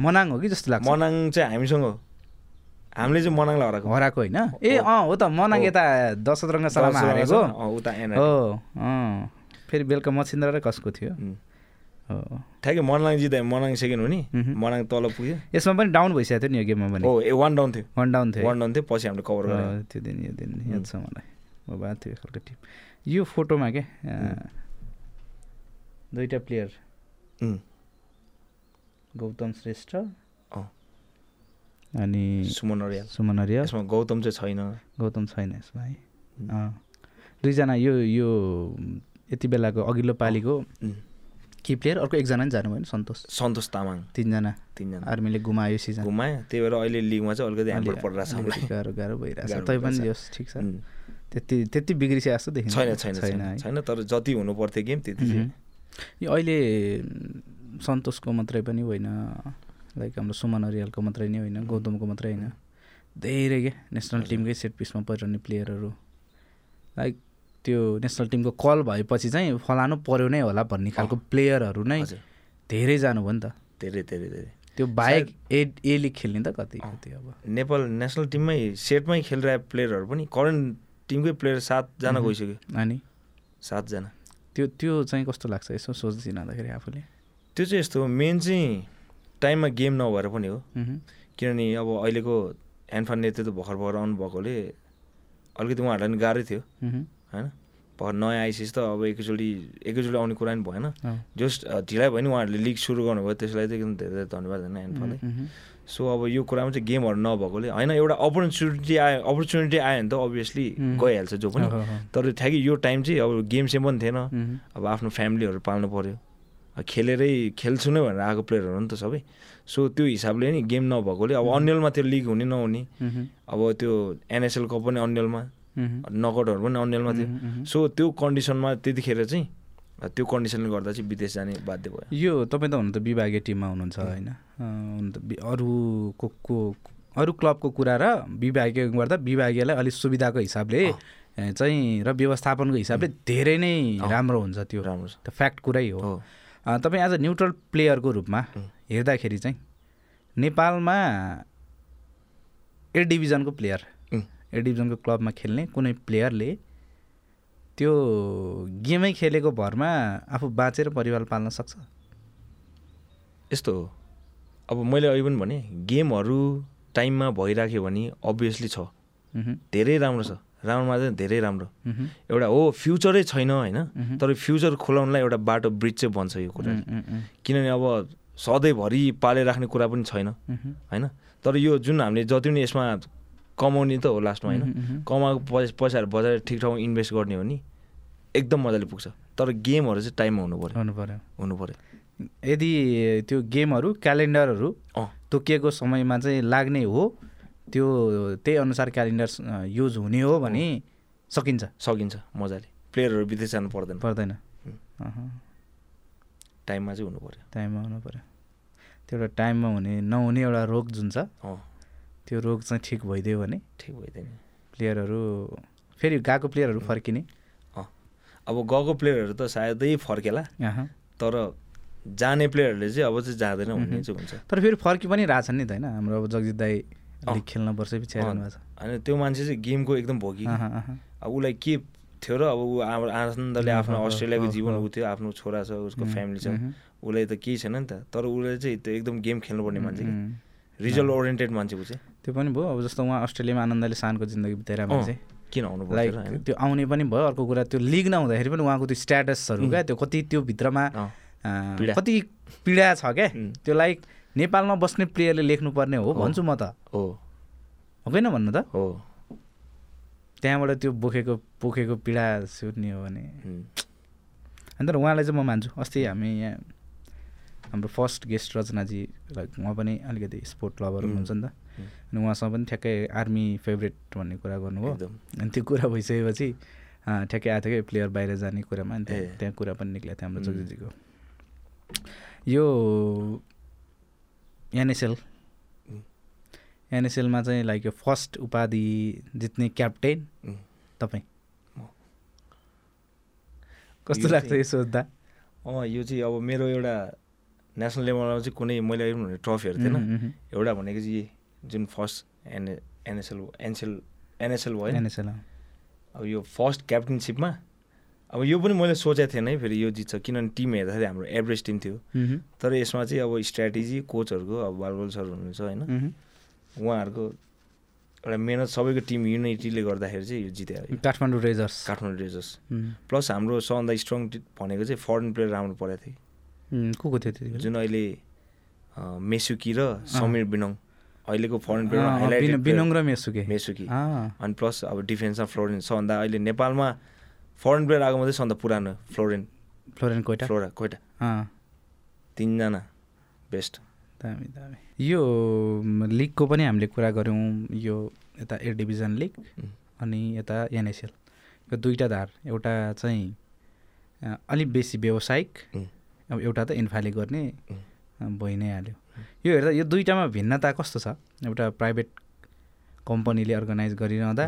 S1: मनाङ हो कि जस्तो लाग्छ
S2: मनाङ चाहिँ हामीसँग हो हामीले चाहिँ मनाङलाई हराएको
S1: हराएको होइन ए
S2: हो।
S1: अँ हो त मनाङ
S2: हो।
S1: यता दशरथ रङ्गशालामा
S2: दर्शकसँग
S1: हारेको
S2: छ, अँ, उता एनआरडी
S1: हो अँ फेरि बेलुका मछिन्द्र र कसको थियो
S2: उम्,
S1: हो
S2: ठ्याक्कै मनाङ जित्यो मनाङ सेकेन्ड हुने
S1: मह्म।
S2: मनाङ तल पुग्यो
S1: यसमा पनि डाउन भइसकेको थियो नि यो गेममा पनि
S2: ओ ए वान डाउन थियो
S1: वान डाउन थियो
S2: वान डाउन थियो पछि हामीले कभर
S1: अँ,
S2: गऱ्यौँ
S1: त्यो दिन यो दिन
S2: हुँ।
S1: याद छ मलाई म भएको थियो खालको टिम यो फोटोमा के
S2: Hmm।
S1: दुईवटा प्लेयर
S2: उम्,
S1: गौतम श्रेष्ठ
S2: अँ।
S1: अनि
S2: सुमन Hmm। अर्याल
S1: सुमन हरिया
S2: यसमा गौतम चाहिँ छैन
S1: गौतम छैन यसमा है अँ। दुईजना यो यो यति बेलाको
S2: Oh।
S1: अघिल्लो पालिको
S2: उम्,
S1: कि प्लेयर अर्को एकजना नि जानुभयो नि सन्तोष
S2: सन्तोष तामाङ
S1: तिनजना
S2: तिनजना
S1: आर्मीले गुमायो सिजन
S2: घुमायो त्यही भएर अहिले लिगमा चाहिँ अलिकति ह्याम्पर
S1: अलि-
S2: परिरहेको छ
S1: अलिकति
S2: हामीलाई
S1: गाह्रो गाह्रो भइरहेछ
S2: गाह्रो
S1: तै पनि
S2: भइरहेछ।
S1: यस ठिक छ
S2: उम्,
S1: त्यति त्यति बिग्रिसके जस्तो देखिन्छ
S2: छैन छैन छैन
S1: है
S2: छैन तर जति हुनु पर्थ्यो गेम त्यति
S1: मह्म।
S2: चाहिँ
S1: यो अहिले सन्तोषको मात्रै पनि होइन लाइक हाम्रो सुमन अरियालको मात्रै नै होइन गौतमको मात्रै होइन धेरै क्या नेसनल टिमकै सेट पिसमा परिरहने प्लेयरहरू लाइक त्यो नेसनल टिमको कल भएपछि चाहिँ फलानु पर्यो नै होला भन्ने खालको प्लेयरहरू नै
S2: हजुर।
S1: धेरै जानुभयो नि त
S2: धेरै धेरै धेरै
S1: त्यो बाहेक ए ए लिग खेल्ने त कति कति अब
S2: नेपाल नेसनल टिममै सेटमै खेलिरहेको प्लेयरहरू पनि करेन्ट टिमकै प्लेयर सातजना गइसक्यो
S1: अनि
S2: सातजना
S1: त्यो त्यो चाहिँ कस्तो लाग्छ यसो सोच्दै नाँदाखेरि आफूले
S2: त्यो चाहिँ यस्तो हो मेन चाहिँ टाइममा गेम नभएर पनि हो
S1: मह्म,
S2: किनभने अब अहिलेको ह्यान्डफान नेतृत्व भर्खर भर्खर आउनु भएकोले अलिकति उहाँहरूलाई पनि गाह्रै थियो
S1: मह्म,
S2: होइन भर्खर नयाँ आइसिस त अब एकैचोटि एकैचोटि आउने कुरा नि भएन
S1: अँ,
S2: जस्ट अ, ढिलाइ भयो नि उहाँहरूले लिग सुरु गर्नुभयो त्यसलाई चाहिँ एकदम धेरै धेरै धन्यवाद होइन
S1: मह्म,
S2: ह्यान्डफानलाई
S1: मह्म,
S2: सो अब यो कुरामा चाहिँ गेमहरू नभएकोले होइन एउटा अपर्च्युनिटी आयो अपर्च्युनिटी आयो भने त अभियसली
S1: उम्.
S2: गइहाल्छ जो पनि
S1: अहँ, अहँ।
S2: तर ठ्याक्कै यो टाइम चाहिँ अब गेम सेम पनि थिएन
S1: मह्म,
S2: अब आफ्नो फ्यामिलीहरू पाल्नु पऱ्यो खेलेरै खेल्छु नै भनेर आएको प्लेयरहरू हो नि त सबै सो त्यो हिसाबले नि गेम नभएकोले अब अन्यलमा त्यो लिग हुने नहुने
S1: मह्म,
S2: अब त्यो एनएसएल कप पनि अन्यलमा
S1: मह्म,
S2: नकआउटहरू पनि अन्यलमा थियो
S1: मह्म, मह्म।
S2: सो त्यो कन्डिसनमा त्यतिखेर चाहिँ त्यो कन्डिसनले गर्दा चाहिँ विदेश जाने बाध्य भयो
S1: यो तपाईँ त हुनु त विभागीय टिममा हुनुहुन्छ होइन अँ, हुनु त बि- अरूको को अरू क्लबको कुरा र विभागीय गर्दा विभागीयलाई अलिक सुविधाको हिसाबले ए, चाहिँ र व्यवस्थापनको हिसाबले धेरै नै राम्रो हुन्छ त्यो
S2: राम्रो छ
S1: त फ्याक्ट कुरै हो
S2: हो
S1: अँ, तपाईँ एज अ न्युट्रल प्लेयरको रूपमा हेर्दाखेरि चाहिँ नेपालमा ए डिभिजनको प्लेयर
S2: उम्,
S1: ए डिभिजनको क्लबमा खेल्ने कुनै प्लेयरले त्यो गेमै खेलेको भरमा आफू बाँचेर परिवार पाल्न सक्छ
S2: यस्तो हो अब मैले अहिले पनि भने गेमहरू टाइममा भइराख्यो भने अभियसली छ
S1: मह्म,
S2: धेरै राम्रो छ राम्रोमा चाहिँ धेरै राम्रो
S1: मह्म,
S2: एउटा हो फ्युचरै छैन होइन
S1: मह्म।
S2: तर फ्युचर खोलाउनलाई एउटा बाटो ब्रिज चाहिँ बन्छ यो कुरा
S1: मह्म, मह्म,
S2: किनभने अब सधैँभरि पाले राख्ने कुरा पनि छैन
S1: मह्म,
S2: होइन तर यो जुन हामीले जति पनि यसमा कमाउने त हो लास्टमा होइन
S1: मह्म, मह्म।
S2: कमाएको पैसा पैसाहरू बजाएर ठिक ठाउँमा इन्भेस्ट गर्ने हो नि एकदम मजाले पुग्छ तर गेमहरू चाहिँ टाइममा हुनु पऱ्यो
S1: हुनु पऱ्यो
S2: हुनु पऱ्यो
S1: यदि त्यो गेमहरू क्यालेन्डरहरू
S2: अँ
S1: तोकिएको समयमा चाहिँ लाग्ने हो त्यो त्यही अनुसार क्यालेन्डर अँ, युज हुने हो भने सकिन्छ
S2: सकिन्छ मजाले प्लेयरहरू विदेश जानु पर्दैन
S1: पर्दैन
S2: हुँ।
S1: अहँ,
S2: टाइममा चाहिँ हुनु पऱ्यो
S1: टाइममा हुनु पऱ्यो त्यो एउटा टाइममा हुने नहुने एउटा रोग जुन छ
S2: अँ
S1: त्यो रोग चाहिँ ठिक भइदियो भने
S2: ठिक भइदिएन
S1: प्लेयरहरू फेरि गएको प्लेयरहरू फर्किने
S2: अँ अब गएको प्लेयरहरू त सायदै फर्केला
S1: अहँ।
S2: तर जाने प्लेयरहरूले चाहिँ अब चाहिँ जाँदैन भन्ने चाहिँ हुन्छ
S1: तर फेरि फर्कि पनि रहेछन् नि त होइन हाम्रो अब जगजित दाई
S2: अँ।
S1: अलिक खेल्न वर्ष पछि आइरहनु भएको छ
S2: होइन त्यो मान्छे चाहिँ गेमको एकदम भोगी
S1: अहँ, अहँ।
S2: अब उसलाई के थियो र अब ऊ आ- आनन्दले आफ्नो
S1: अँ, अँ,
S2: अस्ट्रेलियाको
S1: अँ,
S2: जीवन
S1: अँ।
S2: ऊ थियो आफ्नो छोरा छ उसको
S1: उम्,
S2: फ्यामिली छ
S1: उम्हुँ।
S2: उसलाई त केही छैन नि त तर उसलाई चाहिँ त्यो एकदम गेम खेल्नुपर्ने मान्छे कि
S1: उम्,
S2: रिजल्ट ओरिएन्टेड मान्छे ऊ चाहिँ
S1: त्यो पनि भयो अब जस्तो उहाँ अस्ट्रेलियामा आनन्दले सानको जिन्दगी बिताएर
S2: अँ,
S1: मान्छे
S2: किन आउनु
S1: लाइक
S2: पर्छ होइन
S1: त्यो आउने पनि भयो अर्को कुरा त्यो लिग नहुँदाखेरि पनि उहाँको त्यो स्ट्याटसहरू क्या त्यो कति त्यो भित्रमा
S2: अँ,
S1: अँ,
S2: पीडा।
S1: कति पीडा छ क्या
S2: उम्।
S1: त्यो लाइक नेपालमा बस्ने प्लेयरले लेख्नुपर्ने हो भन्छु म त
S2: हो
S1: हो कि न भन्नु त
S2: हो
S1: त्यहाँबाट त्यो बोकेको बोकेको पीडा सुर्ने हो भने
S2: उम्,
S1: अनि तर उहाँलाई चाहिँ म मान्छु अस्ति हामी यहाँ हाम्रो फर्स्ट गेस्ट रचनाजी लाइक उहाँ पनि अलिकति स्पोर्ट लभर
S2: उम्,
S1: हुनुहुन्छ नि त
S2: उम्।
S1: अनि उहाँसँग पनि ठ्याक्कै आर्मी फेभरेट भन्ने कुरा गर्नुभयो
S2: एकदम
S1: अनि त्यो कुरा भइसकेपछि अँ, ठ्याक्कै आएको थियो क्या प्लेयर बाहिर जाने कुरामा अनि त्यहाँ
S2: ए।
S1: त्यहाँ कुरा पनि निक्लेको थियो हाम्रो
S2: उम्।
S1: जगजीजीको यो एनएसएल
S2: उम्।
S1: एनएसएलमा चाहिँ लाइक यो फर्स्ट उपाधि जित्ने क्याप्टेन
S2: उम्।
S1: तपाईँ
S2: म।
S1: कस्तो
S2: यो
S1: लाग्छ
S2: चाहिँ-
S1: यो सोच्दा
S2: अँ यो चाहिँ अब मेरो एउटा नेसनल लेभलमा चाहिँ कुनै मैले अहिले भने ट्रफीहरू थिएन
S1: उम्, उम्,
S2: एउटा भनेको चाहिँ जुन first N NSL NSL NSL
S1: उम्,
S2: भयो नि।
S1: NSL, अँ।
S2: अब यो फर्स्ट क्याप्टेनसिपमा अब यो पनि मैले सोचेको थिएन है फेरि यो जित्छ किनभने टिम हेर्दाखेरि हाम्रो एभरेज टिम थियो
S1: उम्हुँ,
S2: तर यसमा चाहिँ अब स्ट्राटेजी कोचहरूको अब बालबोल सर हुनुहुन्छ होइन
S1: उम्हुँ।
S2: उहाँहरूको एउटा मेहनत सबैको टिम युनिटीले गर्दाखेरि चाहिँ यो जित्यो अरे।
S1: काठमाडौँ रेजर्स
S2: काठमाडौँ रेजर्स
S1: उम्,
S2: प्लस हाम्रो सबभन्दा स्ट्रङ भनेको चाहिँ फरेन प्लेयर राम्रो परेको थियो
S1: उम्, को को थियो त्यति बेला?
S2: जुन अहिले अ, मेसुकी र समीर बिनोङ अहिलेको फरेन
S1: अँ, अँ, बिन- बिनोङ
S2: प्लेयर
S1: र मेसुके
S2: मेसुकी
S1: अँ,
S2: अनि प्लस अब डिफेन्समा फ्लोरेन सबभन्दा अहिले नेपालमा फरेन प्लेयर आएको मात्रै सबभन्दा पुरानो फ्लोरेन
S1: फ्लोरेन कोइटा
S2: फ्लोरा कोइटा
S1: अँ,
S2: तिनजना बेस्ट
S1: दामी दामी यो म, लिगको पनि हामीले कुरा गऱ्यौँ यो यता ए डिभिजन लिग
S2: उम्.
S1: अनि यता एनएसएल यो दुईवटा धार एउटा चाहिँ अ, अलिक बेसी व्यावसायिक
S2: उम्.
S1: अब एउटा त इन्फाले गर्ने
S2: उम्.
S1: अ, भइ नै हाल्यो यो हेर्दा यो दुईवटामा भिन्नता कस्तो छ एउटा प्राइभेट कम्पनीले अर्गनाइज गरिरहँदा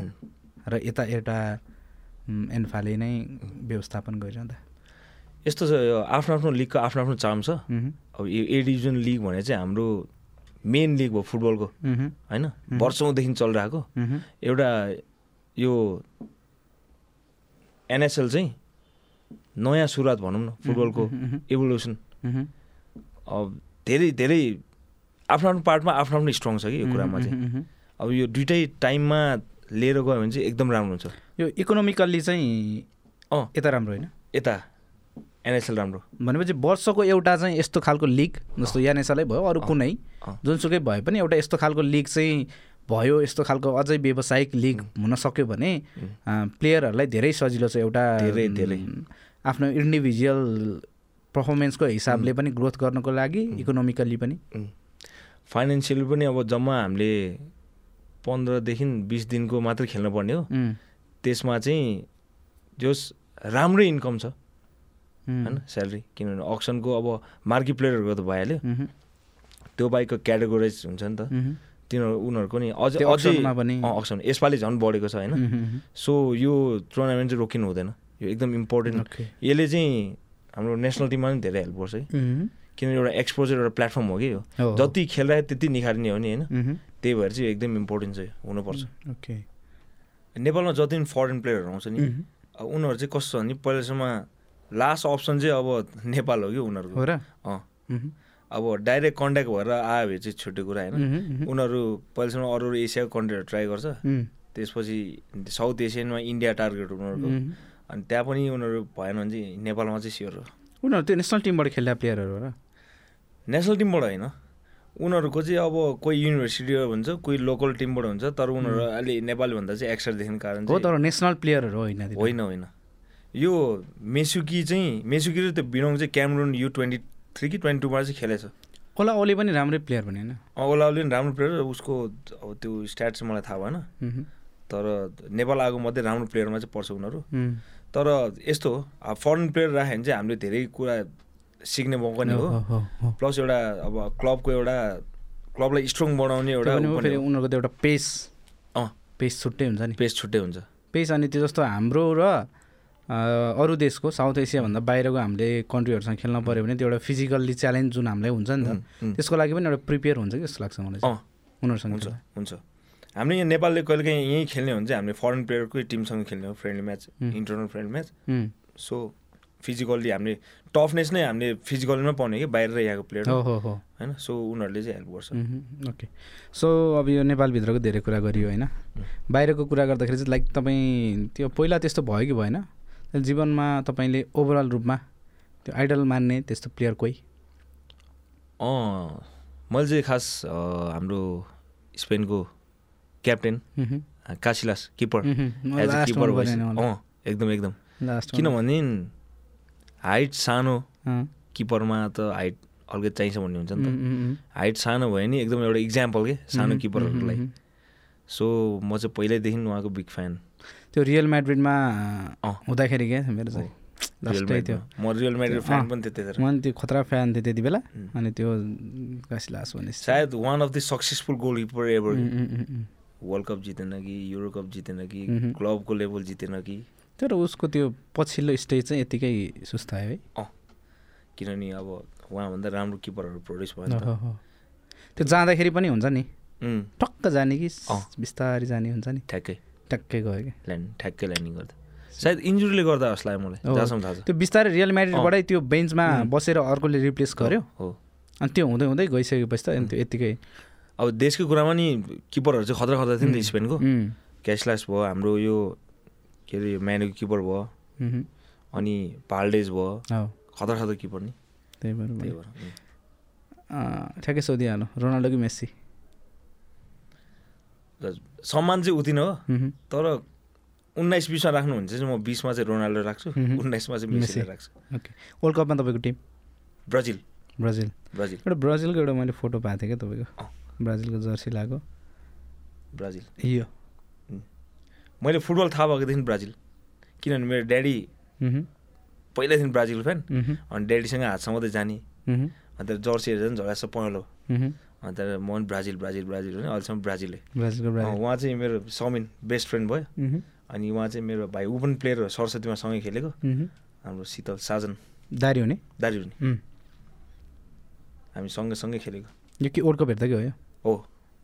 S1: र यता एउटा एन्फाले नै व्यवस्थापन गरिरहँदा
S2: यस्तो छ यो आफ्नो आफ्नो लिगको आफ्नो आफ्नो चाम छ अब यो ए डिभिजन लिग भने चाहिँ हाम्रो मेन लिग भयो फुटबलको होइन वर्षौँदेखि चलिरहेको एउटा यो एनएसएल चाहिँ नयाँ सुरुवात भनौँ न फुटबलको एभोल्युसन अब धेरै धेरै आफ्नो आफ्नो पार्टमा आफ्नो आफ्नो स्ट्रङ छ कि यो कुरामा चाहिँ अब यो दुइटै टाइममा लिएर गयो भने चाहिँ एकदम राम्रो हुन्छ
S1: यो इकोनोमिकल्ली चाहिँ
S2: अँ
S1: यता राम्रो होइन
S2: यता एनएसएल राम्रो
S1: भनेपछि वर्षको एउटा चाहिँ यस्तो खालको लिग जस्तो यानेसालै भयो अरू कुनै
S2: अँ।
S1: जुनसुकै भए पनि एउटा यस्तो खालको लिग चाहिँ भयो यस्तो खालको अझै व्यावसायिक लिग हुन सक्यो भने अँ, प्लेयरहरूलाई धेरै सजिलो छ एउटा
S2: धेरै, धेरै।
S1: उम्, आफ्नो इन्डिभिजुअल पर्फर्मेन्सको हिसाबले पनि ग्रोथ गर्नको लागि इकोनोमिकल्ली पनि
S2: फाइनेन्सियल पनि अब जम्मा हामीले पन्ध्रदेखि बिस दिनको मात्रै खेल्नुपर्ने हो
S1: उम्,
S2: त्यसमा चाहिँ जस राम्रै इन्कम छ
S1: उम्,
S2: होइन स्यालेरी किनभने अक्सनको अब मार्केट प्लेयरहरूको त भइहाल्यो
S1: उम्,
S2: त्यो बाहेकको क्याटेगोराइज हुन्छ नि त
S1: उम्,
S2: तिनीहरू उनीहरूको नि अझ
S1: त्यो
S2: अझै
S1: auctionमा पनि।
S2: अँ, auction। यसपालि झन् बढेको छ होइन
S1: उम्,
S2: सो यो टुर्नामेन्ट चाहिँ रोकिनु हुँदैन यो एकदम इम्पोर्टेन्ट
S1: Okay.
S2: यसले चाहिँ हाम्रो नेसनल टिममा पनि धेरै हेल्प गर्छ कि
S1: उम्,
S2: किनभने एउटा एक्सपोजर एउटा प्लेटफर्म हो कि यो
S1: हो, हो।
S2: जति खेलिरहेको त्यति निखार्ने हो नि होइन
S1: उम्,
S2: त्यही भएर चाहिँ यो एकदम इम्पोर्टेन्ट चाहिँ हुनुपर्छ
S1: ओके
S2: नेपालमा जति पनि फरेन प्लेयरहरू आउँछ नि
S1: उम्,
S2: अब उनीहरू चाहिँ कस्तो छ भने पहिलासम्म लास्ट अप्सन चाहिँ अब नेपाल हो कि उनीहरूको
S1: हो र
S2: अँ
S1: उम्,
S2: अब डाइरेक्ट कन्ट्याक्ट भएर आयो भने चाहिँ छुट्टै कुरा होइन
S1: उम्, उम्,
S2: उनीहरू पहिलासम्म अरू अरू एसियाको कन्ट्रीहरू ट्राई गर्छ
S1: उम्,
S2: त्यसपछि साउथ एसियनमा इन्डिया टार्गेट उनीहरूको
S1: उम्।
S2: अनि त्यहाँ पनि उनीहरू भएन भने चाहिँ नेपालमा चाहिँ स्योर हो
S1: उनीहरू त्यो नेसनल टिमबाट खेल्दा प्लेयरहरू हो र
S2: नेसनल टिमबाट होइन उनीहरूको चाहिँ अब कोही युनिभर्सिटीबाट हुन्छ कोही लोकल टिमबाट हुन्छ तर उनीहरू अलि नेपाली भन्दा चाहिँ एक्सर देख्ने कारण
S1: हो
S2: चाहिँ
S1: तर नेसनल प्लेयरहरू होइन तिनीहरू।
S2: होइन होइन यो मेसुकी चाहिँ मेसुकी र त्यो बिनोङ चाहिँ क्यामरुन यु ट्वेन्टी थ्री कि ट्वेन्टी टूमा चाहिँ खेलेछ
S1: ओला ओली पनि राम्रै प्लेयर भने होइन
S2: अँ, ओलाउले पनि राम्रो प्लेयर उसको अब त्यो स्ट्याट चाहिँ मलाई थाहा भएन
S1: उम्हुँ,
S2: तर नेपाल आएको मात्रै राम्रो प्लेयरमा चाहिँ पर्छ उनीहरू
S1: उम्,
S2: तर यस्तो हो अब फरेन प्लेयर राख्यो भने चाहिँ हामीले धेरै कुरा सिक्ने मौका नै
S1: हो,
S2: हो
S1: हो, हो।
S2: प्लस एउटा अब क्लबको एउटा क्लबलाई स्ट्रङ बनाउने
S1: त्यो
S2: एउटा
S1: पनि
S2: ऊ
S1: हो,
S2: पनि
S1: फेरि
S2: हो।
S1: उनीहरूको त एउटा पेस
S2: अँ
S1: पेस छुट्टै हुन्छ नि
S2: पेस छुट्टै हुन्छ
S1: पेस अनि त्यो जस्तो हाम्रो र अ, अरू देशको साउथ एसियाभन्दा बाहिरको हामीले कन्ट्रीहरूसँग खेल्न पऱ्यो भने त्यो एउटा फिजिकल्ली च्यालेन्ज जुन हामीलाई हुन्छ नि त
S2: उम्, उम्।
S1: त्यसको लागि पनि एउटा प्रिपेयर हुन्छ कि जस्तो लाग्छ मलाई चाहिँ।
S2: अँ
S1: उनीहरूसँग
S2: हुन्छ
S1: खेल्दा।
S2: हुन्छ हामीले यहाँ नेपालले कहिलेकाहीँ यहीँ खेल्ने हो भने चाहिँ हामीले फरेन प्लेयरकै टिमसँग खेल्ने हो friendly match internal friendly match
S1: उम्,
S2: सो फिजिकल्ली हामीले टफनेस नै हामीले फिजिकलमा पाउने कि बाहिर यहाँको प्लेयर
S1: हो हो हो
S2: होइन सो उनीहरूले चाहिँ हेल्प गर्छ
S1: उम्हुँ, ओके सो अब यो नेपालभित्रको धेरै कुरा गरियो होइन बाहिरको कुरा गर्दाखेरि चाहिँ लाइक तपाईँ त्यो पहिला त्यस्तो भयो कि भएन जीवनमा तपाईँले ओभरअल रूपमा त्यो आइडल मान्ने त्यस्तो प्लेयर कोही
S2: अँ मैले चाहिँ खास अ, हाम्रो स्पेनको क्याप्टेन
S1: उम्हुँ,
S2: अ, कासिलास किपर
S1: उम्हुँ, म
S2: एज अ
S1: last
S2: किपर
S1: मन
S2: भएपछि-
S1: परेन मलाई।
S2: अँ एकदम एकदम
S1: लास्ट वान।
S2: किनभने हाइट सानो
S1: अँ,
S2: किपरमा त हाइट अलिकति चाहिन्छ भन्ने हुन्छ नि
S1: उम्,
S2: त
S1: उम्, उम्,
S2: हाइट सानो भयो नि एकदम एउटा इक्जाम्पल के सानो
S1: उम्,
S2: किपरहरूलाई
S1: उम्, उम्,
S2: सो म चाहिँ पहिल्यैदेखि उहाँको बिग फ्यान
S1: त्यो रियल म्याड्रिडमा
S2: अँ।
S1: हुँदाखेरि क्या मेरो चाहिँ
S2: रियल
S1: लास्टै त्यो
S2: म्याड्रिडमा। म रियल म्याड्रिड फ्यान
S1: अँ।
S2: पनि थिएँ त्यतिखेर
S1: म नि त्यो खतरा फ्यान थियो त्यति बेला अनि त्यो कासिलास भने
S2: सायद one of the successful goalkeeper ever
S1: उम्, उम्, उम्, उम्।
S2: वर्ल्ड कप जितेन कि युरो कप जितेन कि
S1: मह्म।
S2: क्लबको लेभल जितेन कि
S1: तर उसको त्यो पछिल्लो स्टेज चाहिँ यत्तिकै सुस्त आयो है
S2: अँ किनभने अब उहाँभन्दा राम्रो किपरहरू प्रड्युस भयो नि त।
S1: अहो। त्यो जाँदाखेरि पनि हुन्छ नि
S2: उम्,
S1: टक्क जाने कि
S2: अँ।
S1: बिस्तारै जाने हुन्छ नि
S2: ठ्याक्कै
S1: टक्कै गयो कि
S2: ल्यान्ड ठ्याक्कै ल्यान्डिङ गर्दा सायद इन्जुरीले गर्दा जस्तो लाग्यो मलाई
S1: हो।
S2: जहाँसम्म थाहा छ
S1: त्यो बिस्तारै रियल म्याड्रिडबाटै त्यो बेन्चमा बसेर अर्कोले रिप्लेस गर्यो
S2: हो
S1: अनि त्यो हुँदै हुँदै गइसकेपछि त अनि त्यो यत्तिकै
S2: अब देशको कुरामा नि किपरहरू चाहिँ खतरा खतरा थियो नि त स्पेनको
S1: उम्,
S2: क्यासलास भयो हाम्रो यो के अरे म्यानुको किपर भयो
S1: उम्हुँ,
S2: अनि पाल्डेज भयो
S1: हो
S2: खतरा खतरा किपर नि
S1: त्यही भएर भने।
S2: त्यही भएर उम्।
S1: अँ, ठ्याक्कै सोधिहाल्नु रोनाल्डो कि मेस्सी
S2: र सम्मान चाहिँ उति नै हो
S1: उम्हुँ,
S2: तर उन्नाइस बिसमा राख्नुहुन्छ चाहिँ म बिसमा चाहिँ रोनाल्डो राख्छु
S1: मह्म।
S2: उन्नाइसमा चाहिँ
S1: मेसी।
S2: मेसीले राख्छु
S1: ओके वर्ल्ड कपमा तपाईँको टिम
S2: ब्राजिल
S1: ब्राजिल
S2: ब्राजिल
S1: एउटा ब्राजिलको एउटा मैले फोटो पाएको थिएँ क्या तपाईँको
S2: अँ।
S1: ब्राजिलको जर्सी लगाएको
S2: ब्राजिल
S1: यो
S2: मैले फुटबल थाहा भएकोदेखि ब्राजिल किनभने मेरो ड्याडी
S1: उम्हुँ,
S2: पहिलादेखि ब्राजिल फ्यान
S1: उम्हुँ,
S2: अनि ड्याडीसँग हातसँग मात्रै जाने
S1: उम्हुँ,
S2: अन्त जर्सीहरू झन् झोला पहेँलो अन्त मोहन ब्राजिल ब्राजिल ब्राजिल भने अहिलेसम्म ब्राजिलै
S1: ब्राजिलको
S2: अँ,
S1: ब्राजिल
S2: उहाँ चाहिँ मेरो समिन बेस्ट फ्रेन्ड भयो
S1: मह्म,
S2: अनि उहाँ चाहिँ मेरो भाइ ऊ पनि प्लेयर हो सरस्वतीमा सँगै खेलेको
S1: मह्म।
S2: हाम्रो शीतल साजन
S1: दारी हुने
S2: दाजु हुने
S1: उम्,
S2: हामी सँगै सँगै खेलेको
S1: यो के वर्ल्ड कप हेर्दा के हो यो?
S2: हो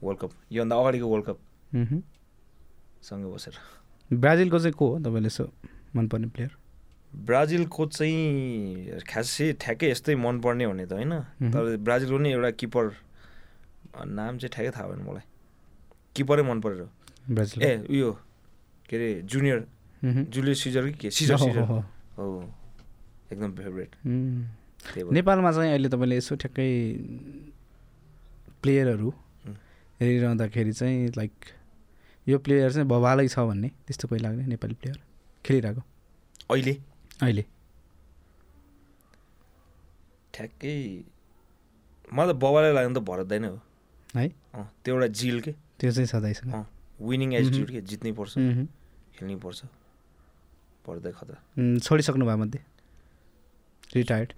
S2: वर्ल्ड कप योभन्दा अगाडिको वर्ल्ड कप
S1: मह्म।
S2: सँगै बसेर
S1: ब्राजिलको चाहिँ को हो तपाईँले यसो मनपर्ने प्लेयर
S2: ब्राजिलको चाहिँ खासै ठ्याक्कै यस्तै मनपर्ने हुने त होइन
S1: मह्म।
S2: तर ब्राजिलको नि एउटा किपर अ, नाम चाहिँ ठ्याक्कै थाहा भएन मलाई किपरै मन परेर हो।
S1: ब्राजिल
S2: ए उयो के अरे जुनियर जुलियो सिजर कि के सिजर सिजर हो एकदम फेभरेट त्यही भएर।
S1: नेपालमा चाहिँ अहिले तपाईँले यसो ठ्याक्कै प्लेयरहरू
S2: उम्.
S1: हेरिरहँदाखेरि चाहिँ लाइक यो प्लेयर चाहिँ भवालै छ भन्ने त्यस्तो कोही लाग्ने नेपाली प्लेयर खेलिरहेको
S2: अहिले
S1: अहिले
S2: ठ्याक्कै मलाई त बबालाई लाग्नु त भरदैन हो
S1: है
S2: अँ त्यो एउटा जिल के
S1: त्यो चाहिँ सधैँसँग
S2: अँ विनिङ एटिट्युड के जित्नै पर्छ
S1: मह्म।
S2: खेल्नै पर्छ पर्दै खतरा
S1: उम्, छोडिसक्नु भयो मध्ये रिटायर्ड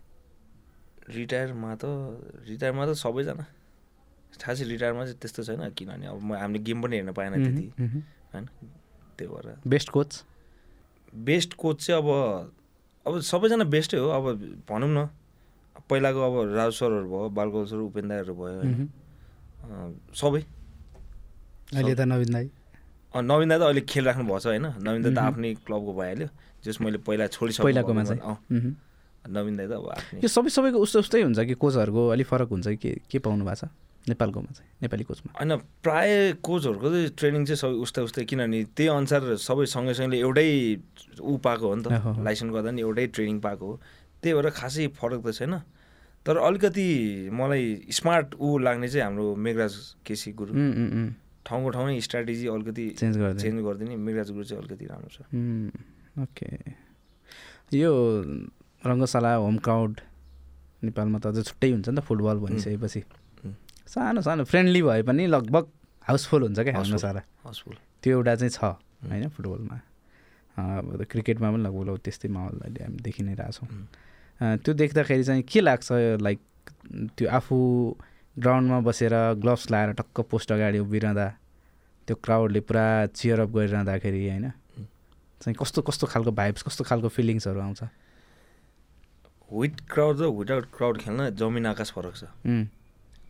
S2: रिटायरमा त रिटायरमा त सबैजना खासै रिटायरमा चाहिँ त्यस्तो छैन किनभने अब म- हामीले गेम पनि हेर्न पाएन त्यति होइन त्यही भएर
S1: बेस्ट कोच
S2: बेस्ट कोच चाहिँ अब अब सबैजना बेस्टै हो अब भनौँ न पहिलाको अब राज सरहरू भयो बालगोपाल सर उपेन्द्रहरू भयो होइन
S1: मह्म।
S2: अँ, सबै
S1: अहिले त नवीन दाई
S2: अँ, नवीन दा त अहिले खेल राख्नु भएको छ होइन नवीन दा त
S1: मह्म।
S2: आफ्नै क्लबको भइहाल्यो जस मैले पहिला छोडिसकेँ
S1: पहिलाकोमा चाहिँ मह्म।
S2: नवीन दा त अब आफ्नै
S1: यो सबै सबैको उस्तो उस्तै हुन्छ कि कोचहरूको अलिक फरक हुन्छ कि के के पाउनु भएको छ नेपालकोमा चाहिँ नेपाली कोचमा
S2: होइन प्राय कोचहरूको चाहिँ ट्रेनिङ चाहिँ सबै उस्तै उस्तै किनभने त्यही अनुसार सबै सँगैसँगले एउटै ऊ पाएको हो नि त
S1: अहो।
S2: लाइसेन्स गर्दा नि एउटै ट्रेनिङ पाएको हो त्यही भएर खासै फरक त छैन तर अलिकति मलाई स्मार्ट ऊ लाग्ने चाहिँ हाम्रो मेघराज केसी गुरु
S1: उम्, उम्, उम्।
S2: ठाउँको ठाउँमै स्ट्राटेजी अलिकति
S1: चेन्ज गरिदिने।
S2: चेन्ज गरिदिने मेघराज गुरु चाहिँ अलिकति राम्रो छ
S1: उम्, ओके यो रङ्गशाला होम क्राउड नेपालमा त अझ छुट्टै हुन्छ नि त फुटबल भनिसकेपछि
S2: उम्।
S1: सानो सानो फ्रेन्डली भए पनि लगभग हाउसफुल हुन्छ क्या हाम्रो
S2: हाउसफुल।
S1: सारा
S2: हाउसफुल
S1: त्यो एउटा चाहिँ छ होइन फुटबलमा अँ, अब त क्रिकेटमा पनि लगभग लगभग त्यस्तै माहौल अहिले हामी देखि नै रहेछौँ
S2: उम्.
S1: त्यो देख्दाखेरि चाहिँ के लाग्छ लाइक त्यो आफू ग्राउन्डमा बसेर ग्लोभ्स लाएर टक्क पोस्ट अगाडि उभिरहँदा त्यो क्राउडले पुरा चियरअप गरिरहँदाखेरि होइन
S2: उम्.
S1: चाहिँ कस्तो कस्तो खालको भाइब्स कस्तो खालको फिलिङ्सहरू आउँछ
S2: विथ क्राउड र विदाउट क्राउड खेल्न जमिन आकाश फरक छ
S1: उम्,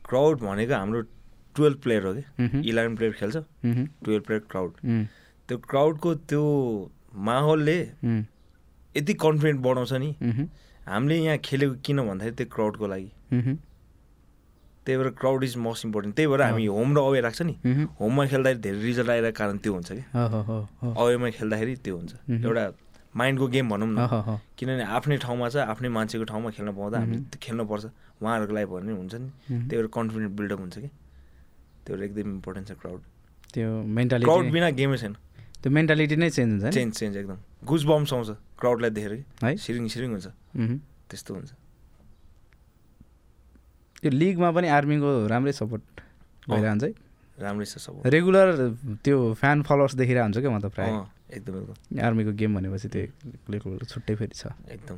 S2: क्राउड भनेको हाम्रो टुवेल्भ प्लेयर हो कि
S1: मह्म,
S2: इलेभेन प्लेयर खेल्छ
S1: मह्म,
S2: टुवेल्भ प्लेयर क्राउड
S1: उम्,
S2: त्यो क्राउडको त्यो माहौलले
S1: उम्,
S2: यति कन्फिडेन्ट बढाउँछ नि
S1: मह्म,
S2: हामीले यहाँ खेलेको किन भन्दाखेरि त्यो क्राउडको लागि
S1: मह्म,
S2: त्यही भएर क्राउड इज मोस्ट इम्पोर्टेन्ट त्यही भएर हामी होम र अवे राख्छ नि
S1: मह्म।
S2: होममा खेल्दाखेरि धेरै रिजल्ट आएर कारण त्यो हुन्छ कि
S1: हो, हो, हो, हो।
S2: अवेमा खेल्दाखेरि त्यो हुन्छ
S1: मह्म।
S2: एउटा माइन्डको गेम भनौँ
S1: हो,
S2: न
S1: हो, हो।
S2: किनभने आफ्नै ठाउँमा छ आफ्नै मान्छेको ठाउँमा खेल्न पाउँदा हामीले त्यो खेल्नुपर्छ उहाँहरूको लागि भन्ने हुन्छ नि
S1: मह्म।
S2: त्यही भएर कन्फिडेन्ट बिल्डअप हुन्छ कि त्यो भएर एकदम इम्पोर्टेन्ट छ क्राउड
S1: त्यो
S2: क्राउड
S1: मेन्टालिटी
S2: बिना गेमै छैन
S1: त्यो मेन्टालिटी नै चेन्ज हुन्छ नि
S2: चेन्ज चेन्ज एकदम गुज बम्स आउँछ क्राउडलाई देखेर
S1: है
S2: कि सिरिङ सिरिङ हुन्छ
S1: मह्म।
S2: त्यस्तो हुन्छ
S1: त्यो लिगमा पनि आर्मीको राम्रै सपोर्ट भइरहन्छ है
S2: राम्रै छ सब
S1: रेगुलर त्यो फ्यान फलोवर्स देखिरहेको हुन्छ क्या म त प्रायः
S2: अँ, एकदम एकदम
S1: आर्मीको गेम भनेपछि त्यो रेगुलर छुट्टै फेरि छ
S2: एकदम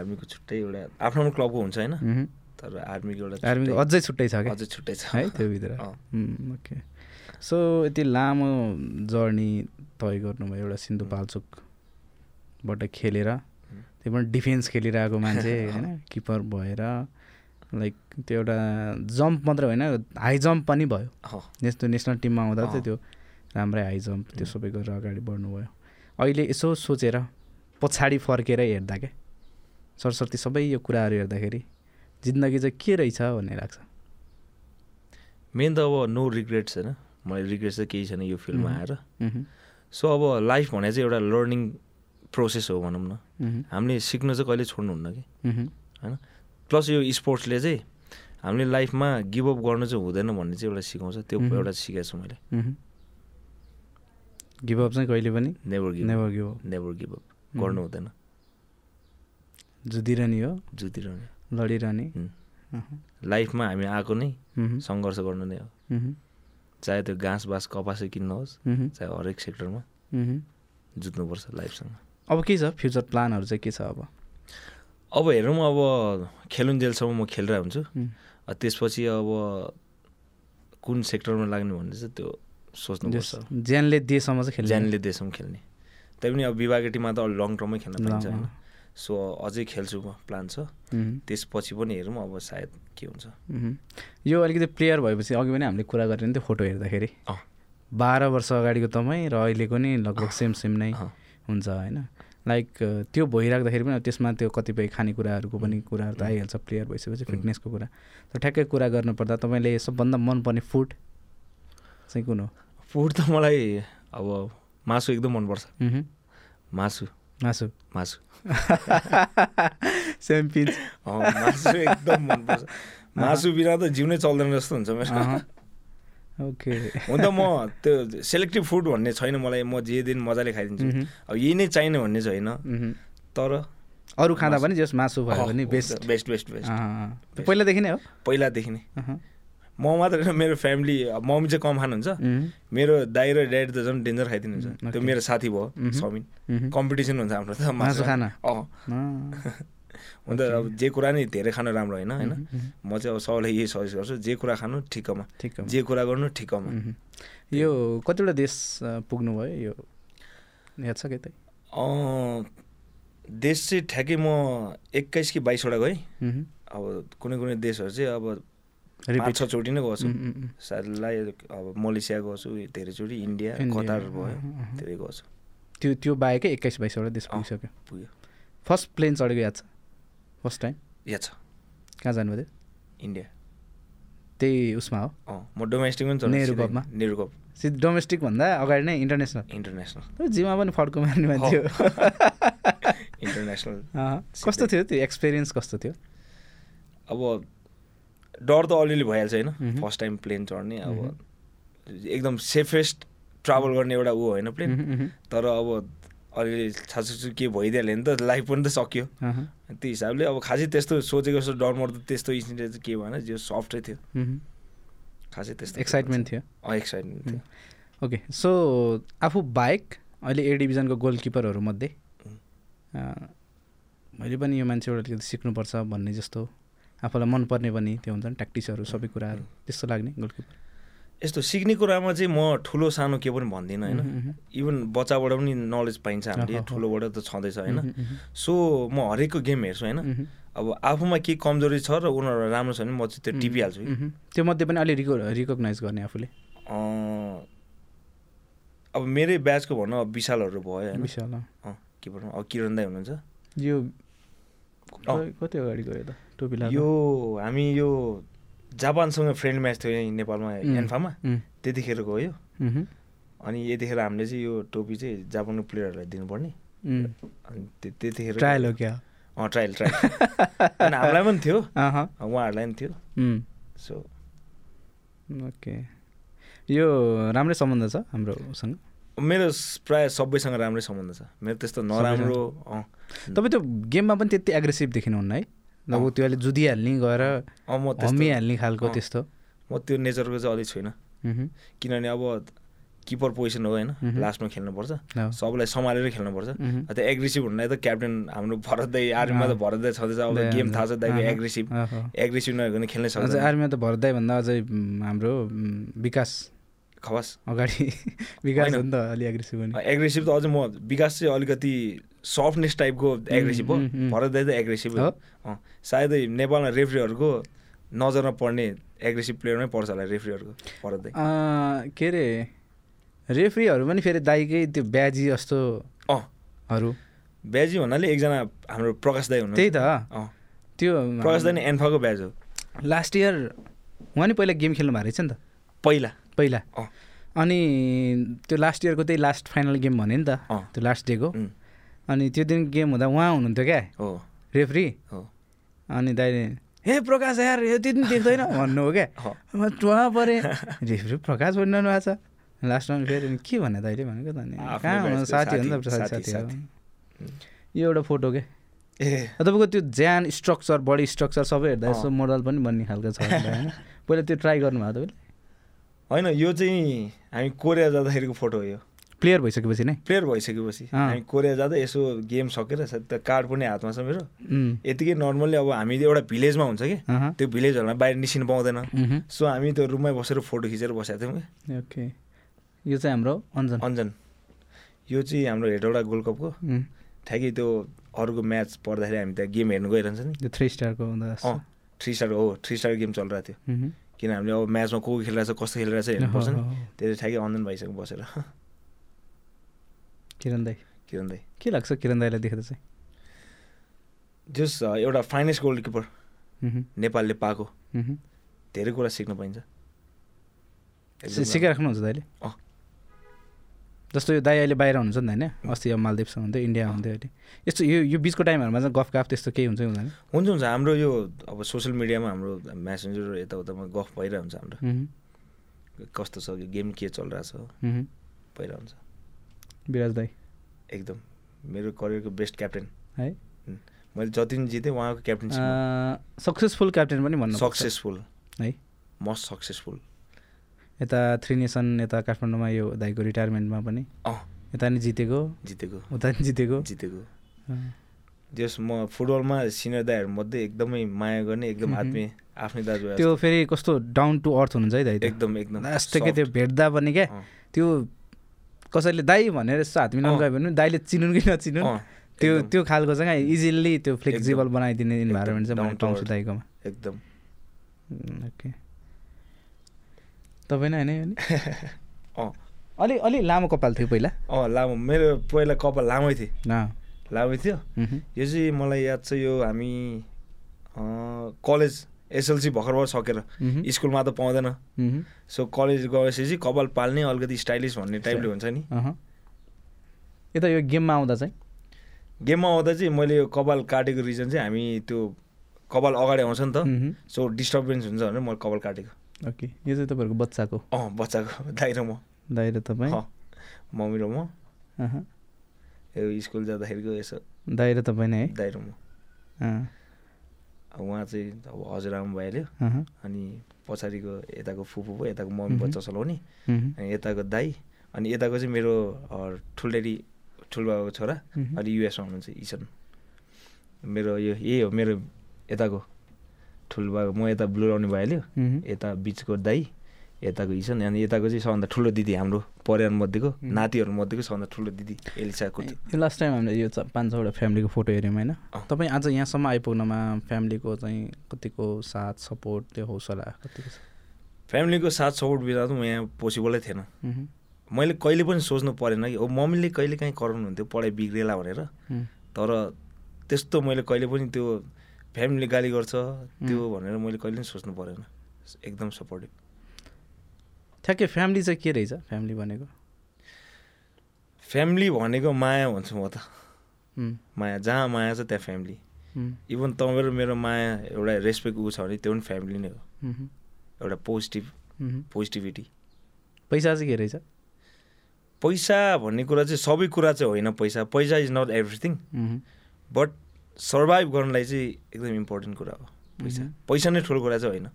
S2: आर्मीको छुट्टै एउटा आफ्नो आफ्नो क्लबको हुन्छ होइन
S1: मह्म।
S2: तर आर्मीको एउटा
S1: आर्मीको
S2: छुट्टै-
S1: अझै छुट्टै छ क्या
S2: अझै छुट्टै छ
S1: है त्योभित्र
S2: अँ।
S1: उम्, ओके सो यति लामो जर्नी तय गर्नुभयो एउटा सिन्धुपाल्चोकबाट खेलेर त्यो पनि डिफेन्स खेलिरहेको मान्छे होइन किपर भएर लाइक त्यो एउटा जम्प मात्र होइन हाई जम्प पनि भयो
S2: अँ,
S1: नेस- त्यो नेसनल टिममा आउँदा चाहिँ
S2: अँ।
S1: त्यो राम्रै हाई जम्प त्यो सबै गरेर अगाडि बढ्नुभयो अहिले यसो सोचेर पछाडि फर्केर हेर्दा क्या सरस्वती सबै यो कुराहरू हेर्दाखेरि जिन्दगी चाहिँ के रहेछ भन्ने लाग्छ
S2: मेन त अब नो रिग्रेट्स होइन मलाई रिग्रेट्स त केही छैन यो फिल्डमा
S1: मह्म।
S2: आएर
S1: मह्म,
S2: सो अब लाइफ भने चाहिँ एउटा लर्निङ प्रोसेस हो भनौँ न
S1: मह्म,
S2: हामीले सिक्न चाहिँ कहिले छोड्नुहुन्न कि
S1: मह्म,
S2: होइन प्लस यो स्पोर्ट्सले चाहिँ हामीले लाइफमा गिभअप गर्नु चाहिँ हुँदैन भन्ने चाहिँ एउटा सिकाउँछ त्यो
S1: मह्म।
S2: एउटा सिकाएको छु मैले
S1: मह्म। गिभ अप चाहिँ कहिले पनि
S2: never give
S1: never give up
S2: never give up
S1: मह्म।
S2: गर्नु हुँदैन
S1: जुधिरहने हो
S2: जुतिरहने
S1: लडिरहने
S2: हुँ।
S1: अहँ,
S2: लाइफमा हामी आएको नै
S1: मह्म,
S2: सङ्घर्ष गर्नु नै हो
S1: मह्म,
S2: चाहे त्यो घाँस बाँस कपासै किन्नुहोस्
S1: मह्म,
S2: चाहे हरेक सेक्टरमा
S1: मह्म।
S2: जुत्नुपर्छ लाइफसँग
S1: अब के छ फ्युचर प्लानहरू चाहिँ के छ अब
S2: अब हेरौँ अब खेलुन्जेलसम्म म खेलिरहेको हुन्छु
S1: मह्म,
S2: त्यसपछि अब कुन सेक्टरमा लाग्ने भन्ने चाहिँ त्यो सोच्नुपर्छ
S1: देश- ज्यानले दिएसम्म चाहिँ खेल्ने
S2: ज्यानले देशमा खेल्ने तैपनि अब विभागीय टिममा त लङ टर्ममै खेल्न पाइन्छ
S1: Long,
S2: होइन
S1: अँ।
S2: सो अझै खेल्छु म प्लान छ
S1: उम्,
S2: त्यसपछि पनि हेरौँ अब सायद के हुन्छ
S1: उम्। यो अलिकति प्लेयर भएपछि अघि पनि हामीले कुरा गरेँ नि त्यो फोटो हेर्दाखेरि
S2: अँ,
S1: बाह्र वर्ष अगाडिको तपाईँ र अहिलेको नि लगभग सेम सेम नै
S2: अँ।
S1: हुन्छ होइन लाइक अ, त्यो भइराख्दाखेरि पनि अब त्यसमा त्यो कतिपय खानेकुराहरूको पनि कुराहरू त आइहाल्छ प्लेयर भइसकेपछि फिटनेसको कुरा त ठ्याक्कै कुरा गर्नुपर्दा तपाईँले सबभन्दा मनपर्ने फुड चाहिँ कुन हो
S2: फुड त मलाई अब मासु एकदम मनपर्छ
S1: उहुँ,
S2: मासु
S1: मासु
S2: मासु
S1: सेम पिच
S2: अँ, मासु एकदम मनपर्छ मासु बिना त जिउ नै चल्दैन जस्तो हुन्छ मेरो
S1: ओके
S2: हुन त म त्यो सेलेक्टिभ फुड भन्ने छैन मलाई म जे दिन मजाले खाइदिन्छु
S1: मह्म।
S2: अब यही नै चाहिने भन्ने छैन
S1: उहुँ।
S2: तर
S1: अरू खाँदा पनि जस मासु भयो भने
S2: अँ,
S1: बेस्ट
S2: बेस्ट बेस्ट बेस्ट
S1: अँ, पहिलादेखि नै हो
S2: पहिलादेखि नै
S1: अहँ,
S2: म मात्र होइन मेरो फ्यामिली अब मम्मी चाहिँ कम खानुहुन्छ
S1: उहुँ,
S2: मेरो दाइ र ड्याडी त झन् डेन्जर खाइदिनुहुन्छ
S1: उम्,
S2: त्यो
S1: okay.
S2: मेरो साथी भयो
S1: मह्म।
S2: समिन
S1: उहुँ।
S2: कम्पिटिसन हुन्छ हाम्रो त
S1: मासु खान
S2: अँ
S1: अँ,
S2: हुन त अब जे कुरा नि धेरै खानु राम्रो होइन होइन
S1: उहुँ, उहुँ।
S2: म चाहिँ अब सबैलाई यही सजेस्ट गर्छु जे कुरा खानु ठिक्कमा
S1: ठिक हो।
S2: जे कुरा गर्नु ठिक्कमा
S1: उहुँ। यो कतिवटा देश अ, पुग्नुभयो यो याद छ त्यही
S2: अँ, देश चाहिँ ठ्याक्कै म एक्काइस कि बाइसवटा गएँ अब कुनै कुनै देशहरू चाहिँ अब पाँच छचोटि नै गएको छु सायदलाई अब मलेसिया गएको छु धेरैचोटि इन्डिया
S1: इन्डिया,
S2: कतार भयो
S1: अँ, अँ, अँ।
S2: धेरै गएको छु
S1: त्यो त्यो बाहेकै एक्काइस बाइसवटा देश पुगिसक्यो
S2: पुग्यो
S1: फर्स्ट प्लेन चढेको याद छ फर्स्ट टाइम
S2: याद छ
S1: कहाँ जानुभयो त्यो
S2: इन्डिया
S1: त्यही उसमा हो
S2: अँ म डोमेस्टिक पनि चढेँ
S1: नेहरू
S2: सिधै।
S1: कपमा?
S2: नेहरू कप
S1: सिधै डोमेस्टिक भन्दा अगाडि नै इन्टरनेसनल
S2: इन्टरनेसनल
S1: तपाईँ जिउमा पनि फड्को मार्ने मान्छे हो
S2: इन्टरनेसनल
S1: अँ, कस्तो थियो त्यो एक्सपिरियन्स कस्तो थियो
S2: अब डर त अलिअलि भइहाल्छ होइन
S1: मह्म।
S2: फर्स्ट टाइम प्लेन चढ्ने अब
S1: मह्म।
S2: एकदम सेफेस्ट ट्राभल गर्ने एउटा ऊ होइन प्लेन
S1: उहुँ, उहुँ।
S2: तर अब अलिअलि छासुसु के भइदिहाल्यो भने त लाइफ पनि त सक्यो
S1: अहँ,
S2: त्यो हिसाबले अब खासै त्यस्तो सोचेको जस्तो डरमर्दो त्यस्तो इन्सिडेन्ट चाहिँ के भएन जो सफ्टै थियो
S1: उहुँ।
S2: खासै त्यस्तो
S1: एक्साइटमेन्ट थियो
S2: अँ एक्साइटमेन्ट थियो
S1: ओके सो आफू बाहेक अहिले ए डिभिजनको गोलकिपरहरूमध्ये अँ, मैले पनि यो मान्छेबाट अलिकति सिक्नुपर्छ भन्ने जस्तो आफूलाई मनपर्ने पनि त्यो हुन्छ नि ट्याक्टिसहरू सबै कुराहरू त्यस्तो लाग्ने गोलकिपर
S2: यस्तो सिक्ने कुरामा चाहिँ म ठुलो सानो के पनि भन्दिनँ होइन
S1: मह्म, मह्म।
S2: इभन बच्चाबाट पनि नलेज पाइन्छ हामीले
S1: अहँ, अहँ।
S2: ठुलोबाट त छँदैछ होइन
S1: उहुँ, उहुँ,
S2: सो म हरेकको गेम हेर्छु होइन
S1: उहुँ,
S2: अब आफूमा के कमजोरी छ र उनीहरू राम्रो छ भने म चाहिँ त्यो टिपिहाल्छु कि।
S1: उहुँ। त्यो मध्ये पनि अलि रिको रिकगनाइज गर्ने आफूले
S2: अँ, अब मेरै ब्याचको भनौँ अब विशालहरू भयो होइन
S1: विशाल अँ।
S2: अँ, के भनौँ अब किरण दाई हुनुहुन्छ
S1: यो
S2: अँ।
S1: कति अगाडि गयो त टोपी लगाएको?
S2: यो हामी यो जापानसँग फ्रेन्ड म्याच थियो यहीँ नेपालमा
S1: उम्,
S2: एन्फामा
S1: उम्,
S2: त्यतिखेर गयो
S1: उहुँ,
S2: अनि यतिखेर हामीले चाहिँ यो टोपी चाहिँ जापानको प्लेयरहरूलाई दिनुपर्ने
S1: उम्।
S2: अनि त्यो- त्यतिखेर
S1: ट्रायल हो क्या
S2: अँ ट्रायल ट्रायल अनि हामीलाई पनि थियो
S1: अहँ,
S2: उहाँहरूलाई पनि थियो
S1: उम्।
S2: सो
S1: ओके यो राम्रै सम्बन्ध छ हाम्रो उसँग
S2: मेरो स- प्राय सबैसँग राम्रै सम्बन्ध छ मेरो त्यस्तो नराम्रो अँ
S1: तपाईँ त्यो गेममा पनि त्यति एग्रेसिभ देखिनुहुन्न है अब
S2: अँ।
S1: त्यो अहिले जुदिहाल्ने गएर
S2: अँ, म त्यस्तो
S1: हम्मिहाल्ने खालको
S2: अँ।
S1: त्यस्तो
S2: म त्यो नेचरको चाहिँ अलिक छुइनँ
S1: उहुँ,
S2: किनभने अब किपर पोजिसन हो होइन
S1: मह्म।
S2: लास्टमा खेल्नुपर्छ
S1: ल।
S2: सबैलाई सम्हालेर खेल्नुपर्छ
S1: मह्म।
S2: त्यो एग्रेसिभ हुनलाई त क्याप्टेन हाम्रो भरत दाई आर्मीमा त भरत दाई छँदैछ अब
S1: दाई
S2: गेम
S1: हुन्छ।
S2: थाहा छ दाईको
S1: अहँ,
S2: एग्रेसिभ
S1: अहँ।
S2: एग्रेसिभ नभएको भने खेल्नै
S1: अझै
S2: सक्छ
S1: आर्मीमा त भर्दाईभन्दा अझै उम्, हाम्रो उम्, विकास
S2: खवास
S1: अगाडि विकास
S2: होइन।
S1: हो नि त अलि एग्रेसिभ हुने
S2: एग्रेसिभ त अझ म विकास चाहिँ अलिकति सफ्टनेस टाइपको एग्रेसिभ हो
S1: उम्, उम्।
S2: भरत दाई त एग्रेसिभ हो
S1: हो?
S2: अँ, सायदै नेपालमा रेफ्रीहरूको नजरमा पर्ने एग्रेसिभ प्लेयरमै पर्छ होला रेफ्रीहरूको भरत दाई
S1: अँ, के अरे रेफ्रीहरू पनि फेरि दाइकै त्यो ब्याजी जस्तोहरू
S2: अँ ब्याजी भन्नाले एकजना हाम्रो प्रकाश दाई हुनु
S1: त्यही त
S2: अँ
S1: त्यो
S2: प्रकाश दाई नै एन्फाको ब्याज हो
S1: लास्ट इयर उहाँ नि पहिला गेम खेल्नु भएको रहेछ नि त
S2: पहिला
S1: पहिला
S2: अँ।
S1: अनि त्यो लास्ट इयरको त्यही लास्ट फाइनल गेम भन्यो नि त
S2: अँ।
S1: त्यो लास्ट डेको
S2: उम्,
S1: अनि त्यो दिन गेम हुँदा उहाँ हुनुहुन्थ्यो क्या
S2: हो
S1: रेफ्री
S2: हो
S1: अनि दाइले हे प्रकाश यार यो त्यो दिन देख्दैन भन्नु हो क्या
S2: अँ,
S1: म टुवा परेँ रेफ्री प्रकाश भनिरहनु भएको छ लास्टमा फेरि अनि के भने दाइले भनेको त अनि
S2: आफ्नो
S1: कहाँ हुनु
S2: batch को
S1: साथी हो नि त
S2: साथी,
S1: साथी साथी हो
S2: साथी,
S1: यो एउटा फोटो के
S2: ए
S1: तपाईँको त्यो ज्यान स्ट्रक्चर बडी स्ट्रक्चर सबै हेर्दा
S2: अँ।
S1: यसो मोडल पनि बन्ने खालको छ होला होइन पहिला त्यो ट्राई गर्नुभएको तपाईँले
S2: होइन यो चाहिँ हामी कोरिया जाँदाखेरिको फोटो हो यो
S1: प्लेयर भइसकेपछि नै
S2: प्लेयर भइसकेपछि
S1: अँ।
S2: हामी कोरिया जाँदा यसो गेम सकेर सायद त कार्ड पनि हातमा छ मेरो
S1: उम्,
S2: यतिकै नर्मल्ली अब हामी एउटा भिलेजमा हुन्छ कि
S1: अहँ,
S2: त्यो भिलेजहरूमा बाहिर निस्किनु पाउँदैन
S1: उम्हु,
S2: सो हामी त्यो रुममै बसेर फोटो खिचेर बसेको थियौँ क्या
S1: ओके यो चाहिँ हाम्रो अन्जन
S2: अन्जन यो चाहिँ हाम्रो हेडौँडा गोल्ड कपको
S1: उम्,
S2: ठ्याक्कै त्यो अर्को म्याच पर्दाखेरि हामी त्यहाँ गेम हेर्नु गइरहन्छ नि
S1: यो थ्री स्टारको हुँदो रहेछ।
S2: अँ थ्री स्टार हो थ्री स्टार गेम चलिरहेको थियो
S1: उम्हु,
S2: किन हामीले अब म्याचमा को को खेलिरहेछ कस्तो खेलिरहेछ हेर्नुपर्छ
S1: हो, हो,
S2: नि
S1: हो।
S2: त्यसले ठ्याक्कै अनलाइन भइसक्यो बसेर
S1: किरण दाई
S2: किरण दाई
S1: के लाग्छ किरण दाईलाई देखेर चाहिँ
S2: जस अ, एउटा फाइनेस्ट गोलकिपर
S1: उम्हु,
S2: नेपालले पाएको
S1: उम्हु।
S2: धेरै कुरा सिक्न पाइन्छ
S1: सि- सिकाइराख्नुहुन्छ दाइले
S2: अँ।
S1: जस्तो यो दाई अहिले बाहिर हुनुहुन्छ नि त होइन अस्ति अब मालदिप्समा हुन्थ्यो इन्डिया हुन्थ्यो अहिले यस्तो यो यो बिचको टाइमहरूमा चाहिँ गफ गफ त्यस्तो केही हुन्छ कि हुँदैन
S2: हुन्छ हुन्छ हाम्रो यो अब सोसियल मिडियामा हाम्रो म्यासेन्जर यताउतामा गफ भइरहेको हुन्छ हाम्रो
S1: उम्हु,
S2: कस्तो छ यो गेम के चलिरहेछ
S1: उम्हु।
S2: भइरहेको हुन्छ
S1: विराज दाई
S2: एकदम मेरो करियरको बेस्ट क्याप्टेन
S1: है
S2: मैले जति पनि जितेँ उहाँको क्याप्टेनसिप
S1: सक्सेसफुल क्याप्टेन पनि भन्नु
S2: सक्सेसफुल
S1: है
S2: मस्ट सक्सेसफुल
S1: यता थ्री नेसन यता काठमाडौँमा यो दाइको रिटायरमेन्टमा पनि
S2: अँ
S1: यता नि जितेको
S2: जितेको
S1: उता नि जितेको
S2: जितेको
S1: अँ,
S2: जस म फुटबलमा सिनियर दाईहरूमध्ये एकदमै माया गर्ने एकदम
S1: मह्म।
S2: आत्मीय आफ्नै दाजु
S1: त्यो फेरि कस्तो डाउन टु अर्थ हुनुहुन्छ है दाइ त।
S2: एकदम एकदम
S1: लास्टकै त्यो
S2: soft।
S1: भेट्दा पनि क्या
S2: अँ,
S1: त्यो कसैले दाई भनेर यस्तो हात मिलाउनु
S2: अँ।
S1: गयो भने पनि दाइले चिनुन् कि नचिनुन्
S2: अँ,
S1: त्यो
S2: एकदम,
S1: त्यो खालको चाहिँ क्या इजिली त्यो फ्लेक्सिबल
S2: एकदम,
S1: बनाइदिने
S2: एकदम,
S1: इन्भाइरोमेन्ट चाहिँ मैले
S2: down to
S1: पाउँछु
S2: earth।
S1: दाइकोमा
S2: एकदम
S1: उम्, ओके तपाईँ नै होइन
S2: अँ
S1: अलि अलि लामो कपाल थियो पहिला
S2: अँ लामो मेरो पहिला कपाल लामै थियो
S1: अँ,
S2: लामै थियो
S1: उम्हु,
S2: यो चाहिँ मलाई याद छ यो हामी अँ, कलेज एसएलसी भर्खर भर्खर सकेर
S1: उम्हु,
S2: स्कुलमा त पाउँदैन
S1: उम्हु,
S2: सो कलेज गएपछि कपाल पाल्ने अलिकति स्टाइलिस भन्ने टाइपले हुन्छ नि
S1: अहँ। यता यो गेममा आउँदा चाहिँ
S2: गेममा आउँदा चाहिँ मैले यो कपाल काटेको रिजन चाहिँ हामी त्यो कपाल अगाडि आउँछ नि त
S1: उम्हु,
S2: सो डिस्टर्बेन्स हुन्छ भनेर मैले कपाल काटेको
S1: ओके यो चाहिँ तपाईँहरूको बच्चाको
S2: अँ बच्चाको दाइ र म
S1: दाइ र तपाईँ
S2: अँ, मम्मी र म
S1: अहँ,
S2: यो स्कुल जाँदाखेरिको यसो
S1: दाइ र तपाईँ नै है
S2: दाइ र म
S1: अँ,
S2: अब उहाँ चाहिँ अब हजुरआमा भइहाल्यो
S1: अहँ,
S2: अनि पछाडिको यताको फुपू भयो यताको मम्मी
S1: मह्म।
S2: बच्चा चलाउने
S1: उम्हु,
S2: अनि यताको दाई अनि यताको चाहिँ मेरो अँ, ठुल्डेरी ठुलबाबाको छोरा
S1: उम्हु,
S2: अहिले युएसमा हुनुहुन्छ इसन मेरो यो यही हो मेरो यताको ठुलो बाबा म यता ब्लु आउने भइहाल्यो
S1: उम्हु,
S2: यता बिचको दाई यताको इसन अनि यताको चाहिँ सबभन्दा ठुलो दिदी हाम्रो परिवारमध्येको
S1: हुँ।
S2: नातिहरूमध्येको सबभन्दा ठुलो दिदी एलिसा कुत
S1: यो लास्ट टाइम हामीले यो चा- पाँच छवटा फ्यामिलीको फोटो हेऱ्यौँ होइन
S2: अँ।
S1: तपाईँ आज यहाँसम्म आइपुग्नमा फ्यामिलीको चाहिँ कतिको साथ सपोर्ट त्यो हौसला कतिको छ
S2: फ्यामिलीको साथ सपोर्ट बिना त म यहाँ पोसिबलै थिएन
S1: उम्हु,
S2: मैले कहिले पनि सोच्नु परेन कि ओ मम्मीले कहिले काहीँ कराउनुहुन्थ्यो पढाइ बिग्रेला भनेर
S1: उम्,
S2: तर त्यस्तो मैले कहिले पनि त्यो फ्यामिलीले गाली गर्छ त्यो भनेर मैले कहिले पनि सोच्नु परेन एकदम सपोर्टिभ
S1: ठ्याक्कै फ्यामिली चाहिँ के रहेछ फ्यामिली भनेको
S2: फ्यामिली भनेको माया भन्छु म त
S1: उम्,
S2: माया जहाँ माया छ त्यहाँ फ्यामिली
S1: उम्,
S2: इभन तपाईँ र मेरो माया एउटा रेस्पेक्ट ऊ छ भने त्यो पनि फ्यामिली नै हो
S1: उम्हु,
S2: एउटा पोजिटिभ
S1: उम्हु।
S2: पोजिटिभिटी
S1: पैसा चाहिँ के रहेछ
S2: पैसा भन्ने कुरा चाहिँ सबै कुरा चाहिँ होइन पैसा पैसा इज नट एभ्रिथिङ
S1: उम्हु,
S2: बट सर्भाइभ गर्नलाई चाहिँ एकदम इम्पोर्टेन्ट कुरा हो पैसा
S1: उम्हु।
S2: पैसा नै ठुलो कुरा चाहिँ होइन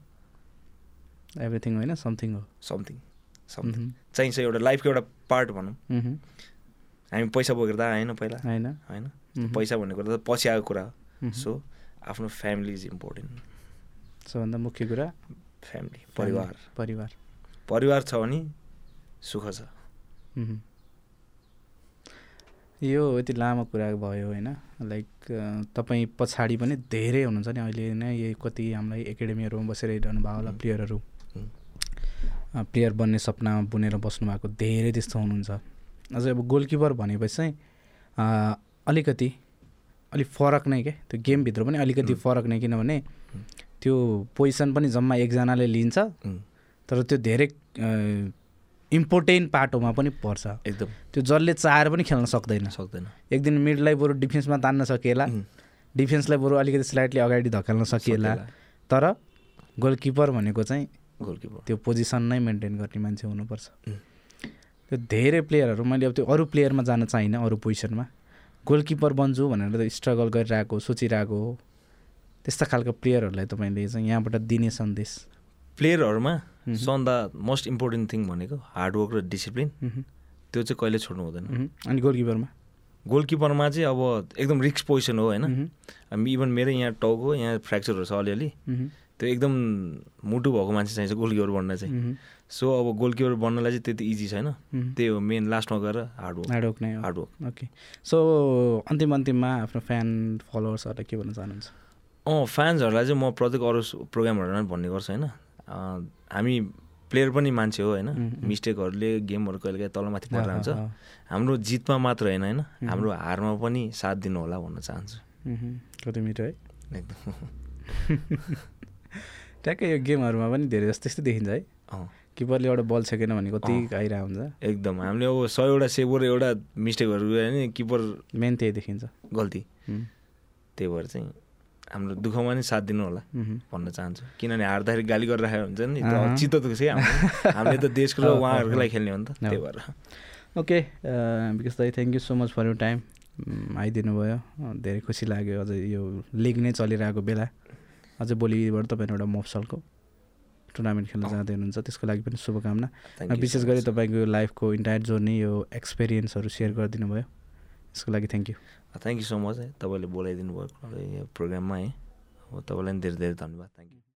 S1: एभ्रिथिङ होइन समथिङ हो
S2: समथिङ समथिङ
S1: उम्हु,
S2: चाहिन्छ एउटा लाइफको एउटा पार्ट भनौँ
S1: उम्हु,
S2: हामी पैसा बोकेर त आएन पहिला
S1: होइन
S2: होइन
S1: उम्हु,
S2: पैसा भन्ने कुरा त पछि आएको कुरा हो
S1: उम्हु।
S2: सो आफ्नो फ्यामिली इज इम्पोर्टेन्ट
S1: सबभन्दा मुख्य कुरा
S2: फ्यामिली परिवार
S1: परिवार
S2: परिवार छ भने सुख छ
S1: उम्हुम्। यो यति लामो कुरा भयो होइन लाइक अ, तपाईँ पछाडि पनि धेरै हुनुहुन्छ नि अहिले नै यही कति हामीलाई एकाडेमीहरूमा बसेर हेरिरहनु भयो होला
S2: हुम्.
S1: प्लेयरहरू
S2: हुम्।
S1: अ, प्लेयर बन्ने सपनामा बुनेर बस्नु भएको धेरै त्यस्तो हुनुहुन्छ अझै अब गोलकिपर भनेपछि चाहिँ अ, अलिकति अलिक फरक नै के त्यो गेमभित्र पनि अलिकति
S2: हुम्।
S1: फरक नै किनभने त्यो पोजिसन पनि जम्मा एकजनाले लिन्छ तर त्यो धेरै इम्पोर्टेन्ट पाटोमा पनि पर्छ
S2: एकदम
S1: त्यो जसले चाहेर पनि खेल्न सक्दैन
S2: सक्दैन
S1: एक दिन मिडलाई बरु डिफेन्समा तान्न सकिएला
S2: उम्,
S1: डिफेन्सलाई बरु अलिकति स्लाइडली अगाडि धकेल्न सकिएला
S2: सक्दैन।
S1: तर गोलकिपर भनेको चाहिँ
S2: गोलकिपर
S1: त्यो पोजिसन नै मेन्टेन गर्ने मान्छे हुनुपर्छ
S2: उम्.
S1: त्यो धेरै प्लेयरहरू मैले अब त्यो अरू प्लेयरमा जान चाहिनँ अरू पोजिसनमा गोलकिपर बन्छु भनेर त स्ट्रगल गरिरहेको सोचिरहेको हो त्यस्ता खालको प्लेयरहरूलाई तपाईँले चाहिँ यहाँबाट दिने सन्देश
S2: प्लेयरहरूमा
S1: उम्हु,
S2: सबभन्दा मोस्ट इम्पोर्टेन्ट थिङ भनेको हार्डवर्क र डिसिप्लिन
S1: उम्हु,
S2: त्यो चाहिँ कहिले छोड्नु हुँदैन
S1: अनि गोलकिपरमा
S2: गोलकिपरमा चाहिँ अब एकदम रिक्स पोजिसन हो होइन हामी इभन मेरै यहाँ टाउको यहाँ फ्रेक्चरहरू छ अलिअलि त्यो एकदम मुटु भएको मान्छे चाहिन्छ गोलकिपर बन्न चाहिँ सो अब गोलकिपर बन्नलाई चाहिँ त्यति इजी छैन त्यही हो मेन लास्टमा गएर हार्डवर्क
S1: हार्डवर्क नै हो
S2: हार्डवर्क
S1: ओके सो अन्तिम अन्तिममा आफ्नो फ्यान फलोवर्सहरूलाई के भन्न चाहनुहुन्छ
S2: अँ फ्यान्सहरूलाई चाहिँ म प्रत्येक अरू प्रोग्रामहरूमा पनि भन्ने गर्छु होइन अँ, हामी प्लेयर पनि मान्छे हो होइन मिस्टेकहरूले गेमहरू कहिलेकाहीँ तलमाथि परिरहन्छ
S1: अँ, अँ,
S2: हाम्रो जितमा मात्र होइन होइन हाम्रो हारमा पनि साथ दिनु होला भन्न चाहन्छु
S1: मह्म, कति मिठो है
S2: एकदम
S1: ट्याक्कै यो गेमहरूमा पनि धेरै जस्तो त्यस्तै देखिन्छ है
S2: अँ
S1: किपरले एउटा बल सकेन भने कति आइरहेको हुन्छ
S2: एकदम हामीले अब सयवटा सेभर एउटा मिस्टेकहरू गयो भने किपर
S1: मेन त्यही देखिन्छ
S2: गल्ती
S1: मह्म,
S2: त्यही भएर चाहिँ हाम्रो दुःखमा नै साथ दिनु होला
S1: मह्म,
S2: भन्न चाहन्छु किनभने हार्दाखेरि गाली गरिराखेको हुन्छ नि त्यो
S1: अँ।
S2: चित्त दुख्छ क्या हाम्रो। हामीले त देशको र उहाँहरूको लागि खेल्ने हो नि त
S1: अँ।
S2: त्यही भएर
S1: ओके अ, विकास uh, दाई thank you so much for you time म, आइदिनु भयो अ, Mm, धेरै खुसी लाग्यो अझै यो लिग नै चलिरहेको बेला अझै भोलिबाट तपाईँ एउटा मफसलको टुर्नामेन्ट खेल्न जाँदै हुनुहुन्छ त्यसको लागि पनि शुभकामना
S2: Thank you so
S1: विशेष गरी
S2: much.
S1: तपाईँको यो लाइफको इन्टायर जर्नी यो एक्सपिरियन्सहरू सेयर गरिदिनु भयो यसको लागि thank you
S2: thank you so much है तपाईँले बोलाइदिनु भयो प्रोग्राममा है अब तपाईँलाई पनि धेरै धेरै धन्यवाद थ्याङ्क यू